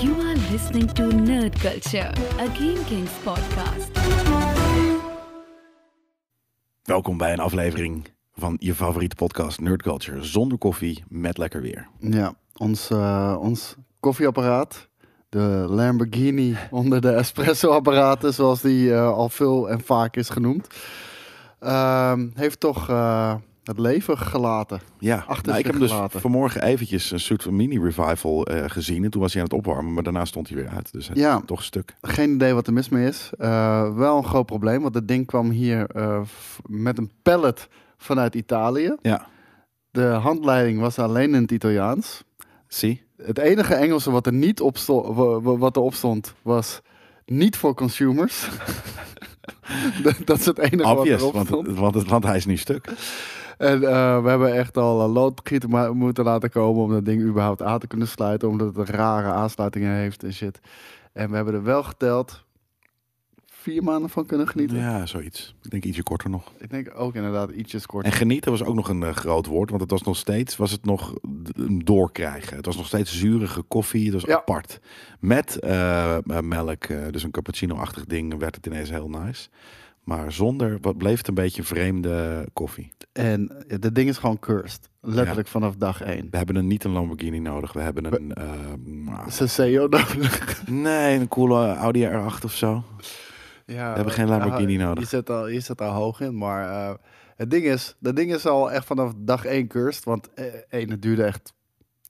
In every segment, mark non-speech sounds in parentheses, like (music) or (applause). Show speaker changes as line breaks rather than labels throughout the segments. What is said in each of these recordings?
You are listening to Nerd Culture, a Game Kings podcast.
Welkom bij een aflevering van je favoriete podcast Nerd Culture. Zonder koffie, met lekker weer.
Ja, ons, eh, ons koffieapparaat. De Lamborghini onder de espressoapparaten, zoals die eh, al veel en vaak is genoemd. ehm, heeft toch eh, het leven gelaten.
Ja,
Achter
nou, ik
zich
heb dus
gelaten.
vanmorgen eventjes een soort van mini-revival eh, gezien. En toen was hij aan het opwarmen, maar daarna stond hij weer uit. Dus het
Ja.
is toch stuk.
Geen idee wat er mis mee is. Eh, wel een groot probleem, want het ding kwam hier eh, f- met een pallet vanuit Italië.
Ja,
De handleiding was alleen in het Italiaans.
zie.
Het enige Engelse wat er niet op sto- wa- wa- wat erop stond was niet voor consumers. (laughs) D- dat is het enige
Obvious,
wat erop
want,
stond.
het- want, het- want hij is nu stuk.
En eh, we hebben echt al een loodgieter ma- moeten laten komen om dat ding überhaupt aan te kunnen sluiten. Omdat het rare aansluitingen heeft en shit. En we hebben er wel geteld vier maanden van kunnen genieten.
Ja, zoiets. Ik denk ietsje korter nog.
Ik denk ook inderdaad ietsjes korter.
En genieten was ook nog een eh, groot woord, want het was nog steeds, was het nog d- een doorkrijgen. Het was nog steeds zurige koffie, het was
Ja.
apart. Met eh, eh, melk, eh, dus een cappuccino-achtig ding, werd het ineens heel nice. Maar zonder, wat bleef het een beetje vreemde koffie.
En eh, dat ding is gewoon cursed. Letterlijk vanaf dag één.
We hebben een, niet een Lamborghini nodig, we hebben een... eh, nou,
Ze CEO nodig.
nee, een coole Audi R8 of zo.
Ja,
We hebben geen Lamborghini
ja,
nodig.
Je zit, al, je zit al hoog in, maar eh, het ding is, dat ding is al echt vanaf dag één cursed. Want eh, één, het duurde echt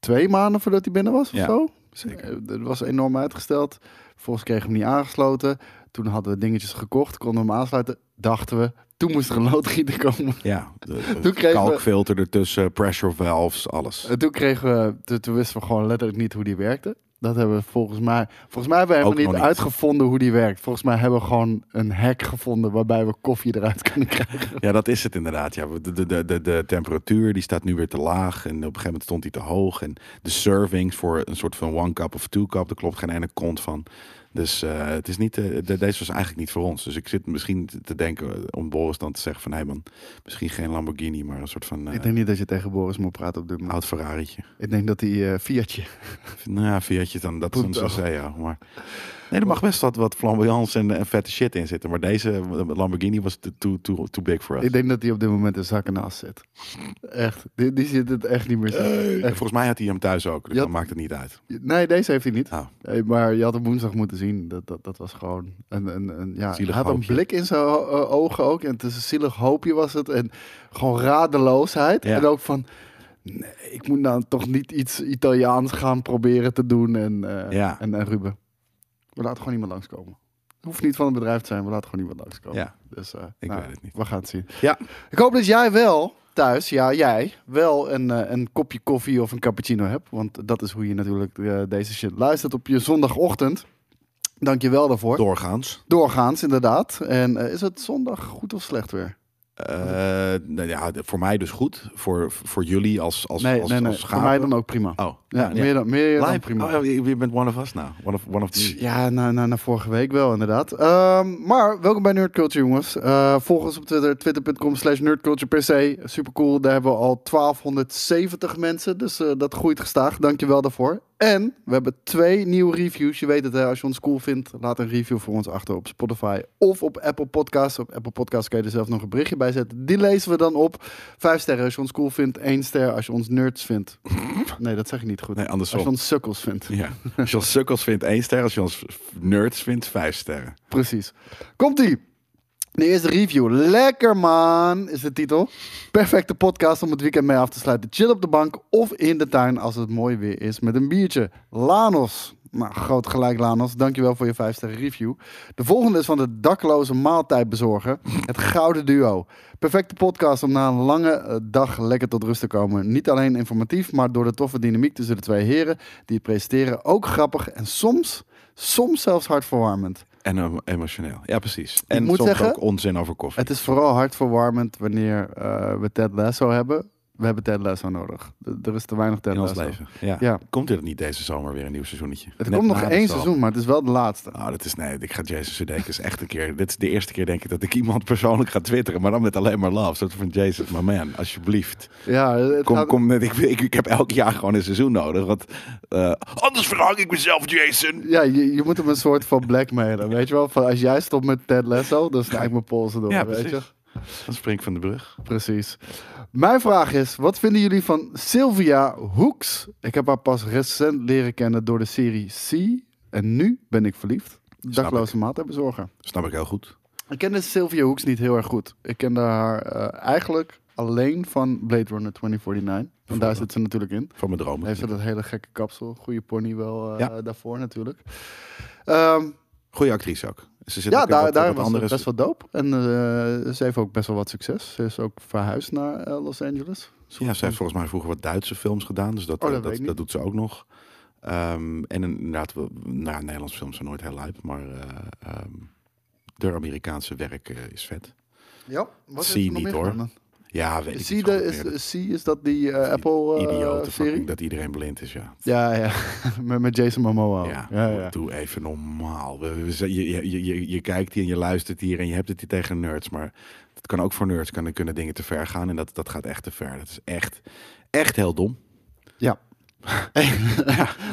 twee maanden voordat hij binnen was of
Ja,
zo.
Zeker.
Eh, Dat was enorm uitgesteld. Vervolgens kregen we hem niet aangesloten. Toen hadden we dingetjes gekocht, konden we hem aansluiten, dachten we. Toen moest er een loodgieter
(laughs)
komen.
Ja, de- de
Toen kregen we-
kalkfilter ertussen, pressure valves, alles.
En toen kregen we, toen, toen wisten we gewoon letterlijk niet hoe die werkte. Dat hebben we volgens mij, volgens mij hebben we
Ook
helemaal niet,
nog niet.
uitgevonden hoe die werkt. Volgens mij hebben we gewoon een hack gevonden waarbij we koffie eruit kunnen krijgen.
Ja, dat is het inderdaad. Ja, de, de- de, de, de temperatuur die staat nu weer te laag. En op een gegeven moment stond die te hoog. En de servings voor een soort van one cup of two cup, daar klopt geen ene kont van. Dus eh, het is niet, eh, de, deze was eigenlijk niet voor ons. Dus ik zit misschien te denken eh, om Boris dan te zeggen van... hé hey man, misschien geen Lamborghini, maar een soort van eh,
Ik denk niet dat je tegen Boris moet praten op dit moment.
oud Ferrari'tje.
Ik denk dat hij eh, Fiatje.
Nou ja, Fiatje, dan, dat is dan
Punto.
zo ja. Maar nee, er mag best wat, wat flamboyance en, en vette shit in zitten. Maar deze eh, Lamborghini was te- too, too, too big for us.
Ik denk dat hij op dit moment een zak naast zit. Echt, die, die zit het echt niet meer. zitten.
En
Echt.
volgens mij had hij hem thuis ook, dus
Ja.
dan maakt het niet uit.
Nee, deze heeft hij niet.
Nou,
Hey, maar je had hem woensdag moeten zien. Dat, dat, dat was gewoon een, een, een ja. Hij
Zielig
had
hoopje.
een blik in zijn ho- eh, ogen ook. En tussen zielig hoopje was het. En gewoon radeloosheid.
Ja.
En ook van, nee, ik moet nou toch niet iets Italiaans gaan proberen te doen. En, eh,
Ja.
en, en Ruben, we laten gewoon iemand langskomen. Het hoeft niet van het bedrijf te zijn. We laten gewoon iemand langskomen.
Ja.
Dus eh,
Ik
nou,
weet het niet.
We gaan het zien.
Ja.
Ik hoop dat jij wel thuis, ja jij, wel een, eh, een kopje koffie of een cappuccino hebt. Want dat is hoe je natuurlijk eh, deze shit luistert op je zondagochtend. Dank je wel daarvoor.
Doorgaans.
Doorgaans, inderdaad. En eh, is het zondag goed of slecht weer?
Eh, nou ja, de- voor mij dus goed. Voor, voor jullie als als
nee,
als,
nee,
als
nee. Voor
schapen.
mij dan ook prima.
Oh,
ja, meer dan, meer dan
Lijp.
prima.
Oh, ja, je bent one of us nou. One of, one of me.
Ja, na, na, na vorige week wel, inderdaad. Ehm, maar welkom bij Nerd Culture, jongens. Eh volg ons op Twitter, twitter.com slash nerdculturepc. Supercool, daar hebben we al 1270 mensen. Dus eh, dat groeit gestaag. Dankjewel daarvoor. En we hebben twee nieuwe reviews. Je weet het, hè, als je ons cool vindt, laat een review voor ons achter op Spotify of op Apple Podcasts. Op Apple Podcasts kan je er zelf nog een berichtje bij zetten. Die lezen we dan op. Vijf sterren als je ons cool vindt. één ster als je ons nerds
(laughs)
vindt. Nee, dat zeg ik niet goed.
Nee, andersom.
als je ons sukkels vindt.
Ja. Als je ons sukkels vindt, één ster. Als je ons nerds vindt, vijf sterren.
Precies. Komt-ie. De eerste review. Lekker man, is de titel. Perfecte podcast om het weekend mee af te sluiten. Chill op de bank of in de tuin als het mooi weer is met een biertje. Lanos. Nou, groot gelijk Lanos. Dankjewel voor je 5-sterren review. De volgende is van de dakloze maaltijdbezorger. Het gouden duo. Perfecte podcast om na een lange eh, dag lekker tot rust te komen. Niet alleen informatief, maar door de toffe dynamiek tussen de twee heren die het presenteren. Ook grappig en soms, soms zelfs hartverwarmend.
En em- emotioneel. Ja, precies. En
moet
soms
zeggen-
ook onzin over koffie.
Het is vooral hartverwarmend wanneer eh, we Ted Lasso hebben. We hebben Ted Lasso nodig. D- er is te weinig Ted
in ons
Lasso.
leven. Ja.
Ja.
Komt er niet deze zomer weer een nieuw seizoentje?
Het
Net
komt nog
na de
één
zomer.
seizoen, maar het is wel de laatste.
Nou, dat is nee. Ik ga Jason Sudeikis (laughs) echt een keer. Dit is de eerste keer denk ik dat ik iemand persoonlijk ga twitteren, maar dan met alleen maar love. Soort van Jason, my man, alsjeblieft.
Ja, het
Kom,
gaat-
kom net. Ik, ik, ik heb elk jaar gewoon een seizoen nodig, want eh, anders verhang ik mezelf, Jason.
ja je, je moet hem een soort van blackmailen, weet je wel? Van, als jij stopt met Ted Lasso, dan snij ik mijn polsen door,
Ja,
weet je?
precies. Dan spring ik van de brug.
Precies. Mijn vraag is, wat vinden jullie van Sylvia Hoeks? Ik heb haar pas recent leren kennen door de serie C. En nu ben ik verliefd. Dakloze maaltijdbezorger.
Snap ik heel goed.
Ik kende Sylvia Hoeks niet heel erg goed. Ik kende haar eh, eigenlijk alleen van Blade Runner 2049. En daar zit ze natuurlijk in.
Van mijn dromen.
Heeft ze dat hele gekke kapsel. Goede pony wel eh,
Ja.
daarvoor natuurlijk. Ehm,
Goeie actrice ook. Ze zit
ja,
ook in
daar,
wat-
daar
wat
was
andere-
het best wel dope. En eh, ze heeft ook best wel wat succes. Ze is ook verhuisd naar eh, Los Angeles.
Ja, ze heeft volgens mij vroeger wat Duitse films gedaan, dus dat,
Oh,
eh,
dat
dat,
weet ik
dat,
niet.
doet ze ook nog. Ehm, en inderdaad, we- nou, Nederlandse films zijn nooit heel lijp, maar eh ehm, haar Amerikaanse werk eh, is vet.
Ja,
heeft ze Zie nog niet, meer hoor. gedaan Ja, weet ik
Zie
niet
de,
zo goed
is,
meer. Dat
zie is dat die eh, Apple
idiote
eh serie?
fucking dat iedereen blind is, ja.
Ja, ja. (laughs) met, met Jason Momoa. ook.
Ja,
ja,
doe-
ja.
doe even normaal. We- we- we- Je, je, je, je kijkt hier en je luistert hier en je hebt het hier tegen nerds. Maar dat kan ook voor nerds kunnen, kunnen dingen te ver gaan. En dat, dat gaat echt te ver. Dat is echt, echt heel dom.
Ja. (laughs)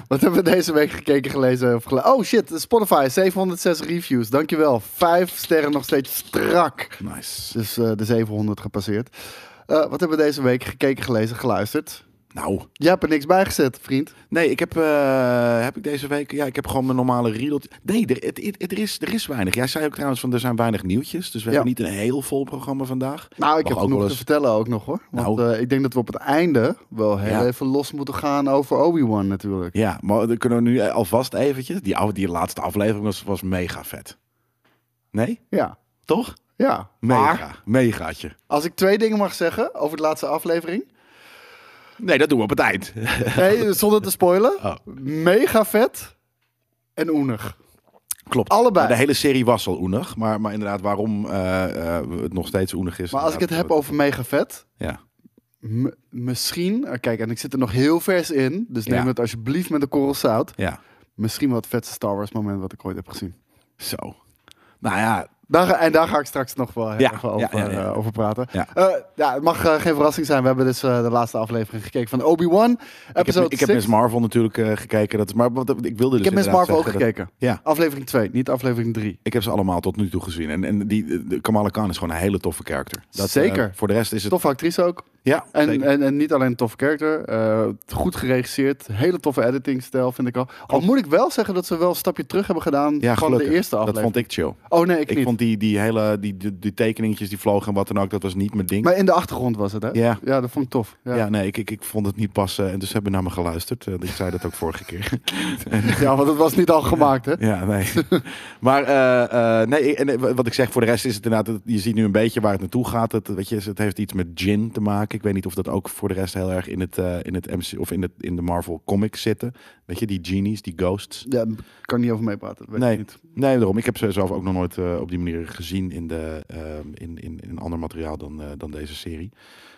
Wat hebben we deze week gekeken, gelezen of gelezen? Oh shit, Spotify, 706 reviews. Dankjewel. Vijf sterren nog steeds strak.
Nice.
Dus eh, de 700 gepasseerd. Eh, wat hebben we deze week gekeken, gelezen, geluisterd?
Nou,
Jij hebt er niks bij gezet, vriend.
Nee, ik heb, eh, heb ik deze week. Ja, ik heb gewoon mijn normale riedeltje. Nee, er, het, het- er, is, er is weinig. Jij zei ook trouwens van er zijn weinig nieuwtjes. Dus we
Ja.
hebben niet een heel vol programma vandaag.
Nou, ik
Mag
heb
ook
genoeg
wel
te
eens-
vertellen ook nog hoor. Want
Nou.
eh, ik denk dat we op het einde wel heel
Ja.
even los moeten gaan over Obi-Wan natuurlijk.
Ja, maar dan kunnen we nu eh, alvast eventjes. Die, oude, die laatste aflevering was, was mega vet. Nee?
Ja,
Toch?
ja.
Mega.
Maar
Megaatje.
als ik twee dingen mag zeggen over de laatste aflevering.
Nee, dat doen we op het eind.
Nee, zonder te spoilen.
Oh.
Mega vet en oenig.
(laughs) Klopt.
Allebei.
De hele serie was al oenig. Maar, maar inderdaad, waarom eh, eh, het nog steeds oenig is.
Maar als ik het heb
inderdaad,
over mega vet.
Ja.
m- misschien, eh, kijk, en ik zit er nog heel vers in. Dus neem
Ja.
het alsjeblieft met een korrel zout.
Ja.
Misschien wel het vetste Star Wars moment wat ik ooit heb gezien.
Zo. Nou ja,
Daar, ga- en daar ga ik straks nog wel heel
Ja,
erg
ja,
over,
ja, ja.
eh, over praten.
Ja.
Eh, ja, het mag eh, geen verrassing zijn. We hebben dus eh, de laatste aflevering gekeken van Obi-Wan.
ik heb,
Episode
ik heb
six.
Miss Marvel natuurlijk eh, gekeken. Dat, maar wat, ik wilde dus
Ik heb Miss
inderdaad
Marvel ook
zeggen dat-
gekeken.
Ja.
Aflevering 2, niet aflevering 3.
Ik heb ze allemaal tot nu toe gezien. En, en die, de Kamala Khan is gewoon een hele toffe karakter. eh,
Zeker.
voor de rest is het...
Toffe actrice ook.
Ja,
En, eh,
zeker.
en, en niet alleen een toffe character, eh, goed geregisseerd, hele toffe editingstijl vind ik al. Al moet ik wel zeggen dat ze wel een stapje terug hebben gedaan
ja,
van de
gelukkig.
eerste
dat
aflevering.
vond ik chill.
Oh nee, ik,
Ik
niet.
vond die, die hele die, die, die tekeningetjes die vlogen en wat dan ook, dat was niet mijn ding.
Maar in de achtergrond was het, hè?
Ja.
Ja, dat vond ik tof. Ja,
ja.
(laughs) ja.
nee, ik, ik, ik vond het niet passen. En dus hebben we naar me geluisterd. Eh, ik zei dat ook vorige keer.
want het was niet al gemaakt, hè?
Ja, nee. (laughs) maar eh, eh, nee, en, eh, wat ik zeg, voor de rest is het inderdaad, dat- je ziet nu een beetje waar het naartoe gaat. Het, weet je, het heeft iets met gin te maken. Ik weet niet of dat ook voor de rest heel erg in het, eh, in het MC of in, het, in de Marvel comics zitten. Weet je, die genies, die ghosts.
Ja, daar kan ik niet over meepraten. Weet
Nee,
ik niet.
nee, daarom. Ik heb ze zelf ook nog nooit eh, op die manier gezien in, de, ehm, in, in, in ander materiaal dan, eh, dan deze serie.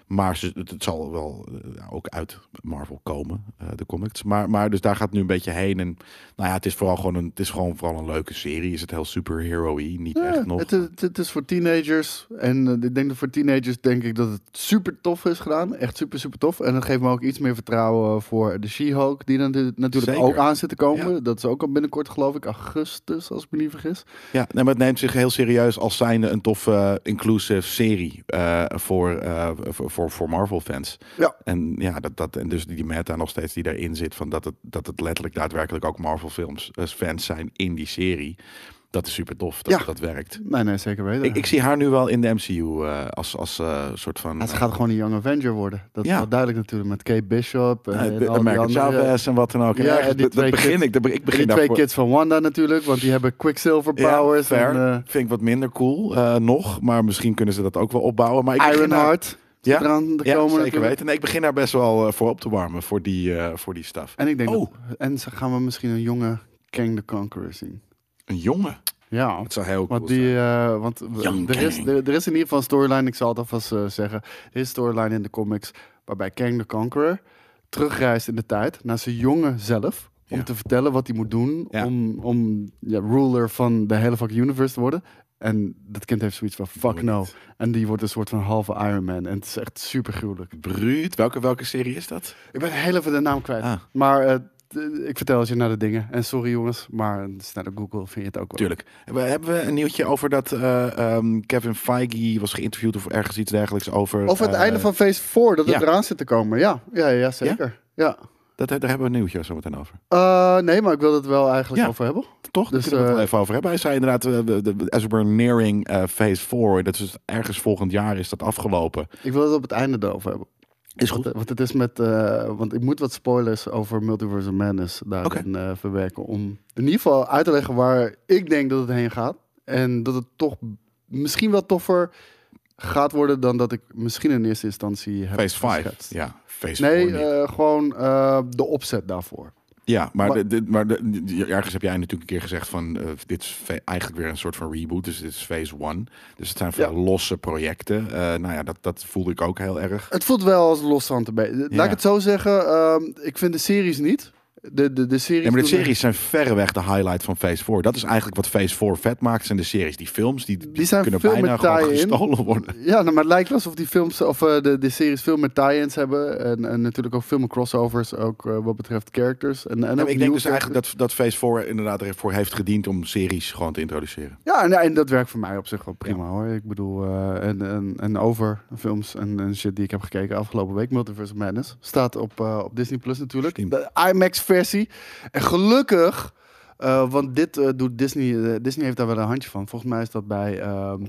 Maar ze, het, het zal wel eh, ook uit Marvel komen, eh, de comics. Maar, maar dus daar gaat het nu een beetje heen. En nou ja, het is vooral gewoon een, het is gewoon vooral een leuke serie. Is het heel superhero-y? Niet echt nog.
Het, is- het is voor teenagers. En eh, ik denk dat voor teenagers denk ik dat het super tof is gedaan. Echt super, super tof. En dat geeft me ook iets meer vertrouwen voor de She-Hulk. Die dan natu- natuurlijk
Zeker.
ook aan zit te komen.
Ja.
Dat is ook al binnenkort geloof ik augustus, als ik me niet vergis.
Ja, nee, maar het neemt zich heel serieus als zijnde een toffe, eh, inclusive serie eh, voor, eh, voor, voor, voor Marvel-fans.
Ja.
En, ja, dat, dat, en dus die meta nog steeds die daarin zit, van dat, het, dat het letterlijk daadwerkelijk ook Marvel-films eh, fans zijn in die serie. Dat is super tof, dat
Ja.
dat werkt.
Nee, nee, zeker weten.
Ik, ik zie haar nu wel in de MCU eh, als, als eh, soort van...
Ja, ze gaat gewoon een Young Avenger worden. Dat
Ja.
is wel duidelijk natuurlijk met Kate Bishop.
eh,
En,
de
al die
American
andere- eh,
Chavez en wat dan ook. En
Ja,
ergens
en die
be- dat
twee
begin
kids-
ik, dat be- ik eh, begin
Die twee
daarvoor-
kids van Wanda natuurlijk, want die hebben Quicksilver powers.
ja,
en,
fair.
eh,
Vind ik wat minder cool eh, nog, maar misschien kunnen ze dat ook wel opbouwen. Maar ik begin daar-
Ironheart. zit
Ja,
eraan te komen
Ja, zeker
natuurlijk.
weten. Nee, ik begin daar best wel eh, voor op te warmen voor die, eh, voor die staf.
En ik denk
Oh.
dat, en ze gaan we misschien een jonge Kang the Conqueror zien.
Een jongen.
Ja.
Dat zou heel cool
Want, die,
zijn.
eh, want w-
Young
er, is,
Kang.
er, er is in ieder geval een storyline, ik zal het alvast eh, zeggen. Er is storyline in de comics waarbij Kang the Conqueror terugreist in de tijd naar zijn jongen zelf. Om
Ja.
te vertellen wat hij moet doen
Ja.
om, om ja, ruler van de hele fucking universe te worden. En dat kind heeft zoiets van fuck
Doe
no.
niet.
En die wordt een soort van halve Iron Man. En het is echt super gruwelijk.
Bruut. Welke, welke serie is dat?
Ik ben heel even de naam kwijt.
Ah.
Maar eh, t- ik vertel het je naar de dingen. En sorry jongens, maar snelle Google vind je het ook wel.
Tuurlijk. We hebben we een nieuwtje over dat eh, ehm, Kevin Feige was geïnterviewd of ergens iets dergelijks over.
Of het
eh,
einde van phase 4, dat het
ja.
eraan zit te komen. Ja, ja, ja zeker. Ja?
Dat, daar hebben we een nieuwtje zo meteen over.
Eh, nee, maar ik wil het wel eigenlijk
Ja.
over hebben.
Toch? Daar
Dus,
kunnen we het wel
eh,
even over hebben. Hij zei inderdaad, eh, we- de- de- as we're nearing eh, phase 4, dat is ergens volgend jaar is dat afgelopen.
Ik wil het op het einde erover hebben.
Is goed.
Want, want het is met... eh, want ik moet wat spoilers over Multiverse of Madness daarin eh, verwerken. Om in ieder geval uit te leggen waar ik denk dat het heen gaat. En dat het toch misschien wel toffer gaat worden dan dat ik misschien in eerste instantie heb
Phase 5.
geschetst.
Ja, phase
Nee,
4 niet.
eh, gewoon eh, de opzet daarvoor.
Ja, maar,
Maar-
de- de- maar de- de- ergens heb jij natuurlijk een keer gezegd van eh, dit is fe- eigenlijk weer een soort van reboot. Dus dit is phase one. Dus het zijn veel
Ja.
losse projecten. Eh, nou ja, dat, dat voelde ik ook heel erg.
Het voelt wel als loshand erbij. Laat
Ja.
ik het zo zeggen, ehm, ik vind de series niet. De, de, de series
Ja, maar de
doen- eh,
series zijn verreweg de highlight van phase 4. Dat is eigenlijk wat phase 4 vet maakt. Zijn de series, die films, die, die,
Die zijn
kunnen
veel
bijna
meer
gewoon (laughs)
taaien in.
gestolen worden.
Ja, nou, maar het lijkt wel alsof die films of eh, de, de series veel meer tie-ins hebben. En, en natuurlijk ook veel meer crossovers, ook eh, wat betreft characters. En, en
Ja,
ook
maar ik denk
nieuwe
dus
characters.
eigenlijk dat, dat phase 4 inderdaad ervoor heeft gediend om series gewoon te introduceren.
Ja, en, en dat werkt voor mij op zich wel prima hoor. Ik bedoel, eh, en, en, en over films en, en shit die ik heb gekeken afgelopen week, Multiverse of Madness, staat op, eh, op Disney Plus natuurlijk.
Steam.
De IMAX-versie. En gelukkig, eh, want dit eh, doet Disney, eh, Disney heeft daar wel een handje van. Volgens mij is dat bij, ehm,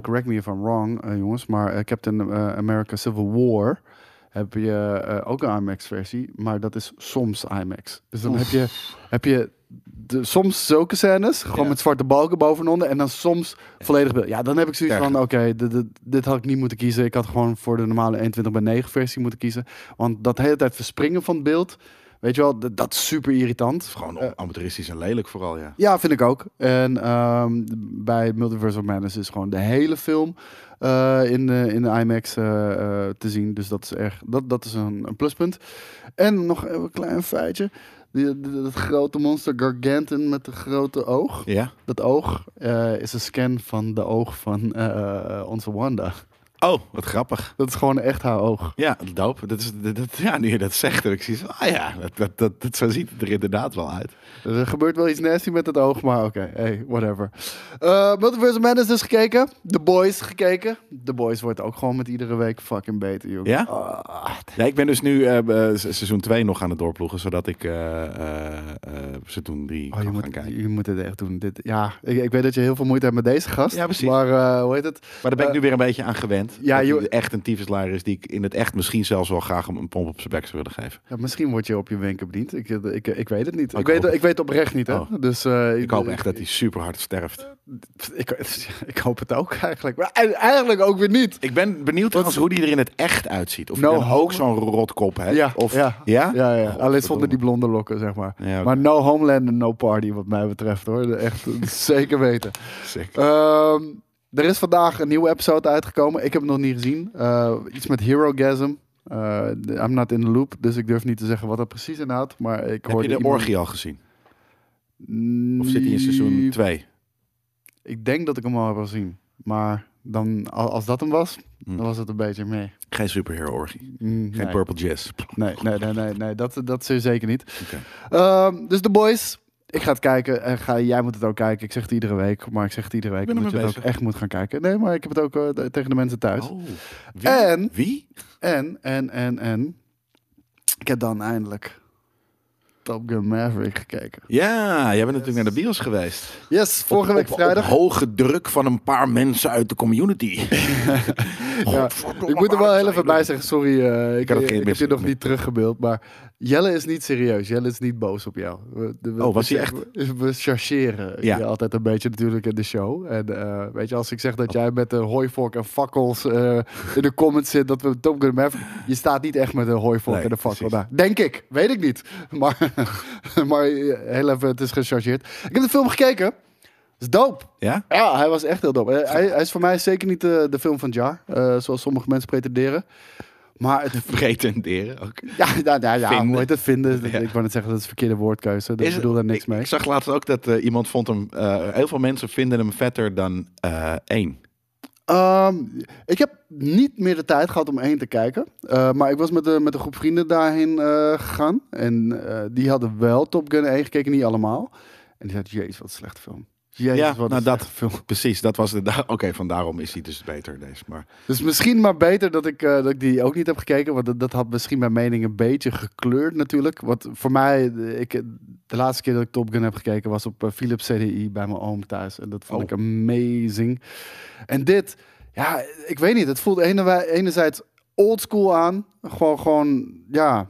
correct me if I'm wrong eh, jongens, maar eh, Captain eh, America Civil War heb je eh, ook een IMAX-versie, maar dat is soms IMAX. Dus dan heb je, heb je de, soms zulke scènes, gewoon
Ja.
met zwarte balken boven en onder, en dan soms volledig beeld. Ja, dan heb ik zoiets van, oké,
Erger.
dit, dit- dit had ik niet moeten kiezen. Ik had gewoon voor de normale 21 bij 9 versie moeten kiezen. Want dat hele tijd verspringen van het beeld, weet je wel, dat, dat is super irritant.
Gewoon
Eh,
amateuristisch en lelijk vooral, ja.
ja, vind ik ook. En ehm, bij Multiverse of Madness is gewoon de hele film eh, in, de, in de IMAX eh, eh, te zien. Dus dat is, erg, dat, dat is een, een pluspunt. En nog even een klein feitje. Die- die- Dat grote monster Garganton met de grote oog.
Ja?
Dat oog eh, is een scan van de oog van eh, onze Wanda.
Oh, wat grappig.
Dat is gewoon echt haar oog.
Ja, dope. Dat is, dat, dat- ja, nu je dat zegt, dat ik zie zo, ah ja, dat, dat, dat, dat, zo ziet het er inderdaad wel uit.
Dus er gebeurt wel iets nasty met het oog, maar oké, hey, whatever. Eh Multiverse of Madness dus gekeken. The Boys gekeken. The Boys wordt ook gewoon met iedere week fucking beter, jongen.
Ja?
Ah,
Ja, ik ben dus nu eh, eh, se- seizoen 2 nog aan het doorploegen, zodat ik eh, eh, eh, seizoen 3
oh, je,
kan
moet,
gaan kijken.
je moet het echt doen. Dit, ja, ik, ik weet dat je heel veel moeite hebt met deze gast.
Ja, precies.
Maar eh, hoe heet het?
Maar daar ben ik
eh,
nu weer een beetje aan gewend. Ja,
ja,
dat
joh.
hij echt een tyfuslaar is die ik in het echt misschien zelfs wel graag een pomp op zijn bek zou willen geven.
Eh, Ja, misschien word je op je wenken bediend. Ik, eh, ik, ik weet het niet.
Oh, ik
ik, weet,
hoop het.
ik weet het oprecht niet, hè.
Oh.
Dus, eh,
Ik hoop echt dat hij super hard sterft.
Ik, (laughs) ik hoop het ook eigenlijk. Maar e- eigenlijk ook weer niet.
Ik ben benieuwd trouwens hoe die er in het echt uitziet. Of
No
hij dan ook
homo.
zo'n rotkop heeft.
Ja,
of,
ja.
ja? Oh,
Ja, ja. alleen zonder
Godverdomme.
die blonde lokken, zeg maar.
Ja, oké.
Maar no homeland en no party, wat mij betreft hoor. Echt (laughs) zeker weten.
Sick.
Ehm, er is vandaag een nieuwe episode uitgekomen. Ik heb het nog niet gezien. Eh, iets met Herogasm. Eh I'm not in the loop, dus ik durf niet te zeggen wat dat precies inhoudt. Maar ik
Heb je
hoorde
de
iemand-
orgie al gezien? Of zit hij in seizoen
Nee,
2?
Ik denk dat ik hem al heb gezien. Maar dan, al- als dat hem was,
Hm.
dan was het een beetje mee.
Geen superhero orgie. Geen
nee.
purple jazz.
Nee, nee, nee, nee, nee dat, dat zeer zeker niet.
Oké.
Ehm, dus de boys. Ik ga het kijken. En ga, jij moet het ook kijken. Ik zeg het iedere week. Maar ik zeg het iedere week.
ben
omdat je
ermee
het ook
bezig.
echt moet gaan kijken. Nee, maar ik heb het ook eh, te- tegen de mensen thuis.
Oh, wie?
En-
Wie?
En, en, en, en. Ik heb dan eindelijk Top Gun Maverick gekeken.
Ja, jij bent natuurlijk naar de bios geweest.
Yes, vorige
Op-
week
op- op
vrijdag.
hoge druk van een paar mensen uit de (laughs) community. Godverdomme,
Ik moet er wel
waarom
heel even
Oh, zijn
bij
jullie-
zeggen, sorry, eh, ik,
had ook
ik,
geen
heb je
missie
nog
meer.
niet teruggebeeld, maar Jelle is niet serieus. Jelle is niet boos op jou. We- de- we-
Oh, was
we-
hij echt?
We, we chargeren
Ja.
je altijd een beetje natuurlijk in de show. En eh, weet je, als ik zeg
Oh.
dat jij met de hooivork en fakkels eh, in de comments zit, dat we Tom Gun Maverick... Je staat niet echt met een hooivork
Nee,
en een fakkel
precies.
daar. Denk ik, weet ik niet. (laughs) Maar, maar eh, heel even, het is gechargeerd. Ik heb de film gekeken. Het is dope.
Ja?
Ja, hij was echt heel dope. Eh, Hij, hij is voor mij zeker niet eh, de film van het jaar, eh, zoals sommige mensen pretenderen.
(laughs)
Maar het,
Pretenderen ook.
ja, nou, nou, ja,
Vinden.
hoe heet het vinden? Dat-
Ja.
Ik wou net zeggen, dat is een verkeerde woordkeuze. Dus
Is
ik bedoel daar
het-
niks
ik,
mee.
Ik zag laatst ook dat eh, iemand vond hem... eh, heel veel mensen vinden hem vetter dan eh één.
Ehm, ik heb niet meer de tijd gehad om één te kijken. Eh, maar ik was met, de, met een groep vrienden daarheen eh, gegaan. En eh, die hadden wel Top Gun 1 gekeken, niet allemaal. En die zeiden, jezus, wat een slechte film. Jezus,
Ja,
wat een
nou,
slechte
dat-
film.
Precies, dat was de... da- Oké, van daarom is hij dus beter deze. Maar
Dus misschien maar beter dat ik, eh, dat ik die ook niet heb gekeken. Want dat, dat had misschien mijn mening een beetje gekleurd natuurlijk. Want voor mij, eh, ik, de laatste keer dat ik Top Gun heb gekeken was op eh, Philips CDI bij mijn oom thuis. En dat vond
Oh.
ik amazing. En dit, ja, ik weet niet. Het voelt enerwa- enerzijds oldschool aan. Gewoon, gewoon, ja...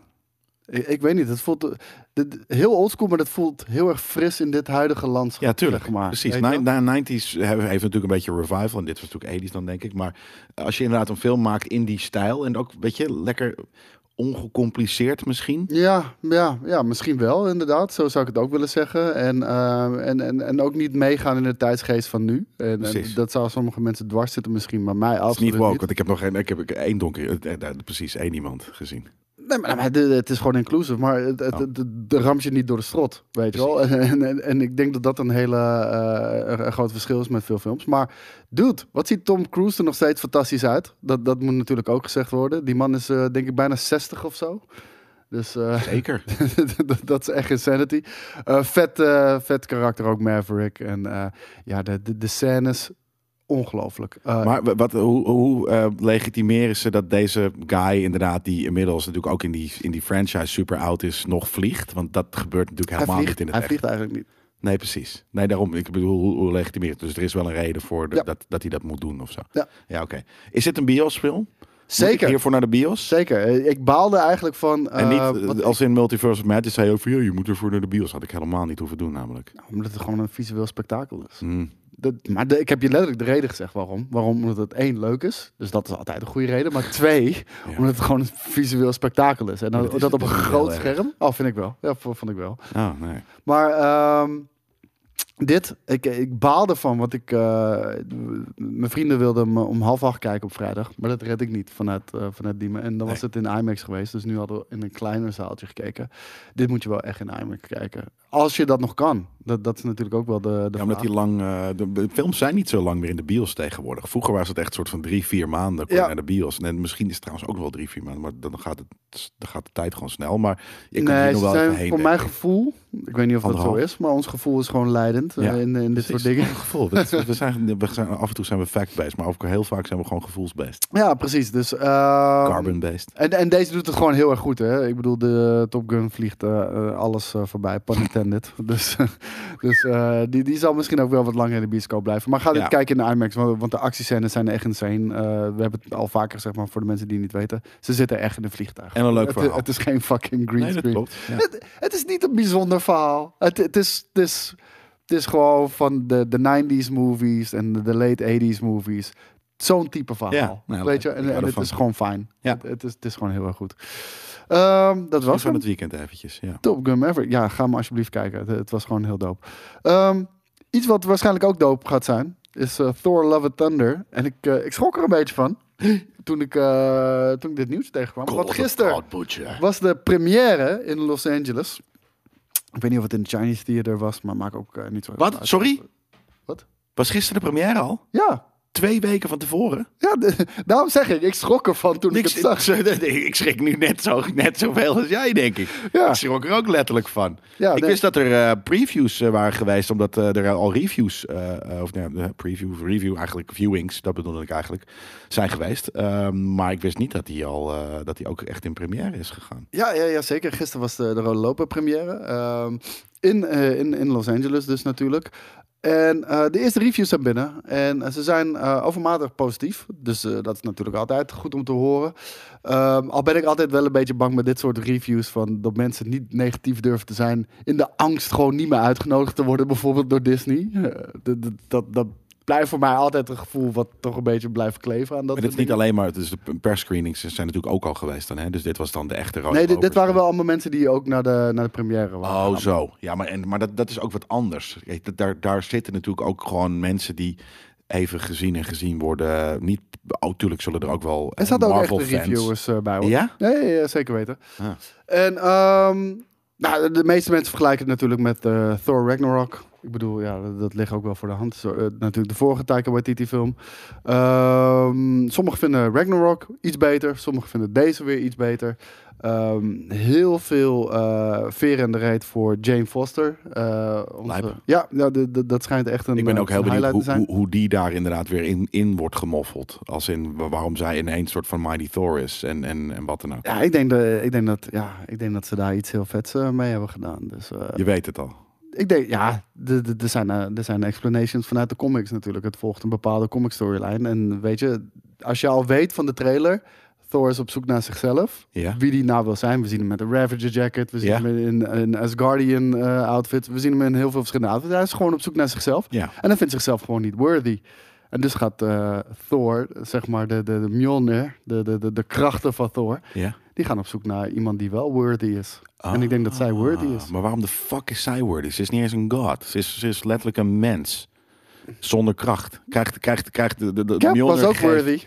Ik, ik weet niet, het voelt eh, dit- heel oldschool, maar dat voelt heel erg fris in dit huidige landschap.
Ja, tuurlijk.
zeg maar.
Precies. Nou,
Weet je
Ni-
wel?
na- 90s hebben- heeft natuurlijk een beetje revival. En dit was natuurlijk 80s dan, denk ik. Maar als je inderdaad een film maakt in die stijl. En ook, weet je, lekker ongecompliceerd misschien.
Ja, ja, ja, misschien wel inderdaad. Zo zou ik het ook willen zeggen. En, ehm, en, en, en ook niet meegaan in de tijdsgeest van nu. En, en
Precies.
dat zou sommige mensen dwars zitten misschien, maar mij
Het is niet
absoluut
woke,
niet.
want ik heb nog geen, ik heb één donker, eh, eh, eh, precies één iemand gezien.
Nee, maar, maar de- het is gewoon inclusive. Maar het, het,
Oh.
het- het- de ramt je niet door de strot, weet je wel. (laughs) En, en, en ik denk dat dat een hele eh, een- een groot verschil is met veel films. Maar dude, wat ziet Tom Cruise er nog steeds fantastisch uit. Dat, dat moet natuurlijk ook gezegd worden. Die man is eh, denk ik bijna 60 of zo. Dus eh,
Zeker.
dat, (laughs) dat is echt insanity. Eh, vet, eh, vet karakter ook, Maverick. En eh, ja, de, de, de scènes, ongelooflijk. Eh,
Maar wa- wat, hoe, hoe eh, legitimeren ze dat deze guy inderdaad, die inmiddels natuurlijk ook in die, in die franchise super oud is, nog vliegt? Want dat gebeurt natuurlijk
hij
helemaal
vliegt,
niet in het
hij
echt.
vliegt eigenlijk niet.
Nee, precies. Nee, daarom. Ik bedoel, hoe, hoe legitimeert het? Dus er is wel een reden voor de-
Ja.
dat, dat hij dat moet doen of zo.
Ja.
Ja, oké. Is dit een biosfilm? Moet ik
Zeker,
hiervoor naar de bios?
zeker. Eh, Ik baalde eigenlijk van...
en niet
eh,
eh,
wat-
als in Multiverse of Madness zei je ook van... "Joh, je moet ervoor naar de bios. Had ik helemaal niet hoeven doen namelijk.
omdat het gewoon een visueel spektakel is.
Hmm.
Dat, maar de- ik heb je letterlijk de reden gezegd waarom. Waarom? Omdat het één, leuk is. Dus dat is altijd een goede reden. Maar twee,
(laughs) Ja.
omdat het gewoon een visueel spektakel is. En
Maar
dat,
dat is
dat op
het
een
dus niet
groot
heel erg.
scherm. Oh, vind ik wel. Ja, v- vond ik wel.
Oh, nee.
Maar ehm, dit, ik, ik baalde van, want ik, eh, mijn vrienden wilden me om half acht kijken op vrijdag. Maar dat red ik niet vanuit, eh, vanuit Diemen. En dan was het in IMAX geweest, dus nu hadden we in een kleiner zaaltje gekeken. Dit moet je wel echt in IMAX kijken. Als je dat nog kan. Dat, dat is natuurlijk ook wel de, de
Ja, omdat
vraag.
die lang... eh, de, de films zijn niet zo lang meer in de bios tegenwoordig. Vroeger was het echt soort van drie, vier maanden kon je
Ja.
naar de bios. En misschien is het trouwens ook wel drie, vier maanden. Maar dan gaat, het, dan gaat de tijd gewoon snel. Maar je kunt hier
nee,
nog
ze
wel
zijn
even heen.
voor
denk
mijn
ik.
gevoel, ik weet niet of dat
Anderhalf.
zo is, maar ons gevoel is gewoon leidend eh,
Ja,
in, in dit soort
Precies.
dingen.
(laughs)
(laughs)
Gevoel. Dat is- We zijn, we zijn, af en toe zijn we fact-based. Maar ook heel vaak zijn we gewoon gevoelsbased.
Ja, precies. Dus, ehm,
Carbon-based.
En, en deze doet het gewoon heel erg goed, hè? Ik bedoel, de Top Gun vliegt eh, eh, alles eh, voorbij, pun intended. (laughs) dus dus eh, die, die zal misschien ook wel wat langer in de bioscoop blijven. Maar ga dit
Ja.
kijken in de IMAX, want, want de actiescènes zijn echt insane. Eh, we hebben het al vaker gezegd, maar voor de mensen die het niet weten. Ze zitten echt in een vliegtuig.
En een leuk
het,
verhaal.
Het is geen fucking green
Nee, dat
screen.
klopt. Ja.
Het, het is niet een bijzonder verhaal. Het, het, is, het, is, het is gewoon van de, de 90s movies en de, de late 80s movies. Zo'n type verhaal.
Ja, nou,
weet je,
ik
en,
hou
en het
ervan.
is gewoon fijn.
Ja.
Het, het is, het is gewoon heel erg goed. Ehm, dat was
van
hem.
het weekend eventjes. Ja.
Top Gun Maverick. Ja, ga maar alsjeblieft kijken. Het, het was gewoon heel dope. Ehm, iets wat waarschijnlijk ook dope gaat zijn, is eh, Thor Love and Thunder. En ik, eh, ik schrok er een beetje van toen ik, eh, toen ik dit nieuws tegenkwam. Want gisteren was de première in Los Angeles. Ik weet niet of het in de Chinese Theater was, maar maakt ook eh, niet zo heel veel
Wat?
uit.
Sorry?
Wat?
Was gisteren de première al?
Ja,
Twee weken van tevoren?
ja (laughs) de- daarom zeg ik, ik schrok ervan toen
Niks,
ik het
(laughs)
zag.
ik schrik nu net, zo, net zoveel als jij, denk ik.
Ja.
Ik schrok er ook letterlijk van.
Ja,
ik
nee.
wist dat er eh, previews eh, waren geweest, omdat eh, er al reviews, eh, eh, of nee, eh, preview, review eigenlijk, viewings, dat bedoelde ik eigenlijk, zijn geweest. Ehm, maar ik wist niet dat die, al, eh, dat die ook echt in première is gegaan.
Ja, ja, ja, zeker. Gisteren was de, de Rode Loper première. Ehm, in, eh, in, in Los Angeles dus natuurlijk. En eh, de eerste reviews zijn binnen. En eh, ze zijn eh, overmatig positief. Dus eh, dat is natuurlijk altijd goed om te horen. Ehm, al ben ik altijd wel een beetje bang met dit soort reviews. Van dat mensen niet negatief durven te zijn. In de angst gewoon niet meer uitgenodigd te worden. Bijvoorbeeld door Disney. Eh, dat, dat, dat, dat blijft voor mij altijd een gevoel wat toch een beetje blijft kleven aan dat
Maar
soort
dit is niet
dingen.
alleen maar, dus de perscreenings zijn natuurlijk ook al geweest dan, hè? Dus dit was dan de echte rode
Nee, dit, dit
loper.
waren wel allemaal mensen die ook naar de, naar de première waren.
Oh, zo. Ja, maar, en, maar dat, dat is ook wat anders. Kijk, dat- daar, daar zitten natuurlijk ook gewoon mensen die even gezien en gezien worden. Niet, oh, tuurlijk zullen er ook wel eh,
Er zaten ook echt
Marvel fans.
reviewers eh, bij hoor.
Ja?
Ja, ja, ja, zeker weten.
Ah.
En ehm, nou, de- de meeste mensen vergelijken het natuurlijk met eh, Thor Ragnarok. Ik bedoel, ja, dat, dat ligt ook wel voor de hand. Zo, eh, natuurlijk de vorige Taika Waititi film. Ehm, sommigen vinden Ragnarok iets beter. Sommigen vinden deze weer iets beter. Ehm, heel veel eh veer in de reet voor Jane Foster. Eh, onze-
Lijp.
ja, ja, de- de- dat schijnt echt een
Ik ben
eh,
ook heel benieuwd
highlight te
hoe,
zijn.
hoe, hoe die daar inderdaad weer in, in wordt gemoffeld. Als in wa- waarom zij ineens soort van Mighty Thor is en, en, en wat dan ook.
Ja, ik denk, de, ik, denk dat, ja, ik denk dat ze daar iets heel vets eh, mee hebben gedaan. Dus, eh,
Je weet het al.
Ik denk, ja, de- de- er zijn, eh, er zijn explanations vanuit de comics natuurlijk. Het volgt een bepaalde comic storyline. En weet je, als je al weet van de trailer, Thor is op zoek naar zichzelf.
Ja.
Wie die nou wil zijn. We zien hem met een Ravager jacket, we zien
Ja.
hem in een Asgardian eh, outfit. We zien hem in heel veel verschillende outfits. Hij is gewoon op zoek naar zichzelf.
Ja.
En hij vindt zichzelf gewoon niet worthy. En dus gaat eh, Thor, zeg maar de, de, de Mjolnir, de, de, de, de krachten van Thor,
ja.
die gaan op zoek naar iemand die wel worthy is. En ik denk dat zij worthy is.
Ah, Maar waarom de fuck is zij worthy? Ze is niet eens een god. Ze is, ze is letterlijk een mens. Zonder kracht. Krijgt, krijgt, krijgt de, de, de
Cap
Mjolnir
was ook
gegeven-
worthy.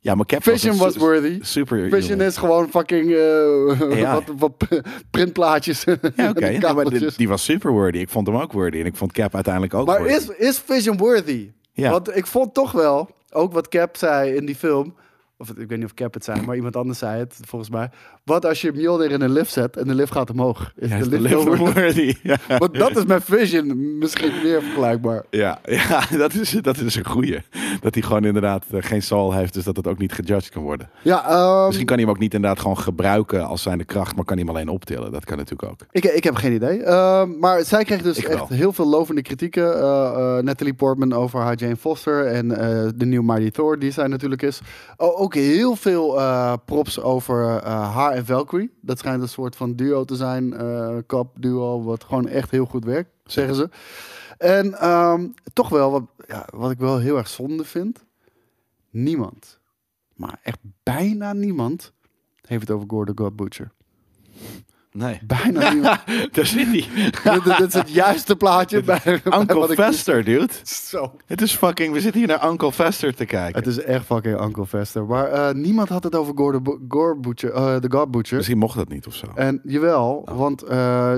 Ja, maar Cap
Vision
was,
was
een su-
worthy.
Super.
Vision is gewoon fucking eh,
Ja.
(laughs) wat, wat p- printplaatjes. en (laughs)
Ja, oké. Ja, maar
kabeltjes.
die, die was super worthy. Ik vond hem ook worthy. En ik vond Cap uiteindelijk ook
maar
worthy.
is, is Vision worthy?
Ja.
Want ik vond toch wel, ook wat Cap zei in die film. Of het- ik weet niet of Cap het zei, maar iemand anders zei het volgens mij. Wat als je Mjolnir in een lift zet en de lift gaat omhoog? Is
Ja,
de
is de
lift wel worthy?
worthy. (laughs) Ja.
Want dat is met Vision misschien meer vergelijkbaar.
Ja, ja dat, is, dat is een goeie. Dat hij gewoon inderdaad eh, geen soul heeft, dus dat het ook niet gejudged kan worden.
Ja, ehm,
Misschien kan hij hem ook niet inderdaad gewoon gebruiken als zijnde kracht, maar kan hij hem alleen optillen. Dat kan natuurlijk ook.
Ik, ik heb geen idee. Ehm, maar zij kreeg dus
Ik wel.
echt heel veel lovende kritieken. Eh, eh, Natalie Portman over haar Jane Foster en eh, de nieuwe Mighty Thor, die zij natuurlijk is. O- ook heel veel eh, props over eh, haar en Valkyrie. Dat schijnt een soort van duo te zijn, eh kap duo, wat gewoon echt heel goed werkt, zeggen ze. En ehm, toch wel, wat, ja, wat ik wel heel erg zonde vind, niemand, maar echt bijna niemand, heeft het over Gordon God Butcher.
Nee.
Bijna niemand.
(laughs) Daar zit hij.
dit, dit is het juiste plaatje bij, bij (laughs) wat
Uncle
ik- dus-
Fester, dude.
Zo.
Het is fucking... We zitten hier naar Uncle Fester te kijken.
Het is echt fucking Uncle Fester. Maar eh, niemand had het over Gordon Bo- Gore Butcher, eh, de God Butcher.
Misschien mocht dat niet of zo.
En jawel, want eh,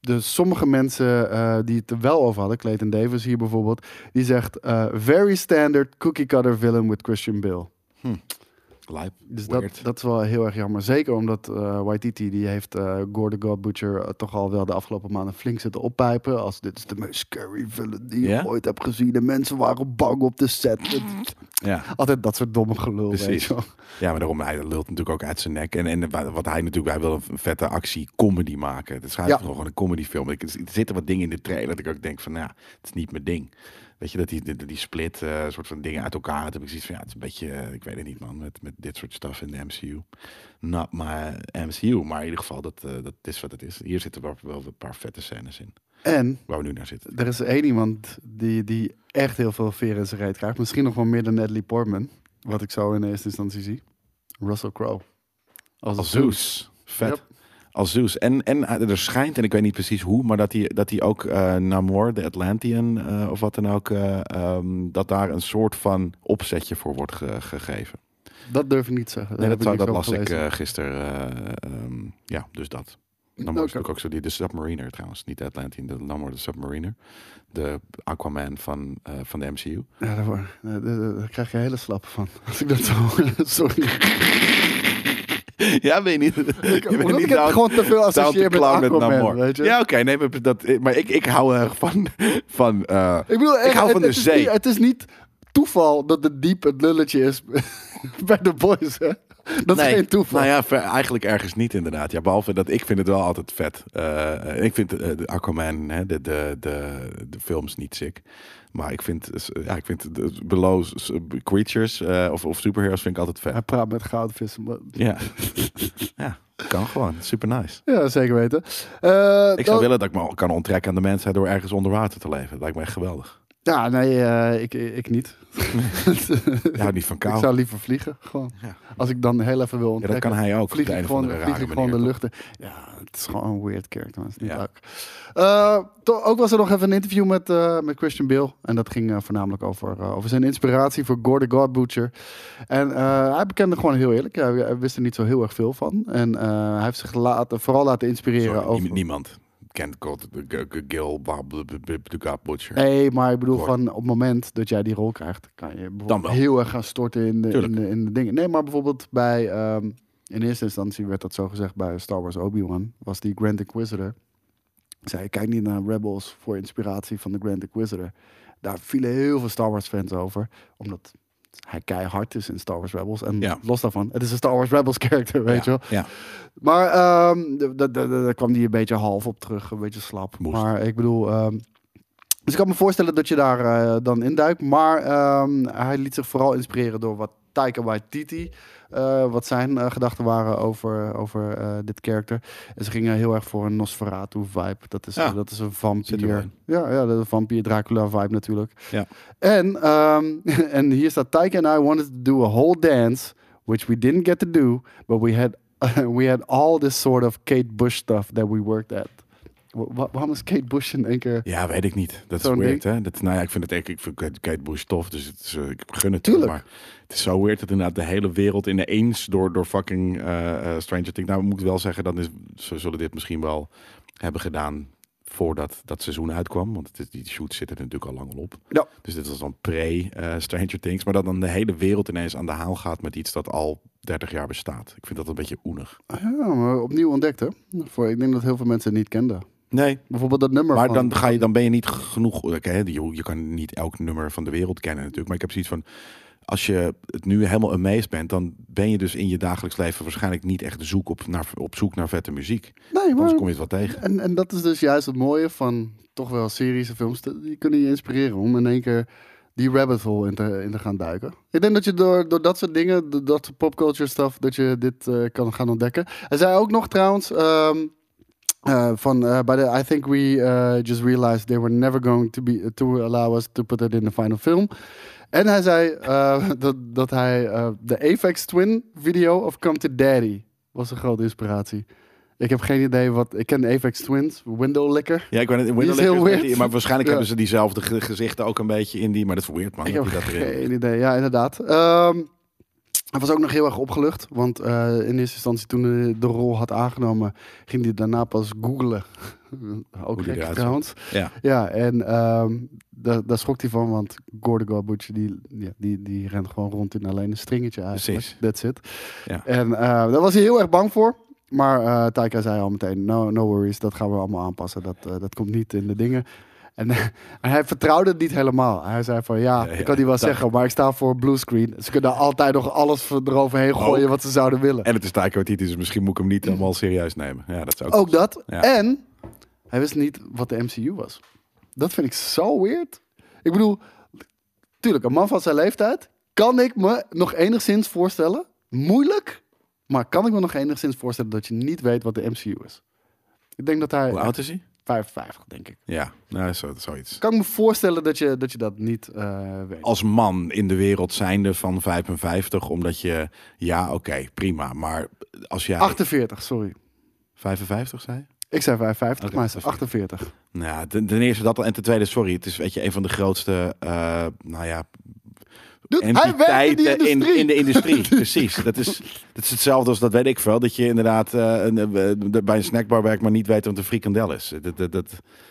de, sommige mensen eh, die het er wel over hadden, Clayton Davis hier bijvoorbeeld, die zegt eh, very standard cookie cutter villain with Christian Bale.
Lijp.
Dus dat,
Weird.
dat is wel heel erg jammer. Zeker omdat eh Waititi, die heeft eh Gore the God Butcher eh, toch al wel de afgelopen maanden flink zitten oppijpen. Als dit is de meest scary villain die
Ja?
ik ooit heb gezien. De mensen waren bang op de
(laughs)
set.
Ja.
Altijd dat soort domme gelul, weet
Precies.
je wel.
Ja, maar daarom, hij lult natuurlijk ook uit zijn nek. En, en wa- wat hij natuurlijk, hij wil een vette actie-comedy maken. Dus hij
Ja.
heeft gewoon een comedyfilm. Ik- Er zitten wat dingen in de trailer dat ik ook denk van, nou, het is niet mijn ding. Weet je, dat die, die, die split, eh, soort van dingen uit elkaar. Dat heb ik zoiets van, ja, het is een beetje, eh, ik weet het niet man, met, met dit soort stuff in de MCU. Not my MCU, maar in ieder geval, dat, eh, dat is wat het is. Hier zitten wel, wel een paar vette scènes in,
En
waar we nu naar zitten.
er is één iemand die, die echt heel veel veren in zijn reet krijgt. Misschien nog wel meer dan Natalie Portman. Wat ik zo in eerste instantie zie. Russell Crowe.
Als Zeus. Vet.
Yep.
Als Zeus. En, en er schijnt, en ik weet niet precies hoe, maar dat hij, dat hij ook eh, Namor, de Atlantean eh, of wat dan ook, eh, ehm, dat daar een soort van opzetje voor wordt ge- gegeven.
Dat durf ik niet te zeggen.
Nee,
Daar
dat,
heb ik
dat
niks
las
over
ik
gelezen.
eh, gisteren. eh, ehm, ja, dus dat. Namor is
Oké.
natuurlijk ook zo, die de Submariner trouwens, niet de Atlantean, de Namor de Submariner. De Aquaman van, eh, van de MCU.
Ja, daar, word- eh, daar- daar- daar krijg je hele slappen van. (laughs) Als ik dat zo... (laughs) Sorry.
(laughs) ja, weet (laughs) je niet.
(laughs) Ik,
Je bent
omdat
niet
ik het
down-
gewoon te veel associeer met
clown met
Aquaman,
Namor.
weet je.
Ja, oké, nee, maar, dat, maar ik, ik hou erg van. (laughs) van eh,
Ik bedoel, echt,
hou
het-
van de
het is
zee.
niet- het is niet toeval dat de diep het lulletje is (laughs) bij de boys, hè? Dat is geen toeval.
Nou ja, ver- eigenlijk ergens niet inderdaad. Ja, behalve dat ik vind het wel altijd vet. Eh, eh, ik vind eh, de Aquaman, hè, de, de, de, de films niet sick. Maar ik vind, eh, ja, ik vind de below s- creatures eh, of, of superheroes vind ik altijd vet.
Hij praat met goudvissen. maar-
Ja. ja, kan gewoon. Super nice.
Ja, zeker weten. Eh,
Ik zou
dan-
willen dat ik me kan onttrekken aan de mensheid door ergens onder water te leven. Dat lijkt me echt geweldig.
Ja, nee, eh, ik, ik niet. (laughs)
Je houdt niet van
ik
kou.
zou liever vliegen, gewoon.
Ja.
Als ik dan heel even wil
Ja, dat
ontdekken.
kan hij ook. op
vlieg
de
ik
een of
gewoon,
andere
vlieg
rare
ik gewoon de
manier,
lucht. in. Ja, het is gewoon een weird character, man. Het is niet
Ja.
leuk. Eh, to- ook was er nog even een interview met, eh, met Christian Bale. En dat ging eh, voornamelijk over, eh, over zijn inspiratie voor Gore the God Butcher. En eh, hij bekende gewoon heel eerlijk. Hij, hij wist er niet zo heel erg veel van. En eh, hij heeft zich laten, vooral laten
toch?
inspireren
Sorry,
over...
niem- Niemand kent God, G- G- Gil, Bob, B- B- B- de God Butcher.
Nee, maar ik bedoel
Hoor.
van op het moment dat jij die rol krijgt, kan je
Dan
bijvoorbeeld
wel.
heel erg gaan storten in de, in
Tuurlijk.
de, in de dingen. Nee, maar bijvoorbeeld bij, ehm, in eerste instantie werd dat zo gezegd bij Star Wars Obi-Wan, was die Grand Inquisitor. Zei, kijk niet naar Rebels voor inspiratie van de Grand Inquisitor. Daar vielen heel veel Star Wars fans over, omdat hij keihard is in Star Wars Rebels. En
Ja.
los daarvan, het is een Star Wars Rebels character, weet je
ja,
wel.
Ja.
Maar ehm, d- d- d- d- daar kwam hij een beetje half op terug, een beetje slap.
Moest.
Maar ik bedoel, ehm, dus ik kan me voorstellen dat je daar eh, dan induikt. Maar ehm, hij liet zich vooral inspireren door wat Taika Waititi, eh wat zijn eh, gedachten waren over, over eh, dit karakter. En ze gingen heel erg voor een Nosferatu-vibe. Dat, is
Ja.
eh, dat is een
Zit er wel
vampier.
in.
Ja, ja, de vampier-Dracula-vibe natuurlijk.
Ja.
En, ehm, en hier staat Taika (laughs) and I wanted to do a whole dance, which we didn't get to do, but we had (laughs) we had all this sort of Kate Bush stuff that we worked at. Wa- wa- waarom is Kate Bush in één keer?
Ja, weet ik niet. Dat is
Zo'n
weird, hè? Dat, nou ja, ik vind het echt, ik vind Kate- Kate Bush tof, dus het is, eh, ik gun het
Tuurlijk.
hem, Maar het is zo weird dat inderdaad de hele wereld ineens door, door fucking eh, eh, Stranger Things... Nou, ik moet wel zeggen, dan is, ze zullen dit misschien wel hebben gedaan voordat dat seizoen uitkwam. Want het is, die shoot zit er natuurlijk al lang al op.
Ja.
Dus dit was dan pre-Stranger Things. Maar dat dan de hele wereld ineens aan de haal gaat met iets dat al 30 jaar bestaat. Ik vind dat een beetje oenig.
Ja, maar opnieuw ontdekt, hè? Voor, ik denk dat heel veel mensen het niet kenden.
Nee,
Bijvoorbeeld dat nummer
Maar
van...
dan, ga je, dan ben je niet genoeg. oké, je, je kan niet elk nummer van de wereld kennen, natuurlijk. Maar ik heb zoiets van. Als je het nu helemaal amazed bent, dan ben je dus in je dagelijks leven waarschijnlijk niet echt zoek op, naar, op zoek naar vette muziek.
Nee,
Anders
maar...
kom je het wel tegen.
En, en dat is dus juist het mooie van toch wel series en films. dat- Die kunnen je inspireren om in één keer die rabbit hole in te, in te gaan duiken. Ik denk dat je door, door dat soort dingen, door dat soort popculture stuff, dat je dit eh, kan gaan ontdekken. Hij zei ook nog trouwens... ehm, eh, van eh, bij de I think we eh, just realized they were never going to be to allow us to put it in the final film. En hij zei eh, (laughs) dat, dat hij eh, de Apex Twin video of Come to Daddy was een grote inspiratie. Ik heb geen idee wat. Ik ken Apex Twins, Window Licker.
Ja, ik weet het. Window
heel
Lickers met
weird.
die- maar waarschijnlijk
Ja.
hebben ze diezelfde ge- gezichten ook een beetje in die. Maar dat is weird, man.
Ik
dat
heb
die dat erin-
geen idee. Ja, inderdaad. Ehm, hij was ook nog heel erg opgelucht, want eh, in eerste instantie toen hij de rol had aangenomen, ging hij daarna pas googlen. (laughs) ook
die
gek
eruit zag.
trouwens.
Ja.
(laughs) Ja, en ehm, da- daar schrok hij van, want Gordon Gorbucci, die, ja, die, die rent gewoon rond in alleen een stringetje eigenlijk.
Precies.
That's it.
Ja.
En eh, daar was hij heel erg bang voor. Maar eh Taika zei al meteen, no, no worries, dat gaan we allemaal aanpassen. Dat, eh, dat komt niet in de dingen. En (laughs) hij vertrouwde het niet helemaal. Hij zei van, ja,
Ja,
ik
ja,
kan die wel
dat-
zeggen, maar ik sta voor bluescreen. Ze kunnen altijd nog alles ver- eroverheen gooien
Ook.
wat ze zouden willen.
En het is Taika Waititi, dus misschien moet ik hem niet helemaal serieus nemen. Ja, dat is ook.
Ook dat.
Ja.
En hij wist niet wat de MCU was. Dat vind ik zo weird. Ik bedoel, tuurlijk, een man van zijn leeftijd kan ik me nog enigszins voorstellen. Moeilijk, maar kan ik me nog enigszins voorstellen dat je niet weet wat de MCU is. Ik denk dat hij
Hoe oud is hij?
55, denk ik.
Ja, nou, zo, zoiets.
Kan ik me voorstellen dat je dat, je dat niet eh, weet.
als man in de wereld zijnde van 55, omdat je, ja, oké, prima. Maar als jij
48, sorry.
55 zei?
Ik zei 55,
Oké,
maar hij is 48.
Nou, ja, ten, ten eerste dat al. En ten tweede, sorry, het is weet je, een van de grootste, eh, nou ja,
Dude, hij werkt in die
entiteiten
industrie.
in, in de
(laughs)
industrie. Precies. Dat is, dat is hetzelfde als, dat weet ik veel, dat je inderdaad eh, een, eh, eh, bij een snackbar werkt, maar niet weet wat een frikandel is. Dat, dat, dat,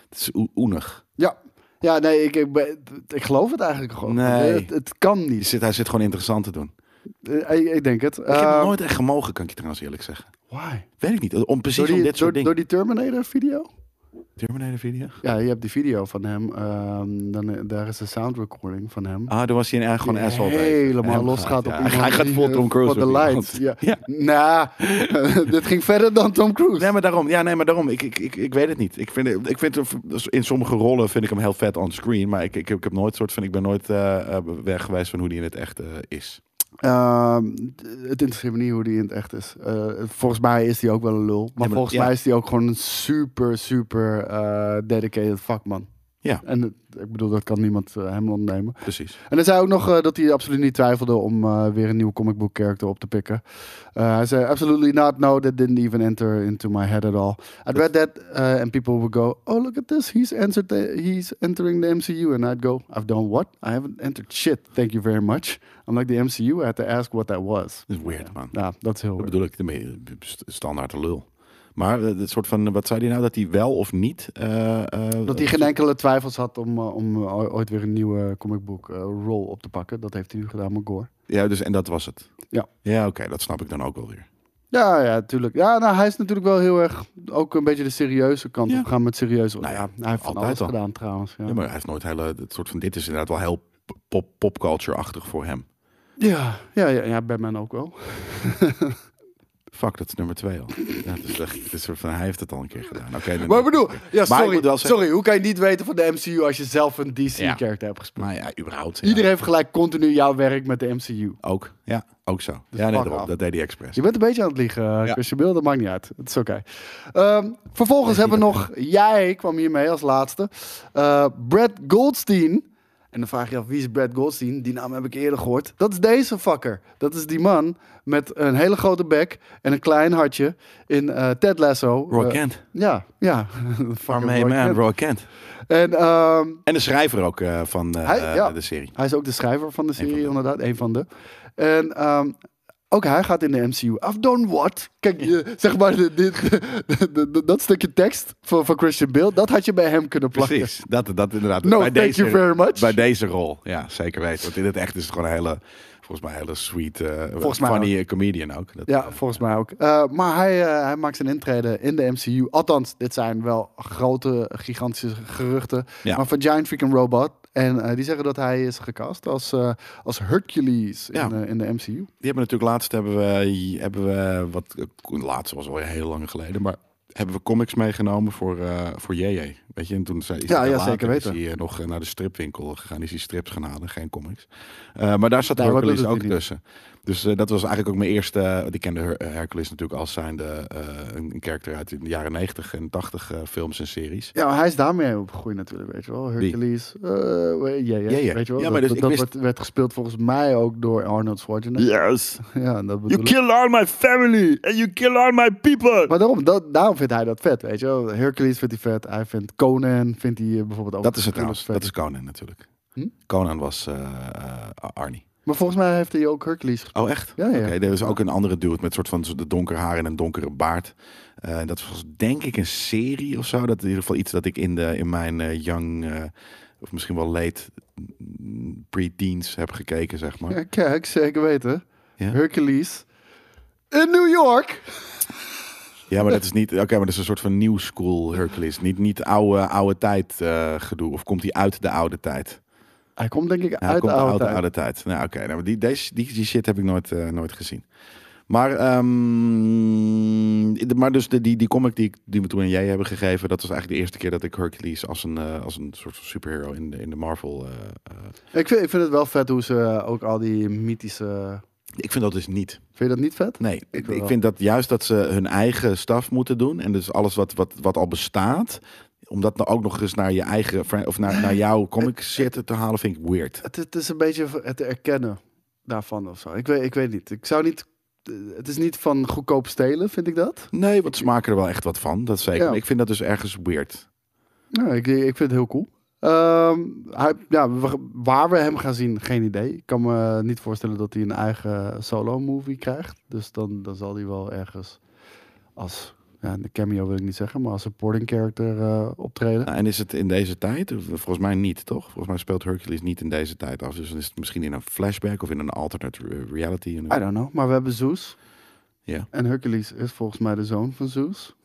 dat is oe- oenig.
Ja. Ja, nee, ik, ik, ben- ik geloof het eigenlijk gewoon.
Nee.
Het, het kan
Je
niet.
zit, hij zit gewoon interessant te doen.
Eh, ik, ik denk het.
Ik heb
Eh,
nog nooit echt gemogen, kan ik je trouwens eerlijk zeggen.
Why?
Weet ik niet. Om precies
Door die,
om dit soort
door,
dingen.
door die Terminator video?
Terminator video?
Ja, je hebt die video van hem. ehm, dan, eh, daar is een sound recording van hem.
Ah, dan was hij een, gewoon een asshole. geweest.
helemaal
Helemaal
los gaat op
ja.
iemand
(laughs) Hij gaat
die,
vol
eh,
Tom Cruise
voor de
op iemand.
lights. Ja.
Ja.
Nou, (laughs) dit ging verder dan Tom Cruise.
Nee, maar daarom. Ja, nee, maar daarom. Ik, ik, ik, ik weet het niet. Ik vind, ik vind hem- in sommige rollen vind ik hem heel vet on screen, maar ik, ik, ik heb nooit soort van, ik ben nooit eh, eh, weg geweest van hoe die in het echt eh, is.
Ehm, d- het interesseert me niet hoe die in het echt is. Eh, volgens mij is die ook wel een lul. Maar,
maar-
volgens
ja.
mij is die ook gewoon een super, super eh dedicated vakman.
Ja,
En het- ik bedoel, dat kan niemand eh, hem ontnemen.
precies.
En hij zei ook nog eh, dat hij absoluut niet twijfelde om eh, weer een nieuw comic book character op te pikken. Eh, hij zei, absolutely not, no, that didn't even enter into my head at all. I'd read that eh, and people would go, oh look at this, he's, entered the, he's entering the MCU. And I'd go, I've done what? I haven't entered shit, thank you very much. I'm like, the MCU, I had to ask what that was.
Dat is weird, man.
Nou, dat is heel
Dat
weird.
bedoel ik, daarmee, eh, st- standaard lul. Maar eh, het soort van, wat zei hij nou? Dat hij wel of niet... eh, eh,
Dat hij geen enkele twijfels had om, eh, om eh, ooit weer een nieuwe comic book eh, rol op te pakken. Dat heeft hij nu gedaan met Gore.
Ja, dus en dat was het.
Ja.
Ja, oké, dat snap ik dan ook wel weer.
Ja, ja, tuurlijk. Ja, nou, hij is natuurlijk wel heel erg ook een beetje de serieuze kant
Ja.
op gaan met serieus.
Nou ja,
ja, hij heeft van
altijd
alles
al.
gedaan trouwens. Ja,
Ja, maar hij heeft nooit hele, het soort van, dit is inderdaad wel heel pop- popculture-achtig voor hem.
ja, ja, ja, ja, Batman ook wel.
Fuck, dat is nummer twee al. Ja, het is echt, het is soort van, hij heeft het al een keer gedaan. Oké, dan-
Maar ik bedoel, ja,
Maar ik
sorry,
moet wel zeggen-
sorry, hoe kan je niet weten van de MCU als je zelf een
Ja.
DC-character hebt gespeeld?
Maar ja, überhaupt. ja.
Iedereen heeft gelijk continu jouw werk met de MCU.
Ook, ja, ook zo. ja, nee,
fuck
daarom,
af.
dat deed hij expres.
Je bent een beetje aan het liegen, eh,
Ja.
Christian Bale, dat maakt niet uit. Het is oké. Ehm, vervolgens hebben we nog, jij kwam hiermee als laatste, Eh Brad Goldstein. En dan vraag je je af, wie is Brad Goldstein? Die naam heb ik eerder gehoord. Dat is deze fucker. Dat is die man met een hele grote bek en een klein hartje in eh, Ted Lasso.
Roy
Eh,
Kent.
Ja, ja. (laughs)
Arme
Fucking Roy
man,
Kent.
Roy Kent.
En ehm,
En de schrijver ook eh, van eh,
Hij- ja.
de
(laughs)
serie.
Hij is ook de schrijver van de serie,
van de.
inderdaad. Een van de. En ehm, ook hij gaat in de MCU. I've done what? Kijk, je, zeg maar, de- dit- de- de- de- dat stukje tekst van, van Christian Bale, dat had je bij hem kunnen plakken.
Precies, dat, dat inderdaad.
No, thank you very much.
Bij deze rol, ja, zeker weten. Want in het echt is het gewoon een hele, volgens mij, een hele sweet, eh,
Volgens mij
funny comedian ook. Dat,
Ja,
eh,
volgens mij ook. Eh, maar hij, eh, hij maakt zijn intrede in de MCU. Althans, dit zijn wel grote, gigantische geruchten.
Ja.
Maar van Giant Freaking Robot. En eh, die zeggen dat hij is gecast als, eh, als Hercules in,
Ja.
eh, in de MCU.
Die hebben natuurlijk laatst hebben we, hebben we wat eh, laatst was al heel lang geleden, maar hebben we comics meegenomen voor, eh, voor JJ. Weet je, en toen zei is
Ja,
hij
ja,
later
zeker weten.
Is hij eh, nog eh, naar de stripwinkel gegaan, is hij strips gaan halen, geen comics. Eh, maar daar zat
Daar wordt
Hercules
het
ook
niet.
tussen. Dus eh, dat was eigenlijk ook mijn eerste. eh, want ik kende Her- Hercules natuurlijk als zijnde eh, een een karakter uit de jaren 90 en 80 eh, films en series.
Ja, maar hij is daarmee opgegroeid natuurlijk, weet je wel. Hercules. eh, we- ja, ja,
Ja, ja.
Weet je wel,
Ja, maar
dat,
dus ik
dat
wist-
werd, werd gespeeld volgens mij ook door Arnold Schwarzenegger.
Yes.
(laughs) Ja, dat bedoel ik.
kill all my family and you kill all my people.
Maar daarom, dat, daarom vindt hij dat vet, weet je wel. Hercules vindt hij vet. Hij vindt Conan, vindt hij eh, bijvoorbeeld ook
Dat is het
natuurlijk
trouwens. Dat is Conan natuurlijk.
Hm?
Conan was eh, eh, Arnie.
Maar volgens mij heeft hij ook Hercules gespeeld.
Oh, echt?
Ja, ja.
Oké, er is ook een andere dude met soort van de donker haar en een donkere baard. Eh, dat was denk ik een serie of zo. Dat in ieder geval iets dat ik in, de, in mijn eh, young, eh, of misschien wel late mm, pre-teens heb gekeken, zeg maar.
Ja, kijk, zeker weten.
Oh. Ja.
Hercules. In New York.
Ja, maar dat is niet. Oké, maar dat is een soort van new school Hercules. Niet, niet oude, oude tijd eh, gedoe. Of komt hij uit de oude tijd?
Hij komt denk ik
Ja, hij
uit
komt
de oude
uit de
tijd.
oude tijd. Nou, oké. Nou, maar die, deze, die, die shit heb ik nooit, eh, nooit gezien. Maar, ehm, de- maar dus de, die, die comic die, ik- die we toen en jij hebben gegeven, dat was eigenlijk de eerste keer dat ik Hercules als een, eh, als een soort van superhero in de, in de Marvel. eh, eh,
Ik vind, ik vind het wel vet hoe ze ook al die mythische...
ik vind dat dus niet.
Vind je dat niet vet?
Nee, ik,
wel.
ik vind dat juist dat ze hun eigen staf moeten doen. En dus alles wat, wat, wat al bestaat. Om dat nou ook nog eens naar je eigen fran- of naar, naar jouw
(laughs)
comic shit te halen, vind ik weird.
Het, het is een beetje het erkennen daarvan of zo. Ik weet, ik weet niet. Ik zou niet. eh, Het is niet van goedkoop stelen, vind ik dat.
Nee, want ze maken er wel echt wat van. Dat zeker.
Ja.
Maar Ik vind dat dus ergens weird.
Nou, ik, ik vind het heel cool. Ehm, hij, ja, we- waar we hem gaan zien, geen idee. Ik kan me niet voorstellen dat hij een eigen solo-movie krijgt. Dus dan, dan zal hij wel ergens als. Ja, de cameo wil ik niet zeggen, maar als supporting character eh, optreden.
Nou, en is het in deze tijd? Volgens mij niet, toch? Volgens mij speelt Hercules niet in deze tijd af. Dus dan is het misschien in een flashback of in een alternate re- reality.
I don't know. Maar we hebben Zeus.
Ja.
En Hercules is volgens mij de zoon van Zeus.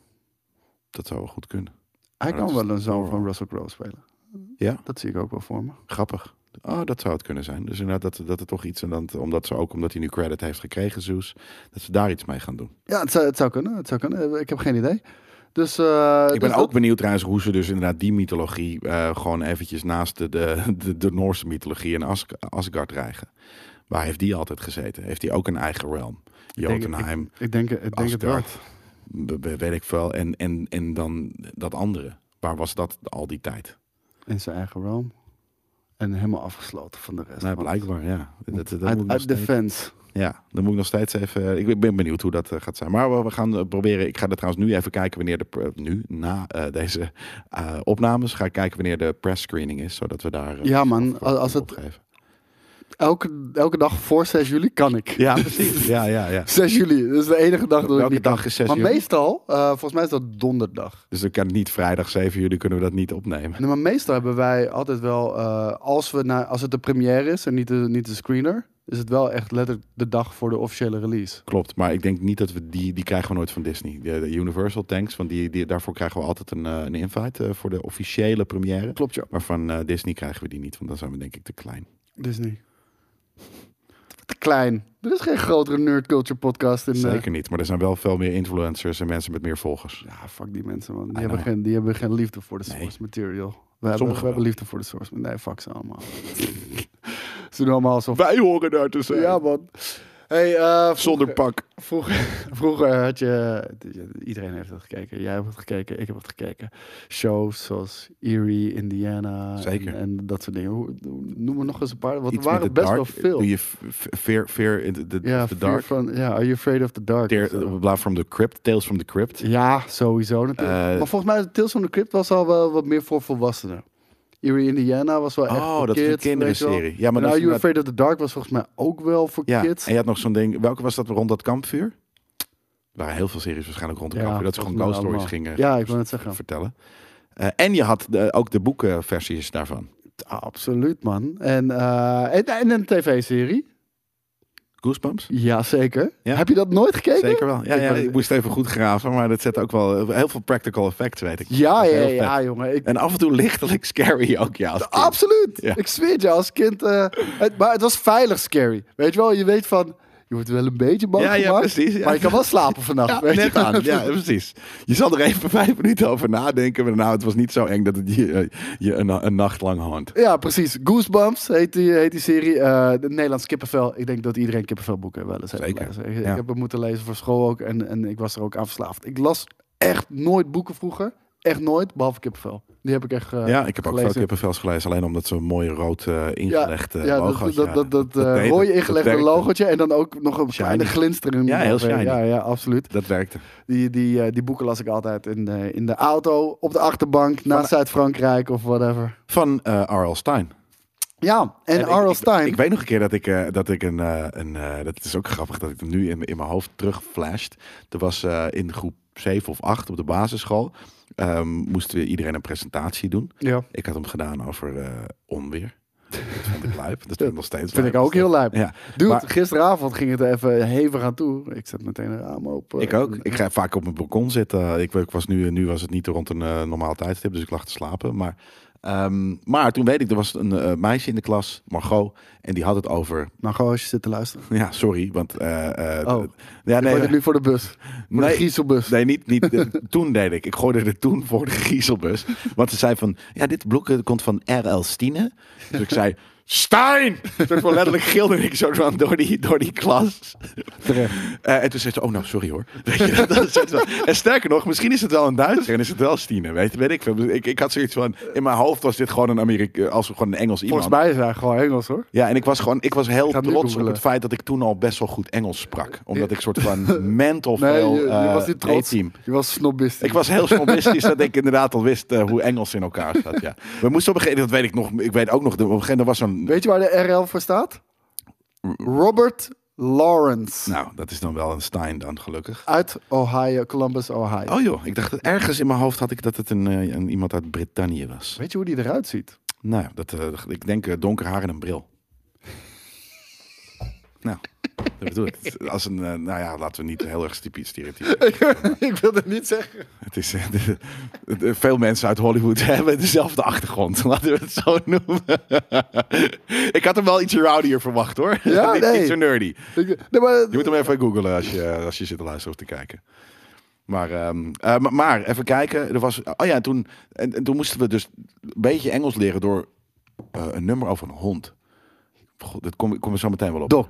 Dat zou wel goed kunnen.
Hij
Maar dat
kan
is
wel een zoon
Thor.
van Russell Crowe spelen.
Ja.
Dat zie ik ook wel voor me.
Grappig. Oh, dat zou het kunnen zijn. Dus inderdaad, dat, dat er toch iets... En dan, omdat ze ook, omdat hij nu credit heeft gekregen, Zeus... dat ze daar iets mee gaan doen.
Ja, het zou, het zou kunnen. Het zou kunnen. Ik heb geen idee. Dus, eh,
Ik ben
dus
ook
dat-
benieuwd trouwens hoe ze dus inderdaad die mythologie eh, gewoon eventjes naast de, de, de, de Noorse mythologie en As- Asgard dreigen. Waar heeft die altijd gezeten? Heeft die ook een eigen realm?
denk-
Jotunheim,
Ik denk, het- ik denk het wel.
Asgard, be- be- weet ik veel. En, en, en dan dat andere. Waar was dat al die tijd?
in zijn eigen realm. En helemaal afgesloten van de rest.
Nou,
want
blijkbaar, ja. Dat, dat, dat moet ik
Uit,
nog
uit de
steeds-
fans.
Ja, dan moet ik nog steeds even. Ik ben benieuwd hoe dat eh, gaat zijn. Maar we, we gaan eh, proberen. Ik ga er trouwens nu even kijken wanneer de. pre- Nu, na eh, deze eh, opnames, ga ik kijken wanneer de press screening is. Zodat we daar. eh,
Ja, man,
zelf wat
als- als
op
het-
geven.
Elke, elke dag voor 6 juli kan ik.
Ja, precies. Ja, ja, ja.
6 juli, dat is de enige dag dat ik
Welke
niet kan.
dag is 6
Maar
juli?
meestal, eh, volgens mij is dat donderdag.
Dus dan kan het niet vrijdag 7 juli, kunnen we dat niet opnemen.
Nee, maar meestal hebben wij altijd wel, eh, als, we naar, als het de première is en niet de, niet de screener, is het wel echt letterlijk de dag voor de officiële release.
Klopt, maar ik denk niet dat we die, die krijgen we nooit van Disney. De, de Universal Tanks, want die, die, daarvoor krijgen we altijd een, eh, een invite eh, voor de officiële première.
Klopt ja,
Maar van eh, Disney krijgen we die niet, want dan zijn we denk ik te klein.
Disney. Te klein. Er is geen grotere nerd culture podcast in... eh,
Zeker niet, maar er zijn wel veel meer influencers en mensen met meer volgers.
Ja, fuck die mensen, man.
I
Die, hebben
know.
geen, die hebben geen liefde voor de
Nee.
source material. We hebben,
Sommigen
we hebben
wel.
liefde voor de source Nee, fuck ze allemaal. (laughs) ze doen allemaal alsof...
Wij horen daar te zijn.
Ja, man. Hey, eh,
Zonder pak.
Vroeger, (laughs) vroeger had je, iedereen heeft dat gekeken. Jij hebt het gekeken, ik heb het gekeken. Shows zoals Erie, Indiana.
Zeker.
En, en dat soort dingen. Hoe- hoe- Noem er nog eens een paar. Want er
Iets met
waren
de
best
dark. eh,
wel veel.
Doe je f- f- Fear, fear in the, the,
ja,
of the Dark?
Fear Van, ja, Are You Afraid of the Dark?
Tear-
of zo.
Bla- from the Crypt, Tales from the Crypt.
Ja, sowieso natuurlijk.
Eh,
maar volgens mij, Tales from the Crypt was al wel wat meer voor volwassenen. Erie, Indiana was wel echt
Oh,
voor
dat is een
kids, weet je wel.
kinderserie. Ja, maar dat
en Are
is
You
inderdaad-
Afraid of the Dark was volgens mij ook wel voor
Ja,
kids.
en je had nog zo'n ding. Welke was dat rond dat kampvuur? Er waren heel veel series waarschijnlijk rond het
Ja,
kampvuur. Dat ze gewoon
volgens mij
ghost stories
allemaal.
gingen
Ja, ik wil het zeggen.
vertellen. Eh, en je had de- ook de boekenversies daarvan.
Absoluut, man. En, eh, en, en een tv-serie.
Goosebumps?
Jazeker.
Ja.
Heb je dat nooit gekeken?
Zeker wel. Ja,
Ik
ja,
was-
ik moest even goed graven, maar dat zet ook wel heel veel practical effects, weet ik.
Ja,
Dat is
ja,
heel
ja,
vet.
jongen. Ik,
En af en toe lichtelijk scary ook, ja. als kind.
absoluut.
Ja.
Ik zweer het je, als kind... eh, het, maar het was veilig scary. Weet je wel, je weet van... Je wordt wel een beetje bang
Ja, ja,
gemaakt,
precies, ja.
Maar je kan wel slapen vannacht.
(laughs) Ja,
weet
net
je?
aan. Ja, precies. Je zal er even (laughs) vijf minuten over nadenken, maar nou, het was niet zo eng dat het je, eh, je een, een nacht lang haunt.
Ja, precies. Goosebumps heet die, heet die serie. Eh de Nederlands kippenvel. Ik denk dat iedereen kippenvelboeken wel eens heeft
Zeker,
gelezen. Ik, ik
ja.
heb het moeten lezen voor school ook. En, en ik was er ook aan verslaafd. Ik las echt nooit boeken vroeger. Echt nooit, behalve kippenvel. Die heb ik echt eh,
Ja, ik heb ook
gelezen.
veel kippenvels gelezen. Alleen omdat ze een mooie rood eh ingelegde
ja, dat-
logo's
dat, dat, dat, eh,
deed
rode
het.
ingelegde
Dat werkte.
logotje en dan ook nog een kleine
Shiny.
glinster in.
Ja, heel
Ja,
shiny.
Ja, ja, absoluut.
Dat werkte.
Die, die, eh, die boeken las ik altijd in de, in de auto, op de achterbank, naar Zuid-Frankrijk of whatever.
Van eh R.L. Stein.
Ja, en,
ik-
Arl
ik-
Stein.
Ik, weet nog een keer dat ik, eh, dat ik een... eh, een eh, dat is ook grappig dat ik het nu in, in mijn hoofd terugflasht. Er was eh, in groep 7 of 8 op de basisschool... ehm, moesten we iedereen een presentatie doen.
ja,
Ik had hem gedaan over eh, onweer. (laughs) Dat vond ik lijp. Dat vind ik nog steeds
vind
lijp.
ik ook heel lijp.
Ja,
Dude,
maar-
gisteravond ging het er even hevig aan toe. Ik zet meteen een raam open.
Ik ook. Ik ga vaak op mijn balkon zitten. Ik, ik was nu, nu was het niet rond een eh, normaal tijdstip, dus ik lag te slapen. Maar, ehm, maar toen weet ik, er was een eh, meisje in de klas, Margot, en die had het over... (laughs)
Maar gewoon als je zit te luisteren.
Ja, sorry, want... eh, eh,
Oh.
d- ja,
Nee,
nee,
het nu voor de bus. Voor de
Nee.
giezelbus.
nee, niet, niet
(laughs)
de- toen deed ik. Ik gooide er toen voor de giezelbus. Want ze zei van, ja, dit blokje komt van R.L. Stine. Dus ik zei... Stein! Dus wel letterlijk gilde ik zo van door die, door die klas. Eh, en toen zei ze, oh nou, sorry hoor. Weet je, dat- dat is het wel. En sterker nog, misschien is het wel een Duitser en is het wel Stine. Weet, je, weet ik veel. Ik, ik had zoiets van, in mijn hoofd was dit gewoon een, Amerika als gewoon een Engels iemand.
Volgens mij is hij gewoon Engels hoor.
Ja, en ik was gewoon, ik was heel
ga hem nu
trots op
googlen.
het feit dat ik toen al best wel goed Engels sprak. Omdat ik soort
(laughs)
van mental
Nee,
veel
je, je
eh,
was niet trots.
A-team.
Je was snobistisch.
Ik was heel snobistisch dat ik inderdaad al wist eh, hoe Engels in elkaar zat. Ja. We moesten op een gegeven moment, dat weet ik nog, ik weet ook nog, op een gegeven moment was zo'n...
Weet je waar de RL voor staat? Robert Lawrence.
Nou, dat is dan wel een Stein dan, gelukkig.
Uit Ohio, Columbus, Ohio.
Oh joh, ik dacht dat ergens in mijn hoofd had ik dat het een, eh, een iemand uit Brittannië was.
Weet je hoe die eruit
(laughs)
ziet?
Nou, ja, dat, eh, ik denk eh, donker haar en een bril. nou, dat bedoel ik. Het is Als een, eh, nou ja, laten we niet heel erg stupide stereotypen.
ik wil het niet zeggen.
Het is, eh, (laughs) de- de- veel mensen uit Hollywood (laughs) hebben dezelfde achtergrond. (laughs) Laten we het zo noemen. (laughs) ik had hem wel iets rowdier verwacht hoor. (laughs)
Ja,
niet,
nee.
niet zo nerdy.
Ik- nee, maar,
Je moet hem even googlen als je, als je zit te luisteren of te kijken. Maar, ehm, eh, maar, maar even kijken. Er was, oh ja, toen, en, en toen moesten we dus een beetje Engels leren door eh, een nummer over een hond. God, dat kom, kom ik zo meteen wel op.
Doc.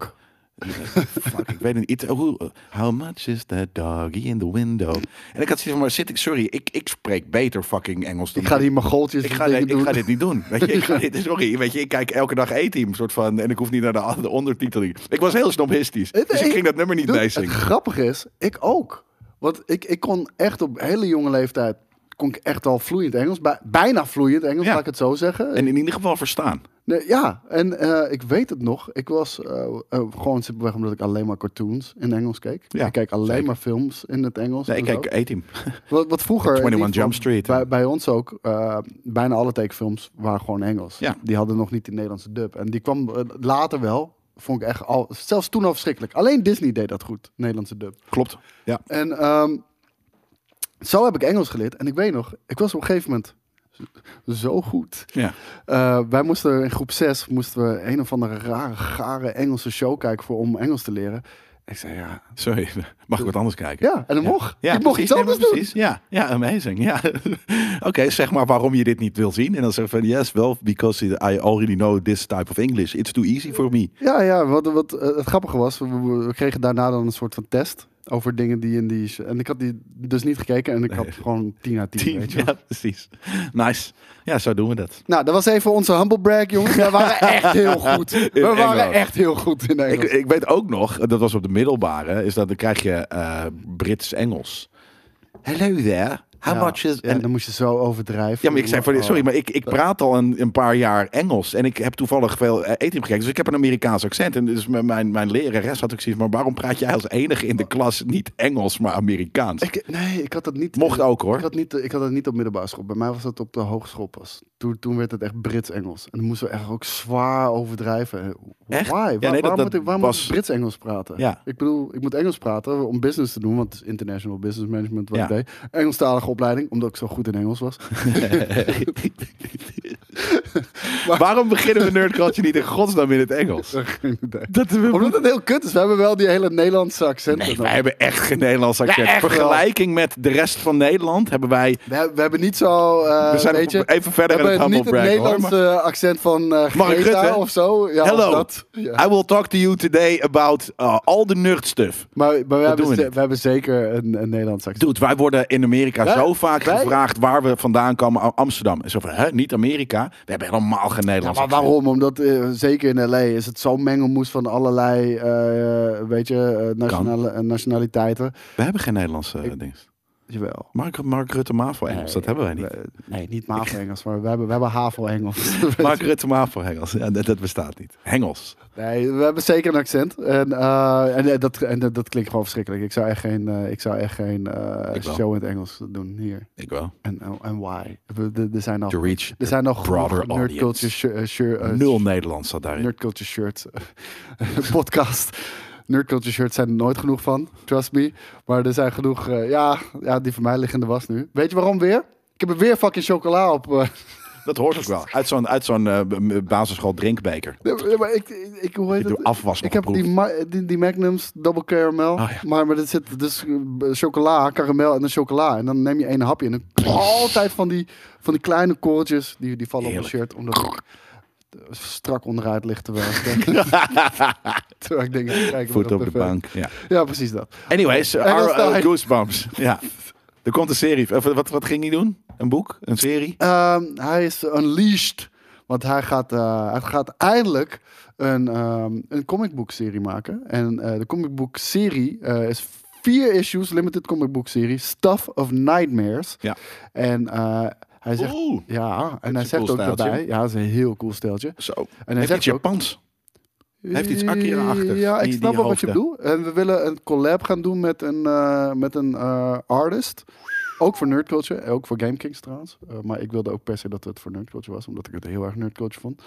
Fuck, ik weet niet. Iets, hoe- oh, how much is that doggy in the window? En ik had zoiets van, maar zit ik, sorry, ik, ik spreek beter fucking Engels dan
Ik ga die magooltjes
ik ga,
dingen
dit, ik
doen.
ga dit niet doen. Weet je, ik ga dit, sorry, weet je, ik kijk elke dag E-team soort van en ik hoef niet naar de, a- de ondertiteling. Ik was heel snobistisch,
Het-
dus ik ging dat nummer niet
Dude,
meezingen.
Het grappige is, ik ook. Want ik, ik kon echt op hele jonge leeftijd kon ik echt al vloeiend Engels. bij- bijna vloeiend Engels,
Ja.
laat ik het zo zeggen.
En in ieder geval verstaan.
Nee, ja, en eh, ik weet het nog. Ik was eh, eh, gewoon simpelweg omdat ik alleen maar cartoons in Engels keek.
Ja,
ik keek alleen
zeker.
maar films in het Engels.
Nee,
en
ik
zo.
kijk E-team. (laughs)
Wat, wat vroeger.
21
in ieder geval
Jump Street,
Bij,
hè.
bij ons ook. eh, bijna alle tekenfilms waren gewoon Engels.
Ja.
Die hadden nog niet de Nederlandse dub. En die kwam eh, later wel. Vond ik echt al. Zelfs toen al verschrikkelijk. Alleen Disney deed dat goed. Nederlandse dub.
Klopt. Ja.
En ehm, zo heb ik Engels geleerd. En ik weet nog, ik was op een gegeven moment zo goed.
ja.
Eh, wij moesten in groep 6 moesten we een of andere rare, gare Engelse show kijken voor, om Engels te leren. Ik zei ja.
Sorry, mag ik wat anders kijken?
Ja, en dat mocht.
Ja,
ik mocht iets
nee, maar
anders doen.
precies. Ja, ja, amazing. Ja. (laughs) Oké, zeg maar waarom je dit niet wil zien. En dan zeg je van, yes, well, because I already know this type of English. It's too easy for me.
Ja, ja, wat, wat eh, het grappige was, we, we- we kregen daarna dan een soort van test over dingen die in die... En ik had die dus niet gekeken en ik had gewoon 10 uit 10, weet je wel.
Ja, precies. Nice. Ja, zo doen we dat.
Nou, dat was even onze humble brag, jongens.
(laughs)
We waren echt heel goed. We
Engels.
waren echt heel goed in
Ik,
Engels.
ik weet ook nog, dat was op de middelbare, is dat dan krijg je eh, Brits-Engels. Hello there. How
Ja,
much is...
ja,
en-
dan moest je zo overdrijven.
Ja, maar ik zei van,
Oh.
sorry, maar ik, ik praat al een, een paar jaar Engels. En ik heb toevallig veel eten gekeken. Dus ik heb een Amerikaans accent. En dus mijn- mijn, mijn lerares had ook zoiets maar waarom praat jij als enige in de klas niet Engels, maar Amerikaans?
Ik, nee, ik had dat niet...
Mocht ook, hoor.
Ik had, niet, eh, ik had dat niet op middelbare school. Bij mij was dat op de hogeschool pas. Toen, toen werd het echt Brits-Engels. En dan moesten we echt ook zwaar overdrijven.
Echt?
Why? Waar,
Ja, nee, dat-
waarom
dat
moet ik, waarom
was-
moet ik Brits-Engels praten?
Ja.
Ik bedoel, ik moet Engels praten om business te doen. Want het is international business management wat
Ja.
ik deed. Engelstalige opleiding, omdat ik zo goed in
(laughs)
Engels was.
(laughs) waarom beginnen we nerdculture niet in godsnaam in het Engels?
Geen idee.
Dat
Omdat het heel kut is. We hebben wel die hele Nederlandse accent.
Nee, wij hebben echt geen Nederlands accent.
echt wel.
Vergelijking met de rest van Nederland hebben wij...
we, we hebben niet zo... eh,
We zijn
weet je,
even verder in
hebben
het humble
niet het
brag, hoor,
Nederlandse accent van eh
Mark
Greta
Rutte?
of zo. Ja, of
Hello,
dat. Ja.
I will talk to you today about uh, all the nerd stuff.
Maar, maar we, hebben
doen we
ze-
niet.
we hebben zeker een, een Nederlands accent.
Dude, wij worden in Amerika
Wij-
zo vaak
wij-
gevraagd waar we vandaan komen. Am- Amsterdam. En zo van, hè, niet Amerika? We hebben helemaal geen
Ja,
Nederlands
maar waarom? Omdat eh, zeker in LA is het zo'n mengelmoes van allerlei eh, weet je, eh, nationale, eh, nationaliteiten.
accent. We hebben geen Nederlandse eh, dienst.
Jawel.
Mark, Mark Rutte Mavo Engels, dat hebben wij niet.
Nee, niet MAVO-Engels, maar we hebben, we hebben HAVO-Engels.
Mark Rutte Mavo Engels, ja, dat, dat bestaat niet. Hengels.
(laughs) nee, we hebben zeker een accent. En, eh, en, eh, dat, en dat, dat klinkt gewoon verschrikkelijk. Ik zou echt geen, eh, ik zou echt geen eh,
Ik wel.
show in het Engels doen hier.
Ik wel.
En, en- en why? We- de- Er zijn al,
To reach
er zijn al
broader
genoeg
audience.
nerdculture shi- eh, shir- eh,
Nul Nederlands zat daarin.
Nerd Culture Shirt eh, (laughs) podcast. Nerd Culture Shirts zijn er nooit genoeg van, trust me. Maar er zijn genoeg, eh, ja, ja, die van mij liggen in de was nu. Weet je waarom weer? Ik heb er weer fucking chocola op. eh. (laughs)
Dat hoort ook wel. Uit zo'n, uit zo'n eh, b- m- basisschool drinkbeker.
Nee, maar ik, ik, ik- hoe heet
Ik
het?
doe afwas nog
Ik heb die, (laughs)
geproefd.
ma- die, die Magnums, double caramel.
Oh ja.
Maar, maar er zit dus eh, chocola, karamel en dan chocola. En dan neem je één hapje en dan altijd van die, van die kleine korreltjes die, die vallen op
Heerlijk.
mijn shirt. Omdat ik eh, strak onderuit ligt terwijl
(laughs)
ik denk... terwijl ik denk, ja, kijk,
Voet
wat
op de
perfect.
bank. Ja.
Ja, precies dat.
Anyways,
En dan
our,
sta
uh,
ik-
Goosebumps. ja. Er komt een serie. Of wat, wat ging hij doen? Een boek? Een serie?
Ehm, hij is unleashed. Want hij gaat, eh, hij gaat eindelijk een, ehm een comicbook-serie maken. En eh, de comicbook-serie eh, is vier issues, limited comicbook-serie. Stuff of Nightmares.
Ja.
En eh, hij zegt...
Oeh.
Ja,
is
en hij
een
zegt
cool
ook
stijltje.
daarbij... Ja, dat is een heel cool steltje.
Zo.
En hij
Heeft
zegt
iets
ook...
Japans. heeft iets Akira-achtigs,
Ja, ik
die-
snap
die
wel wat je
hoofden.
bedoelt. En we willen een collab gaan doen met een, eh, met een eh, artist. Ook voor nerdculture, en ook voor GameKings trouwens. Eh, maar ik wilde ook per se dat het voor nerdculture was, omdat ik het heel erg nerdculture vond.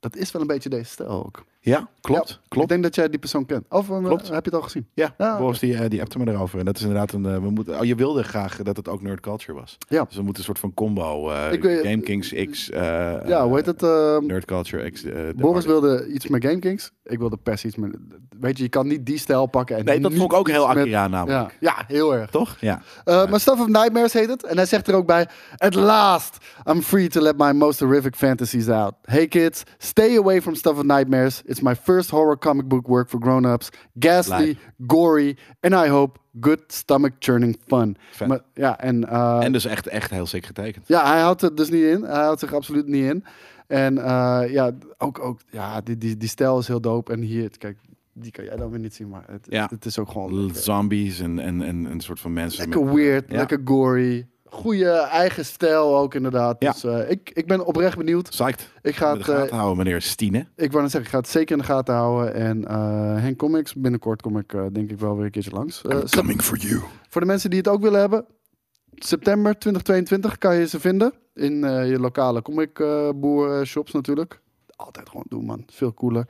Dat is wel een beetje deze stijl ook.
Ja, klopt.
Ja, Ik
klopt.
denk dat jij die persoon kent. Of eh,
Klopt.
heb je het al gezien?
Ja,
Ja.
Boris die, eh, die appte me erover. En dat is inderdaad een... eh, we moeten, oh, je wilde graag dat het ook nerd culture was.
Ja.
Dus we moeten een soort van combo. eh
Ik weet-
Game Kings X... eh,
ja, hoe heet het? eh,
Nerd culture X... eh, de artist.
Boris wilde iets met GameKings. Ik wilde per se iets met... Weet je, je kan niet die stijl pakken. En
Nee, dat
niet
vond ik ook
iets
heel
met-
Akira namelijk.
Ja, ja, heel erg.
Toch? Ja.
Uh, Maar Stuff of Nightmares heet het. En hij zegt er ook bij... At last, I'm free to let my most horrific fantasies out. Hey kids, stay away from Stuff of Nightmares. It's my first horror comic book work for grown-ups. Ghastly,
Lijp.
gory en I hope good stomach-churning fun.
Vet.
Maar, ja, en, eh,
En dus echt, echt heel sick getekend.
ja, hij houdt het dus niet in. Hij houdt zich absoluut niet in. En eh, ja, ook, ook ja, die, die, die stijl is heel dope. En hier, kijk, die kan jij dan weer niet zien, maar het,
Ja.
het is ook gewoon
L-
lekker,
Zombies en, en, en een soort van mensen.
lekker
met-
weird,
Ja.
lekker gory. Goeie eigen stijl ook inderdaad.
Ja.
Dus eh, ik, ik ben oprecht benieuwd.
Psyched.
Ik
In
ga
de
het, eh,
gaten houden, meneer Stine.
Ik wou net zeggen, ik ga het zeker in de gaten houden. En eh Henk Comics, binnenkort kom ik eh, denk ik wel weer een keertje langs. Eh,
I'm
sep-
coming for you.
voor de mensen die het ook willen hebben, september 2022 kan je ze vinden. In eh, je lokale comic eh, boer eh, shops natuurlijk. Altijd gewoon doen, man. Is Veel cooler.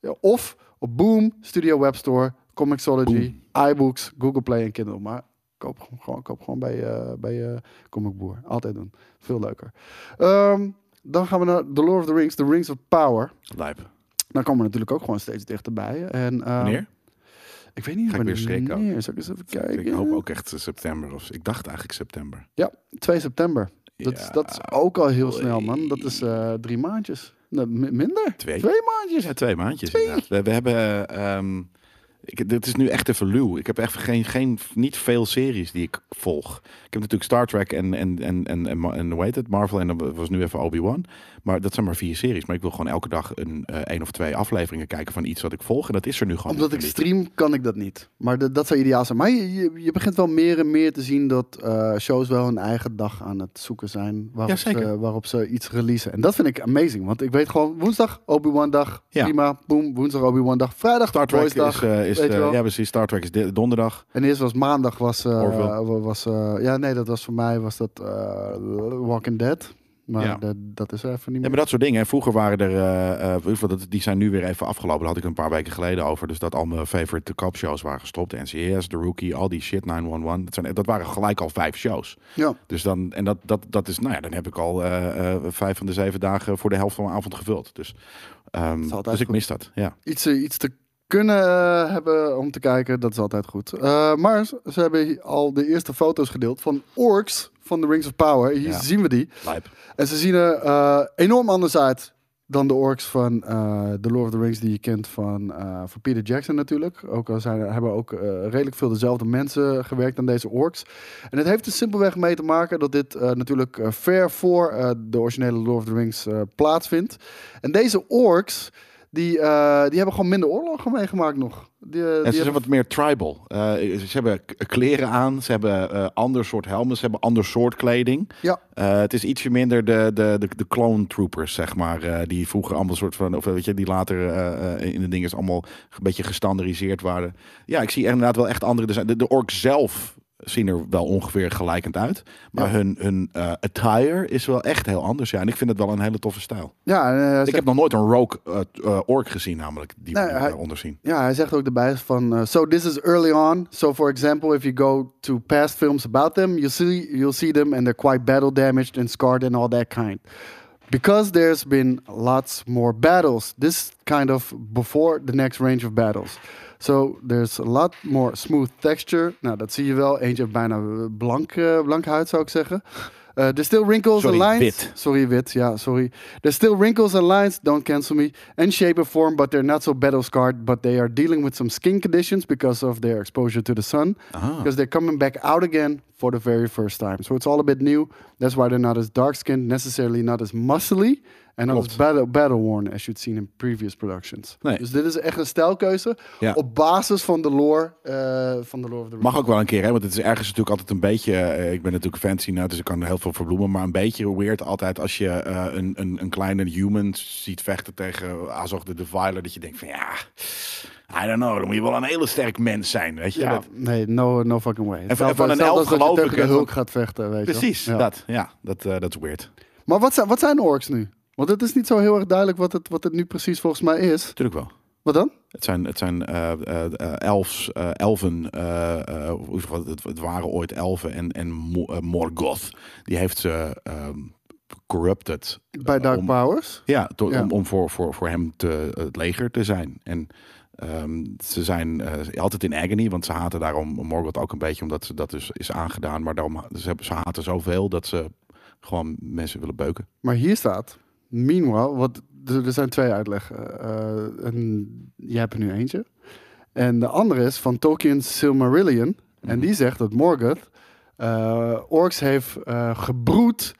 Ja, of op Boom, Studio Webstore, Comixology, iBooks, Google Play en Kindle. Maar koop gewoon- gewoon, koop gewoon bij, eh bij eh Comic Boer. Altijd doen. Veel leuker. Ehm, dan gaan we naar The Lord of the Rings, The Rings of Power.
Lijp.
Dan komen we natuurlijk ook gewoon steeds dichterbij. En, eh,
Wanneer?
Ik weet niet
Ga ik weer schrikken ook.
wanneer. Zal ik eens even kijken?
Ik hoop ook echt september. Of, ik dacht eigenlijk september.
Ja, 2 september. Dat, is,
Ja,
dat is ook al heel snel, man. Dat is eh, drie maandjes. Nee, mi- minder?
Twee.
Twee maandjes.
Ja, twee maandjes inderdaad. We, we hebben... ehm, ik, dit is nu echt even luw. Ik heb echt geen, geen, niet veel series die ik volg. Ik heb natuurlijk Star Trek en, en, en, en, en, Ma- en hoe heet het? Marvel en dan was nu even Obi-Wan. Maar dat zijn maar vier series. Maar ik wil gewoon elke dag een, eh één of twee afleveringen kijken van iets wat ik volg. En dat is er nu gewoon
Omdat ik
even niet.
stream, kan ik dat niet. Maar dat- dat zou ideaal zijn. Maar je, je, je begint wel meer en meer te zien dat eh, shows wel hun eigen dag aan het zoeken zijn. Waarop,
Jazeker.
ze, waarop ze iets releasen. En dat vind ik amazing. Want ik weet gewoon, woensdag Obi-Wan dag.
Ja.
Prima, boom. Woensdag Obi-Wan dag. Vrijdag
Star Trek
Boys dag.
is, eh, is
weet je
eh,
wel.
ja, precies. Star Trek is di- donderdag.
En eerst was maandag was, eh,
Orville.
wa- was eh, ja nee dat was voor mij was dat eh, Walking Dead, maar
Ja.
dat, dat is er even niet
Ja,
meer.
maar dat soort dingen. hè. Vroeger waren er, eh, eh, weet je wel, dat- die zijn nu weer even afgelopen. Daar had ik een paar weken geleden over. Dus dat al mijn favorite cop shows waren gestopt. De NCIS, The Rookie, al die shit, 911. Dat, zijn, dat waren gelijk al vijf shows.
Ja.
Dus dan, en dat, dat, dat is, nou ja, dan heb ik al eh, eh, vijf van de zeven dagen voor de helft van mijn avond gevuld. Dus, ehm,
is altijd
dus ik
goed.
mis dat. Ja.
Iets, eh, iets te kunnen eh, hebben om te kijken, dat is altijd goed. Eh, maar ze ze hebben hier al de eerste foto's gedeeld van orks van The Rings of Power. Hier
Ja.
zien we die.
Lijp.
En ze zien er eh, enorm anders uit dan de orks van eh The Lord of the Rings die je kent van, eh, van Peter Jackson natuurlijk. Ook al zijn, hebben ook eh, redelijk veel dezelfde mensen gewerkt aan deze orks. En het heeft er simpelweg mee te maken dat dit eh, natuurlijk eh, ver voor eh, de originele Lord of the Rings eh, plaatsvindt. En deze orks, die, eh, die hebben gewoon minder oorlogen meegemaakt nog. Die, eh, die
En ze zijn
hebben-
wat meer tribal. Eh, ze hebben k- kleren aan, ze hebben eh ander soort helmen, ze hebben ander soort kleding.
Ja.
Eh, het is ietsje minder de, de, de, de clone troopers, zeg maar. eh, die vroeger allemaal soort van, of weet je, die later eh, eh, in de dingen allemaal een beetje gestandardiseerd waren. Ja, ik zie er inderdaad wel echt andere. design- De, de ork zelf zien er wel ongeveer gelijkend uit. Maar
Ja.
hun, hun eh, attire is wel echt heel anders. Ja, en ik vind het wel een hele toffe stijl.
ja, en, eh, ze-
Ik heb nog nooit een rogue eh, t- eh, ork gezien, namelijk, die
Nee,
we
hij-
daaronder zien.
Ja, hij zegt ook erbij van, eh, so this is early on. So for example, if you go to past films about them, you see, you'll see them and they're quite battle damaged and scarred and all that kind. Because there's been lots more battles, this kind of before the next range of battles. So there's a lot more smooth texture. Nou, dat zie je wel. Eentje heeft bijna eh, blank, eh, blank huid, zou ik zeggen. Eh there's still wrinkles
Sorry,
and lines.
wit.
Sorry, wit. Ja, sorry. There's still wrinkles and lines. Don't cancel me. And shape and form, but they're not so battle scarred. But they are dealing with some skin conditions because of their exposure to the sun.
Ah.
Because they're coming back out again for the very first time. So it's all a bit new. That's why they're not as dark skinned, necessarily not as muscly. And not as battle, battle worn as you'd seen in previous productions.
Nee.
Dus dit is echt een stijlkeuze.
Ja.
Op basis van de lore eh, van de Lore of the Rings.
Mag ook wel een keer, hè? Want het is ergens natuurlijk altijd een beetje. eh, ik ben natuurlijk fancy nou, dus ik kan er heel veel verbloemen. Maar een beetje weird altijd als je eh, een, een, een kleine human ziet vechten tegen Azog de Defiler. Dat je denkt van ja, I don't know. Dan moet je wel een hele sterk mens zijn, weet je?
Ja,
Dat-
nee, no, no fucking way.
en van een
Hetzelfde
elf
als dat je
geloof
tegen
ik
de
het,
Hulk
want-
gaat vechten, weet je wel.
precies,
Ja.
dat. Ja, dat, eh, dat is weird.
Maar wat zijn, wat zijn de orks nu? Want het is niet zo heel erg duidelijk wat het, wat het nu precies volgens mij is.
Natuurlijk wel.
Wat dan?
Het zijn, het zijn eh, eh, eh, elfs, eh, elfen, eh, eh, hoe zeg je dat? het, het waren ooit elfen en, en Mo- eh, Morgoth. Die heeft ze ehm, corrupted.
Bij
eh,
Dark
om-
Powers?
Ja, to-
Ja.
om, om voor, voor, voor hem te, het leger te zijn. En ehm, ze zijn eh, altijd in agony, want ze haten daarom Morgoth ook een beetje, omdat ze dat dus is aangedaan. Maar daarom, ha- ze, hebben- ze haten zoveel dat ze gewoon mensen willen beuken.
Maar hier staat, meanwhile, what er er zijn twee uitleggen. Eh, en jij hebt er nu eentje. En de andere is van Tolkien's Silmarillion. En die zegt dat Morgoth eh, orks heeft eh, gebroed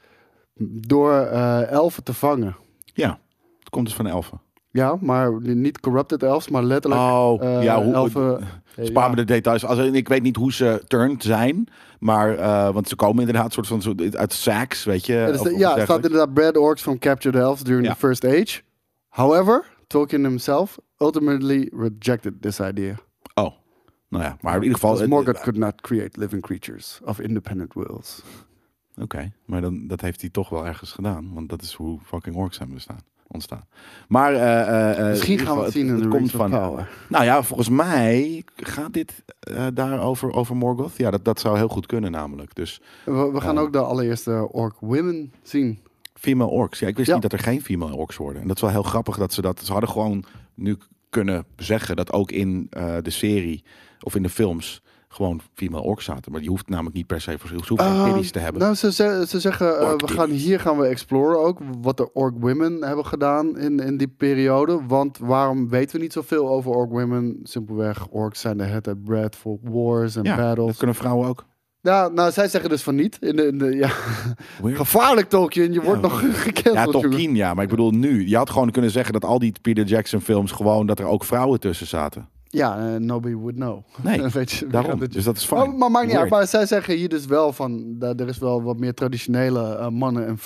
door eh, elfen te vangen.
Ja, het komt dus van elfen.
Ja, maar niet corrupted elves, maar letterlijk
Oh,
eh,
ja, hoe,
elfen.
Spaar
ja.
me de details. Als, in, ik weet niet hoe ze turned zijn, maar eh, want ze komen inderdaad soort van zo uit Sax, weet je.
Het is
of-
de-
of
Dus, eh, ja, het staat
dergelijks.
inderdaad Brad Orcs from Capture the Elves during
Ja.
the First Age. However, Tolkien himself ultimately rejected this idea.
Oh, nou ja, maar in ieder geval.
As
het-
Morgoth could not create living creatures of independent wills.
Oké, maar dan, dat heeft hij toch wel ergens gedaan, want dat is hoe fucking orks zijn bestaan, ontstaan. Maar eh, eh, eh, in
Misschien
ieder
gaan
geval,
we het zien in de Rings of Power.
Nou ja, volgens mij gaat dit eh, daarover over Morgoth. Ja, dat, dat zou heel goed kunnen namelijk. Dus
We, we gaan ook de allereerste Orc Women zien.
female orks. Ja, ik wist
Ja.
niet dat er geen female orks worden. En dat is wel heel grappig dat ze dat... Ze hadden gewoon nu kunnen zeggen dat ook in eh, de serie of in de films gewoon female orks zaten. Maar je hoeft namelijk niet per se... Ze hoeven geen
Ehm,
kiddies te hebben.
Nou, ze, ze, ze zeggen, eh,
Orc
we
titties.
gaan, hier gaan we exploren ook wat de Orc Women hebben gedaan in, in die periode. Want waarom weten we niet zoveel over Orc Women? Simpelweg, Orcs zijn de head at bread for wars en
ja, dat
battles.
kunnen vrouwen ook.
Nou, nou, zij zeggen dus van niet. In de, in de, ja.
Weird.
Gevaarlijk, Tolkien. Je wordt nog gekend.
Ja, Tolkien, ja. Maar ik bedoel nu. Je had gewoon kunnen zeggen dat al die Peter Jackson films gewoon... dat er ook vrouwen tussen zaten.
Ja, eh, nobody would know.
Nee,
(laughs) Weet je, we gaan
Daarom.
dit-
Dus dat is fijn.
Maar, maar maakt niet uit.
Weird.
Maar zij zeggen hier dus wel van... da- er is wel wat meer traditionele eh, mannen- en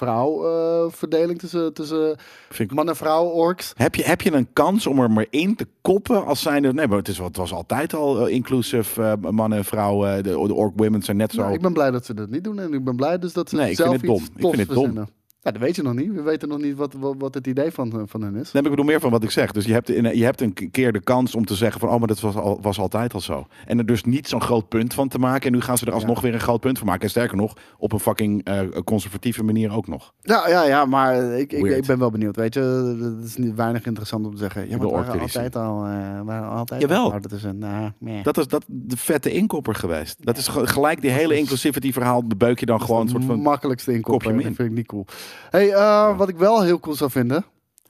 vrouw-verdeling tussen, tussen
Vind ik-
man- en vrouw-orks.
Heb je, heb je een kans om er maar in te koppen als zijnde... Nee, maar het, is, wel- het was altijd al eh, inclusief eh, mannen en vrouwen. eh, De, de orc women zijn net zo...
Nou, ik ben blij dat ze dat niet doen. En ik ben blij dus dat ze
Nee, ik
zelf
vind het
iets
dom. Ik
tofs
vind het dom.
verzinnen. Ja, dat weet je nog niet. We weten nog niet wat, wat, wat het idee van, van hen is.
Nee, maar ik bedoel meer van wat ik zeg. Dus je hebt, in- je hebt een keer de kans om te zeggen van... oh, maar dat was, al, was altijd al zo. En er dus niet zo'n groot punt van te maken. En nu gaan ze er alsnog weer een groot punt van maken. En sterker nog, op een fucking eh, conservatieve manier ook nog.
Ja, ja, ja maar ik, ik,
Weird.
ik ben wel benieuwd. Weet je, dat is niet weinig interessant om te zeggen. Ja, maar
wil
het waren
ork-titties
altijd al... eh waren altijd
Jawel.
al dat is een... eh, meh.
Dat is dat, de vette inkopper geweest. Dat is ge- gelijk die hele inclusivity verhaal. De beuk je dan gewoon een soort van...
makkelijkste
kopje
inkopen.
hem
Dat
in.
vind ik niet cool. Hey, eh, Wat ik wel heel cool zou vinden,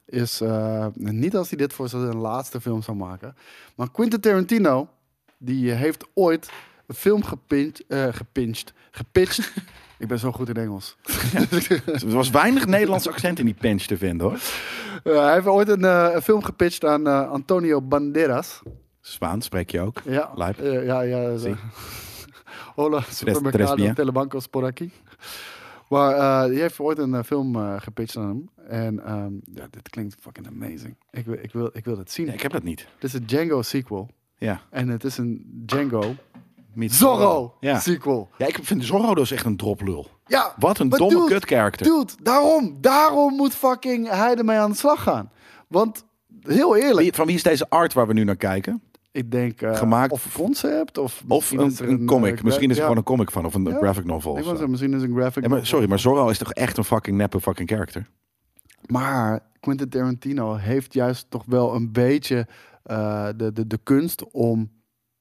is eh, niet als hij dit voor zijn laatste film zou maken. Maar Quentin Tarantino, die heeft ooit een film gepincht, eh gepincht,
(laughs)
gepitcht. ik ben zo goed in Engels.
Er was
(laughs)
weinig Nederlands accent in die pinch te vinden, hoor.
Eh, hij heeft ooit een, eh, een film gepitcht aan eh, Antonio Banderas.
Spaans spreek je ook.
Ja,
Lijp.
eh, ja, ja.
Zie.
(laughs) Hola,
tres
supermercado,
bien.
telebanco, por aquí. Maar eh, die heeft ooit een eh, film eh, gepitcht aan hem. En ehm, ja, dit klinkt fucking amazing. Ik, wil- ik, wil, ik wil het zien.
Nee, ik heb dat niet.
Dit is een Django sequel.
Ja.
En het is een
Ah,
Django
Niet
Zorro
Ja.
sequel.
ja, ik vind Zorro dus echt een droplul.
Ja,
Wat een
maar
domme
dude,
kutkarakter.
Dude, daarom, daarom moet fucking hij ermee aan de slag gaan. Want heel eerlijk,
Wie- Van wie is deze art waar we nu naar kijken?
ik denk eh,
Gemaakt-
of concept of
Of
misschien is
een,
er
een comic.
eh,
Misschien is er
ja,
gewoon een comic van. Of een
Ja.
graphic novel.
Ik
Of
wou
zo.
zeggen, misschien is een graphic.
Ja, maar,
novel.
sorry, maar Zorro is toch echt een fucking neppe fucking character?
Maar Quentin Tarantino heeft juist toch wel een beetje eh, de, de, de kunst om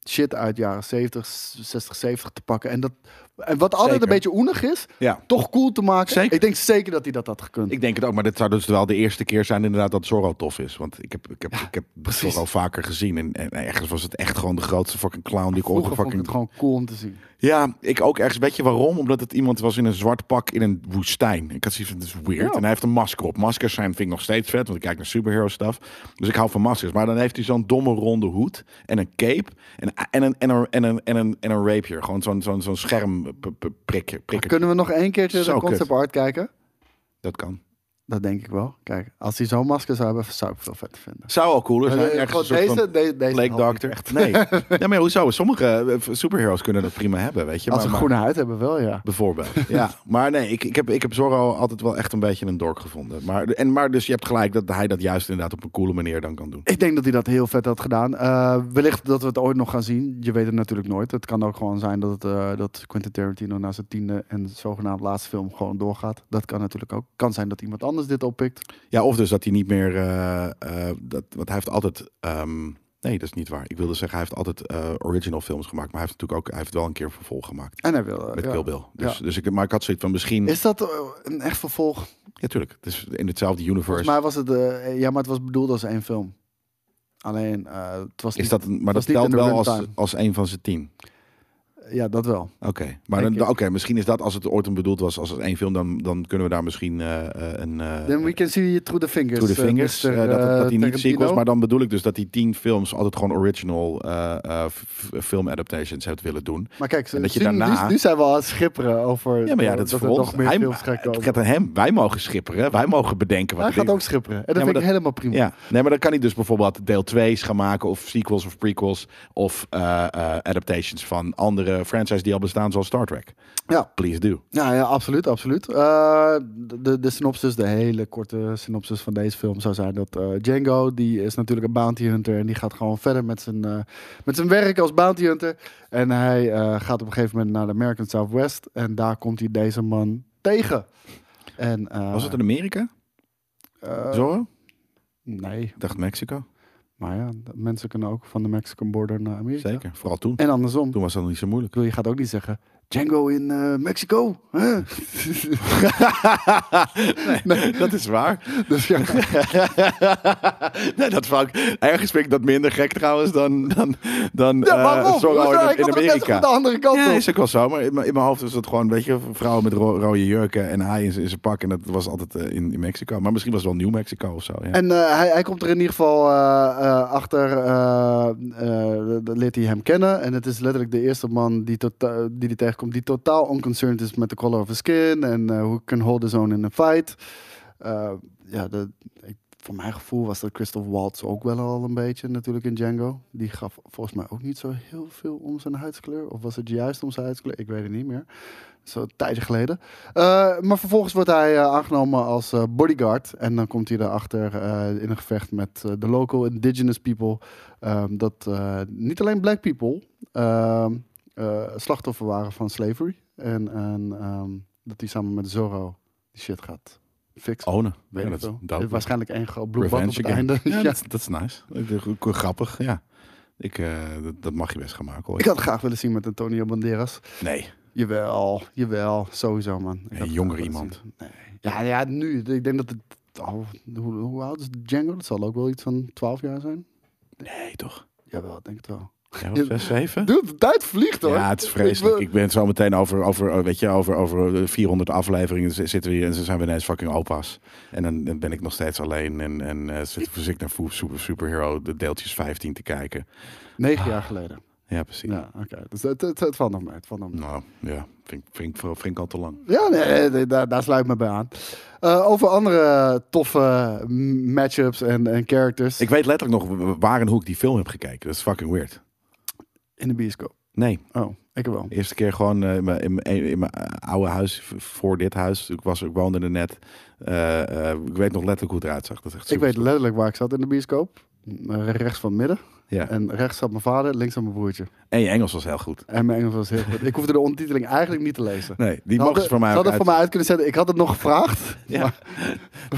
shit uit jaren 70, 60, 70 te pakken. En, dat, en wat altijd
Zeker.
een beetje oenig is,
Ja.
toch cool te maken.
Zeker.
Ik denk zeker dat hij dat had gekund.
Ik denk het ook, maar dit zou dus wel de eerste keer zijn inderdaad dat Zorro tof is. Want ik heb, ik heb, ik heb
precies.
Zorro vaker gezien. En, en ergens was het echt gewoon de grootste fucking clown die ik ooit
Vroeger vond ik
fucking
het gewoon cool om te zien.
Ja, ik ook ergens. Weet je waarom? Omdat het iemand was in een zwart pak in een woestijn. Ik had zoiets van, dat is weird.
Ja.
En hij heeft een masker op. Maskers zijn vind ik nog steeds vet, want ik kijk naar superhero stuff. Dus ik hou van maskers. Maar dan heeft hij zo'n domme ronde hoed en een cape en, en, een, en, een, en, een, en, een, en een rapier. Gewoon zo'n zo'n zo'n scherm p- p- prikje. prikker.
Kunnen we nog één keertje
Zo
de
kut.
concept art kijken?
Dat kan.
Dat denk ik wel. Kijk, als hij zo'n masker zou hebben, zou ik veel vet vinden.
Zou al cooler zijn.
Eh,
Ergens
gewoon
een soort van
deze, deze, deze
Blake
had ik
Doctor.
echt.
Nee.
(laughs)
ja, maar hoezo? Sommige eh, superheroes kunnen dat prima hebben, weet je.
Als
maar,
ze
maar-
groene huid hebben, wel ja. (laughs)
Bijvoorbeeld. Ja, maar nee, ik, ik, heb, ik heb Zorro altijd wel echt een beetje een dork gevonden. Maar, en, maar dus je hebt gelijk dat hij dat juist inderdaad op een coole manier dan kan doen.
Ik denk dat hij dat heel vet had gedaan. Eh, wellicht dat we het ooit nog gaan zien. Je weet het natuurlijk nooit. Het kan ook gewoon zijn dat, het, eh, dat Quentin Tarantino na zijn tiende en zogenaamd laatste film gewoon doorgaat. Dat kan natuurlijk ook. Kan zijn dat iemand anders dit oppikt.
Ja, of dus dat hij niet meer. eh, eh, dat, want hij heeft altijd. ehm, nee, dat is niet waar. Ik wilde zeggen, hij heeft altijd eh, original films gemaakt. Maar hij heeft natuurlijk ook. Hij heeft wel een keer een vervolg gemaakt.
En hij wil. eh,
Met
ja.
Kill Bill. Dus,
Ja.
dus ik, maar ik had zoiets van misschien.
Is dat eh, een echt vervolg?
Ja, tuurlijk. Het is in hetzelfde universe.
Maar was het, eh, ja, maar het was bedoeld als één film. Alleen, eh, het was
is
niet-
dat, een- maar dat
was niet
telt
in de
wel als,
runtime.
als een van zijn tien.
Ja, dat wel.
Oké, maar
Denk
dan,
ik.
oké, misschien is dat als het ooit een bedoeld was als één film, dan, dan kunnen we daar misschien eh, eh, een. eh,
Then we can see it through the fingers.
Through the
eh,
Fingers.
Mr.,
eh, dat, dat die
eh,
niet sequels,
Tarantino.
maar dan bedoel ik dus dat die tien films altijd gewoon original eh, eh, f- f- film adaptations heeft willen doen.
Maar kijk, ze-
En dat je
nu- nu-
daarna-
nu, zijn we al aan het schipperen over eh,
Ja, maar ja, dat is
er
voor ons.
nog meer
Hij,
films gaan
het
komen.
gaat aan hem. Wij mogen schipperen. Wij mogen bedenken wat
Hij
er
gaat
in-
ook schipperen. En dat
maar
vind
dat-
ik helemaal prima.
Ja, nee, maar dan kan hij dus bijvoorbeeld deel 2's gaan maken, of sequels of prequels, of eh, eh, adaptations van andere franchises die al bestaan, zoals Star Trek.
Ja.
Please do.
Ja, ja, absoluut, absoluut. Eh, de, de synopsis, de hele korte synopsis van deze film zou zijn dat eh, Django, die is natuurlijk een bounty hunter en die gaat gewoon verder met zijn, eh, met zijn werk als bounty hunter. En hij eh, gaat op een gegeven moment naar de American Southwest en daar komt hij deze man tegen. En, eh,
Was het in Amerika?
eh,
Zorro?
Nee,
Ik dacht Mexico.
maar ja, dat- mensen kunnen ook van de Mexican border naar Amerika.
Zeker. Vooral toen.
En andersom.
Toen was dat nog niet zo moeilijk.
Ik bedoel, je gaat ook niet zeggen, Django in eh, Mexico.
(laughs)
Huh?
(laughs) nee, dat is waar.
dus ja,
(laughs) nee, dat vaak. Ergens vind ik dat minder gek trouwens dan, dan, dan
Ja,
eh,
waarom?
Zorro
Hoezo?
in,
Ik
in
had het net goed de
Amerika.
andere kant
Ja,
op.
is ook wel zo. Maar in, mijn- in mijn hoofd is dat gewoon, weet je, vrouwen met ro- rode jurken en hij in zijn- in zijn pak. En dat was altijd eh, in, in Mexico. Maar misschien was het wel New Mexico of zo. Ja.
En eh, hij, hij komt er in ieder geval eh, eh, achter, eh, eh, dat leert hij hem kennen. En het is letterlijk de eerste man die tota- die hij tegenkomt die totaal onconcerned is met the color of his skin en eh, who can hold his own in a fight. Eh, ja, de, ik, voor mijn gevoel was dat Christoph Waltz ook wel al een beetje natuurlijk in Django. Die gaf volgens mij ook niet zo heel veel om zijn huidskleur. Of was het juist om zijn huidskleur? Ik weet het niet meer. Zo tijden geleden. Eh, maar vervolgens wordt hij eh, aangenomen als eh, bodyguard. En dan komt hij erachter eh, in een gevecht met eh, de local indigenous people. ehm, dat eh, niet alleen black people ehm, eh, slachtoffer waren van slavery. En, en ehm, dat hij samen met Zorro die shit gaat fixen.
Ownen.
Weet
Ja,
ik
Oh, dat is
veel.
dope.
Waarschijnlijk één groot bloedbad op
Revenge
het
again.
einde.
Ja,
(laughs) Ja.
Dat, dat is nice. Ik dacht, ook wel Grappig, ja. Ik, eh, dat, dat mag je best gaan maken (laughs) hoor.
Ik had het graag willen zien met Antonio Banderas.
Nee,
Jawel, jawel, sowieso man. Ik
Een
had het
jonger
graag willen
iemand.
zien. Nee. Ja, ja, nu. Ik denk dat het... oh, hoe, hoe oud is Django? Dat zal ook wel iets van 12 jaar zijn.
nee toch.
Jawel, ik denk het wel.
Jij was zes, zeven?
Dude, de tijd vliegt hoor.
Ja, het is vreselijk.
Ik
Ik ben zo meteen over, over, eh, weet je, over, over 400 afleveringen zi- zitten we hier en ze zijn we ineens fucking opa's. En dan, dan ben ik nog steeds alleen en, en eh, zit voor zich naar Foo- super, Superhero, de deeltjes 15 te kijken.
9 jaar geleden.
Ja, precies.
Ja, oké. Dus het, het, het valt nog mee. Het valt nog mee.
Nou, ja, vind, ik- vind, ik vooral- vind ik al te lang.
Ja, nee, nee, nee, daar, daar sluit ik me bij aan. Eh, over andere toffe mm, matchups en, en characters
Ik weet letterlijk nog waar en hoe ik die film heb gekeken. Dat is fucking weird.
in de bioscoop.
Nee,
Oh, ik wel.
De eerste keer gewoon eh, in mijn- in mijn in mijn eh, oude huis, v- voor dit huis. Ik, was, ik woonde er net. Eh, eh, ik weet nog letterlijk hoe het eruit zag. Dat is echt
Ik
super
weet letterlijk waar ik zat in de bioscoop. Eh, Rechts van het midden.
Ja.
En rechts zat mijn vader, links zat mijn broertje.
En je Engels was heel goed.
En mijn Engels was heel goed. Ik hoefde de ondertiteling eigenlijk niet te lezen.
Nee, die
Ze
mogen
hadden-
ze voor mij
ze
ook
hadden
uit.
voor mij uit kunnen zetten. Ik had het nog gevraagd.
(laughs) Ja. Ging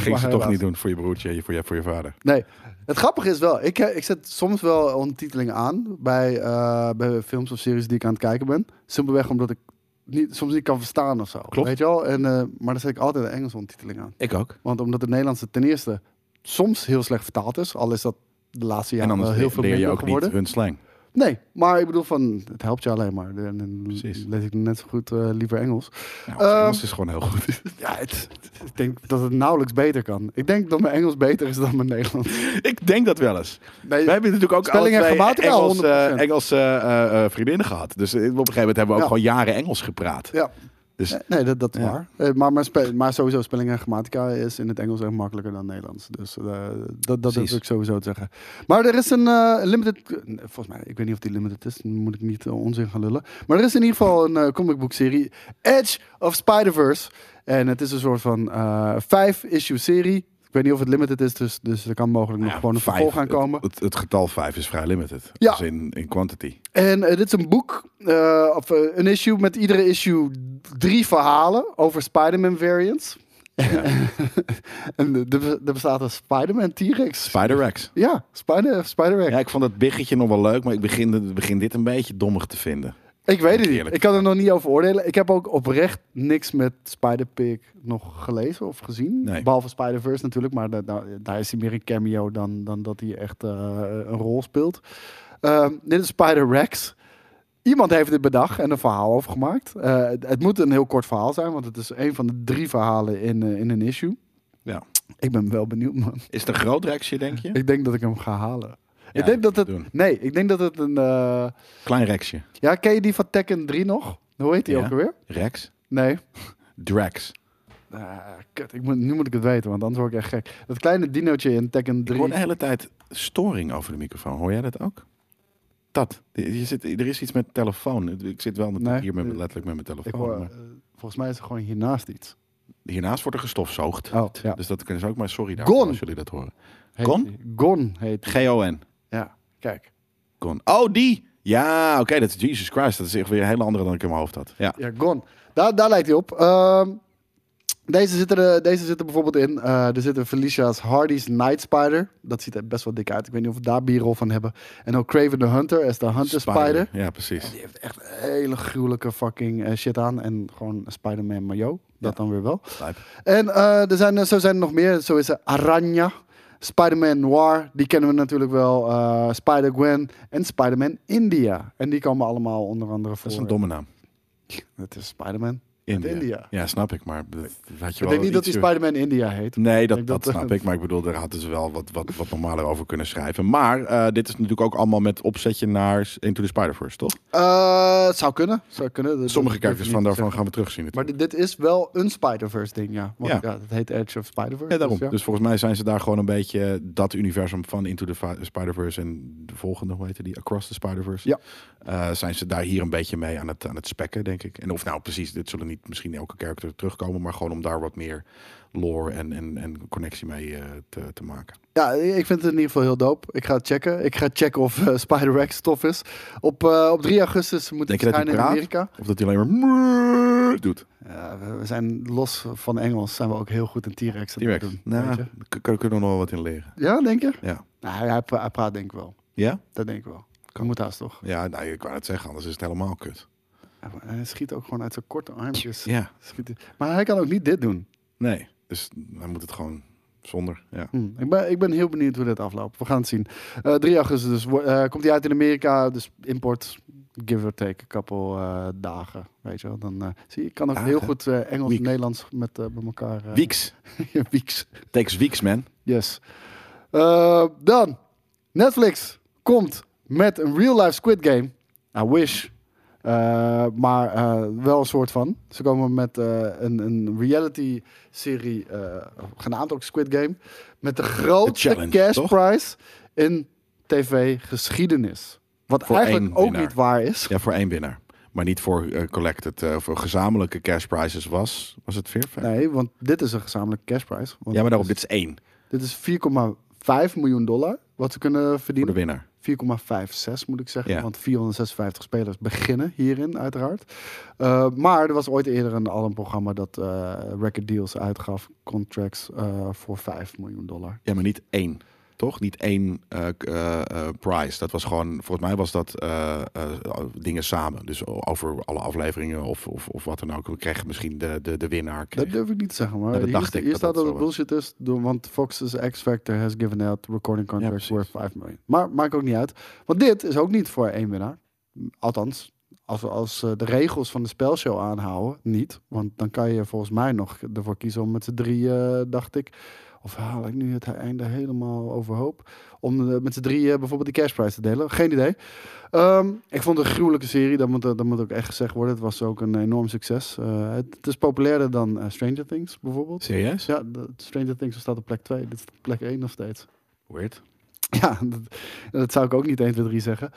ze
Maar
toch
helaas.
niet doen voor je broertje, voor je, voor je vader.
Nee. Het grappige is wel, ik, eh, ik zet soms wel ondertitelingen aan bij, eh, bij films of series die ik aan het kijken ben. Simpelweg omdat ik niet, soms niet kan verstaan of zo.
Klopt.
Weet je wel? En, eh, maar dan zet ik altijd een Engelse ondertiteling aan.
Ik ook.
Want omdat het Nederlandse ten eerste soms heel slecht vertaald is. Al is dat de laatste
en
jaren
anders
wel
heel
heel veel
leer je
minder
ook
geworden.
niet hun slang.
Nee, maar ik bedoel van, het helpt je alleen maar. En dan
Precies.
lees ik net zo goed eh, liever Engels.
Nou, ons
Ehm,
Engels is gewoon heel goed. (laughs)
Ja, het- ik denk dat het nauwelijks beter kan. Ik denk dat mijn Engels beter is dan mijn Nederlands.
ik denk dat wel eens.
Nee,
We hebben natuurlijk ook
Spelling
alle
en
twee
grammatica,
Engels, eh,
100%.
Engelse eh, eh, vriendinnen gehad. Dus eh, op een gegeven moment hebben we ook
Ja.
gewoon jaren Engels gepraat.
ja.
Dus
Nee, dat, dat is
Ja.
waar. Eh, Maar, maar, spe- maar sowieso, spelling en grammatica is in het Engels echt makkelijker dan Nederlands. Dus eh, dat, dat
Precies.
durf ik sowieso te zeggen. Maar er is een eh, limited... nee, Volgens mij, ik weet niet of die limited is. Dan moet ik niet eh, onzin gaan lullen. Maar er is in ieder geval een eh comic book serie. Edge of Spider-Verse. En het is een soort van eh, vijf-issue serie. Ik weet niet of het limited is, dus, dus er kan mogelijk nog
Ja,
gewoon een
vijf.
vervolg gaan komen.
Het, het, het getal 5 is vrij limited.
Ja.
Als in, in quantity.
En eh, dit is een boek, eh, of eh, een issue met iedere issue drie verhalen over Spider-Man variants. (laughs) en de- de- er bestaat een Spider-Man T-Rex.
Spider-Rex.
ja, Spider- Spider-Rex.
Ja, ik vond dat biggetje nog wel leuk, maar ik begin, begin dit een beetje dommig te vinden.
Ik weet het niet.
Eerlijk
Ik kan er nog niet over oordelen. Ik heb ook oprecht niks met Spider-Pig nog gelezen of gezien.
Nee.
Behalve Spider-Verse natuurlijk, maar da- da- daar is hij meer een cameo dan, dan dat hij echt eh, een rol speelt. Ehm, dit is Spider-Rex. Iemand heeft dit bedacht en een verhaal over gemaakt. Eh, het, het moet een heel kort verhaal zijn, want het is een van de drie verhalen in, eh, in een issue.
Ja.
Ik ben wel benieuwd, man.
Is het een groot reksje, denk je?
Ik denk dat ik hem ga halen.
Ja,
ik denk dat het.
doen.
Nee, ik denk dat het een. eh,
Klein reksje.
ja, ken je die van Tekken 3 nog? Hoe heet die
Ja.
ook alweer?
Rex?
Nee.
Drax.
Ah, kut, ik moet, nu moet ik het weten, want anders word ik echt gek. Dat kleine dinootje in Tekken
Ik
3.
hoor de hele tijd storing over de microfoon. Hoor jij dat ook? Dat. Je zit, er is iets met telefoon. Ik zit wel met,
Nee.
hier met, letterlijk met mijn
ik
telefoon.
hoor,
maar
eh, volgens mij is er gewoon hiernaast iets.
hiernaast wordt er gestofzoogd.
Oh, ja.
Dus dat kunnen ze ook maar sorry daar
Gon.
als jullie dat horen.
Heet
Gon?
die. Gon heet. die.
G-O-N.
Ja, kijk.
Gon. Oh, die! Ja, oké, dat is Jesus Christ. Dat is echt weer een hele andere dan ik in mijn hoofd had. Ja.
Ja, Gon. Daar, daar lijkt hij op. Ehm, deze, zit er, eh, deze zit er bijvoorbeeld in. Eh, er zit een Felicia's Hardy's Night Spider. Dat ziet er best wel dik uit. Ik weet niet of we daar bierrol van hebben. En ook Craven the Hunter als de Hunter Spider.
Ja, precies.
Die heeft echt hele gruwelijke fucking eh, shit aan. En gewoon een Spider-Man mayo. Dat dan weer wel.
Lijp.
En eh, er zijn, zo zijn er nog meer. Zo is er Aranya, Spider-Man Noir. Die kennen we natuurlijk wel. eh, Spider-Gwen en Spider-Man India. En die komen allemaal onder andere voor.
Dat is een domme naam.
Het is Spider-Man.
India.
India.
Ja, snap ik. Maar dat had je
Ik
wel
denk niet dat
iets- eh,
hij Spider-Man India heet.
Nee,
Ik
dat, dat
dat-
snap ik. Maar ik bedoel, daar hadden ze wel wat, wat, wat normaler over kunnen schrijven. Maar eh, dit is natuurlijk ook allemaal met opzetje naar Into the Spider-Verse, toch?
Eh, het zou kunnen. Zou kunnen. Dat-
Sommige
dat durf
kijkers
ik
van
niet te
daarvan
zeggen.
gaan we terugzien.
Maar
natuurlijk.
dit, dit is wel een Spider-Verse ding, ja. Want, ja.
Ja.
Dat heet Edge of Spider-Verse.
Ja, daarom.
dus ja.
Dus volgens mij zijn ze daar gewoon een beetje dat universum van Into the Fi- Spider-Verse en de volgende, hoe heette die? Across the Spider-Verse.
Ja.
Eh, zijn ze daar hier een beetje mee aan het, aan het spekken, denk ik. En of nou precies, dit zullen niet misschien elke character terugkomen, maar gewoon om daar wat meer lore en, en, en connectie mee eh, te, te maken.
Ja, ik vind het in ieder geval heel dope. Ik ga het checken. Ik ga checken of eh, Spider-Rex tof is. Op, eh, op 3 augustus moet
Denk
het
je dat hij
verschijnen in
praat?
Amerika.
Of dat hij alleen maar (laughs) doet.
Ja, we- we zijn los van Engels zijn we ook heel goed in T-Rex. aan het
T-Rex.
doen, weet
Nou,
je.
daar kunnen we nog wel wat in leren.
Ja, denk je?
Ja.
Nou, hij, hij pra- hij praat denk ik wel.
Ja?
Dat denk ik wel. Kan moet haast toch?
Ja, nou, ik wou het zeggen, anders is het helemaal kut.
Ja, maar Hij schiet ook gewoon uit zijn korte armpjes.
Ja.
Schiet hij- Maar hij kan ook niet dit doen.
Nee. Dus hij moet het gewoon zonder. Ja.
Hm, Ik, ben, ik ben heel benieuwd hoe dit afloopt. We gaan het zien. Eh 3 augustus dus, wo- eh, komt hij uit in Amerika. Dus import, give or take, een couple eh, dagen. Weet je wel. Dan, eh, zie je, ik kan ook heel
Dagen?
goed eh, Engels
Week.
en Nederlands met, eh, bij elkaar. eh,
Weeks.
(laughs) weeks.
Takes weeks, man.
Yes. Eh, dan, Netflix komt met een real-life Squid Game. I wish. Eh, maar eh, wel een soort van. Ze komen met eh, een, een reality-serie, eh, genaamd ook Squid Game, met de
De
grootste
challenge,
cash
toch?
prize in tv-geschiedenis. Wat
Voor
eigenlijk
één
ook
winnaar.
niet waar is.
Ja, voor één winnaar. Maar niet voor eh, collected, eh, voor gezamenlijke cash prizes was. Was het Fear Factor?
Nee, want dit is een gezamenlijke cash prize. Want
Ja, maar daarop, dit is één
Dit is 4,5 miljoen dollar wat ze kunnen
voor
verdienen.
de winnaar.
4,56 moet ik zeggen.
Ja.
Want 456 spelers beginnen hierin, uiteraard. Eh, maar er was ooit eerder een, al een programma dat eh, Record Deals uitgaf. Contracts eh, voor 5 miljoen dollar.
Ja, maar niet één. Toch? Niet één eh, k- eh, eh, prize. Dat was gewoon, volgens mij was dat eh, eh, dingen samen. Dus o- over alle afleveringen of, of, of wat dan ook. We kregen misschien de, de, de winnaar. kreeg-
Dat durf ik niet te zeggen, maar
Ja, dat
hier,
dacht
sta-
ik
hier
dat
staat dat
dat
het
zo
bullshit is. door- Want Fox's X-Factor has given out recording contracts
precies.
worth 5 miljoen. Maar maakt ook niet uit. Want dit is ook niet voor één winnaar. Althans, als we als eh, de regels van de spelshow aanhouden, niet. Want dan kan je volgens mij nog ervoor kiezen om met z'n drieën, eh, dacht ik... Of haal ik nu het einde helemaal overhoop? Om eh, met z'n drieën bijvoorbeeld die cashprijs te delen. Geen idee. Ehm, ik vond het een gruwelijke serie, dat moet, eh, dat moet ook echt gezegd worden. Het was ook een enorm succes. Eh, het, het is populairder dan eh, Stranger Things bijvoorbeeld.
Serieus?
Ja, de- Stranger Things staat op plek 2. Dit staat op plek 1 nog steeds. (laughs)
Weird.
Ja, dat, dat zou ik ook niet 1, 2, 3 zeggen.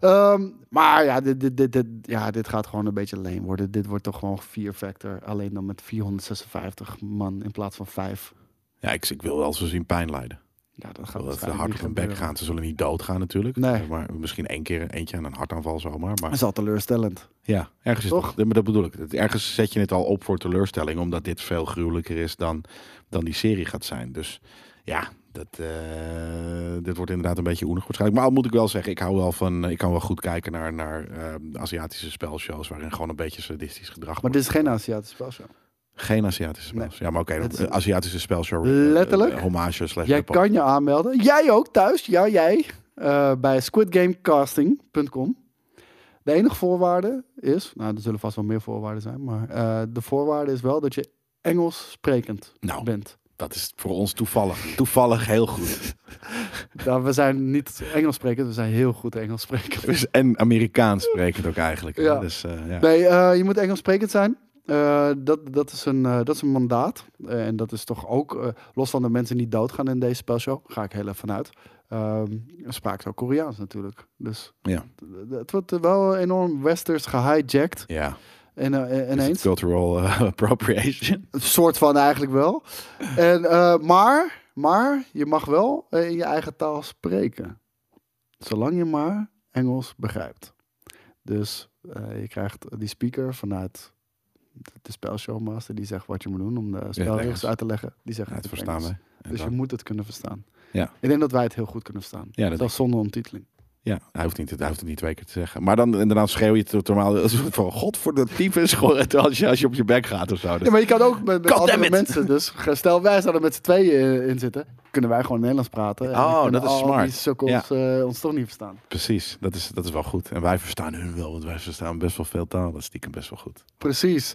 Ehm, maar ja dit, dit, dit, dit- ja, dit gaat gewoon een beetje lame worden. Dit wordt toch gewoon 4 factor. Alleen dan met 456 man in plaats van 5.
Ja, ik, ik wil wel zo zien pijn lijden.
Ja, dat
Ik
gaat
wil Oh, dat ze
waarschijnlijk
hard op
niet
hun bek
gebeuren.
gaan. Ze zullen niet doodgaan natuurlijk.
Nee.
Maar misschien één keer eentje aan een hartaanval zomaar. Maar
Dat is al teleurstellend.
ja, ergens is
Toch?
het- maar dat bedoel ik. Het- Ergens zet je het al op voor teleurstelling. Omdat dit veel gruwelijker is dan, dan die serie gaat zijn. Dus ja, Dat, eh, dit wordt inderdaad een beetje oenig waarschijnlijk. Maar al moet ik wel zeggen, ik hou wel van. eh, Ik kan wel goed kijken naar, naar eh, Aziatische spelshows. waarin gewoon een beetje sadistisch gedrag.
Maar dit is geen Aziatisch spelshow.
wordt. geen Aziatische spelshow. Ja, maar oké,
Het is-
een Aziatische spelshow. eh,
Letterlijk?
eh, hommage slash.
Jij
repo-
kan je aanmelden. Jij ook thuis. Ja, jij. eh, bij squidgamecasting.com. De enige voorwaarde is... Nou, er zullen vast wel meer voorwaarden zijn. Maar eh, de voorwaarde is wel dat je Engels sprekend
Nou,
bent.
dat is voor ons toevallig. Toevallig heel goed.
Nou, we zijn niet Engels sprekend. We zijn heel goed Engels sprekend.
Dus- en Amerikaans sprekend ook eigenlijk. hè.
Ja.
Dus, eh, ja.
Nee, eh, je moet Engels sprekend zijn. Eh, dat, dat, is een, eh, dat is een mandaat. Eh, en dat is toch ook, eh, los van de mensen die doodgaan in deze spelshow, ga ik heel even uit. Ehm spraak ook Koreaans natuurlijk. Dus
Ja.
d- d- het wordt eh, wel enorm westers gehijacked.
ja.
En, eh,
Is het
ineens.
Cultural eh, (laughs) appropriation.
Een soort van eigenlijk wel. En, eh, maar, maar je mag wel eh, in je eigen taal spreken. Zolang je maar Engels begrijpt. Dus eh, je krijgt die speaker vanuit de spelshowmaster. Die zegt wat je moet doen om de
Engels.
spelregels uit te leggen. Die zegt
Ja, het
in het
verstaan
Engels.
we. En
Dus je
dan-
moet het kunnen verstaan.
Ja.
Ik denk dat wij het heel goed kunnen verstaan.
Ja, dat
dat is zonder ondertiteling.
Ja, hij hoeft, niet, hij hoeft het niet twee keer te zeggen. Maar dan inderdaad schreeuw je het normaal als een van god voor de tyfus (laughs) gewoon, als je, als je op je bek gaat of zo. Dus-
Ja, maar je kan ook met, met
God damn
andere
it.
mensen. Dus stel, wij zouden met z'n tweeën eh, in zitten. Kunnen wij gewoon Nederlands praten. En
Oh, dat
dan kunnen
is
al
smart.
die sukkels eh, ons toch niet verstaan.
Precies, dat is, dat is wel goed. En wij verstaan hun wel, want wij verstaan best wel veel taal. Dat is stiekem best wel goed.
Precies.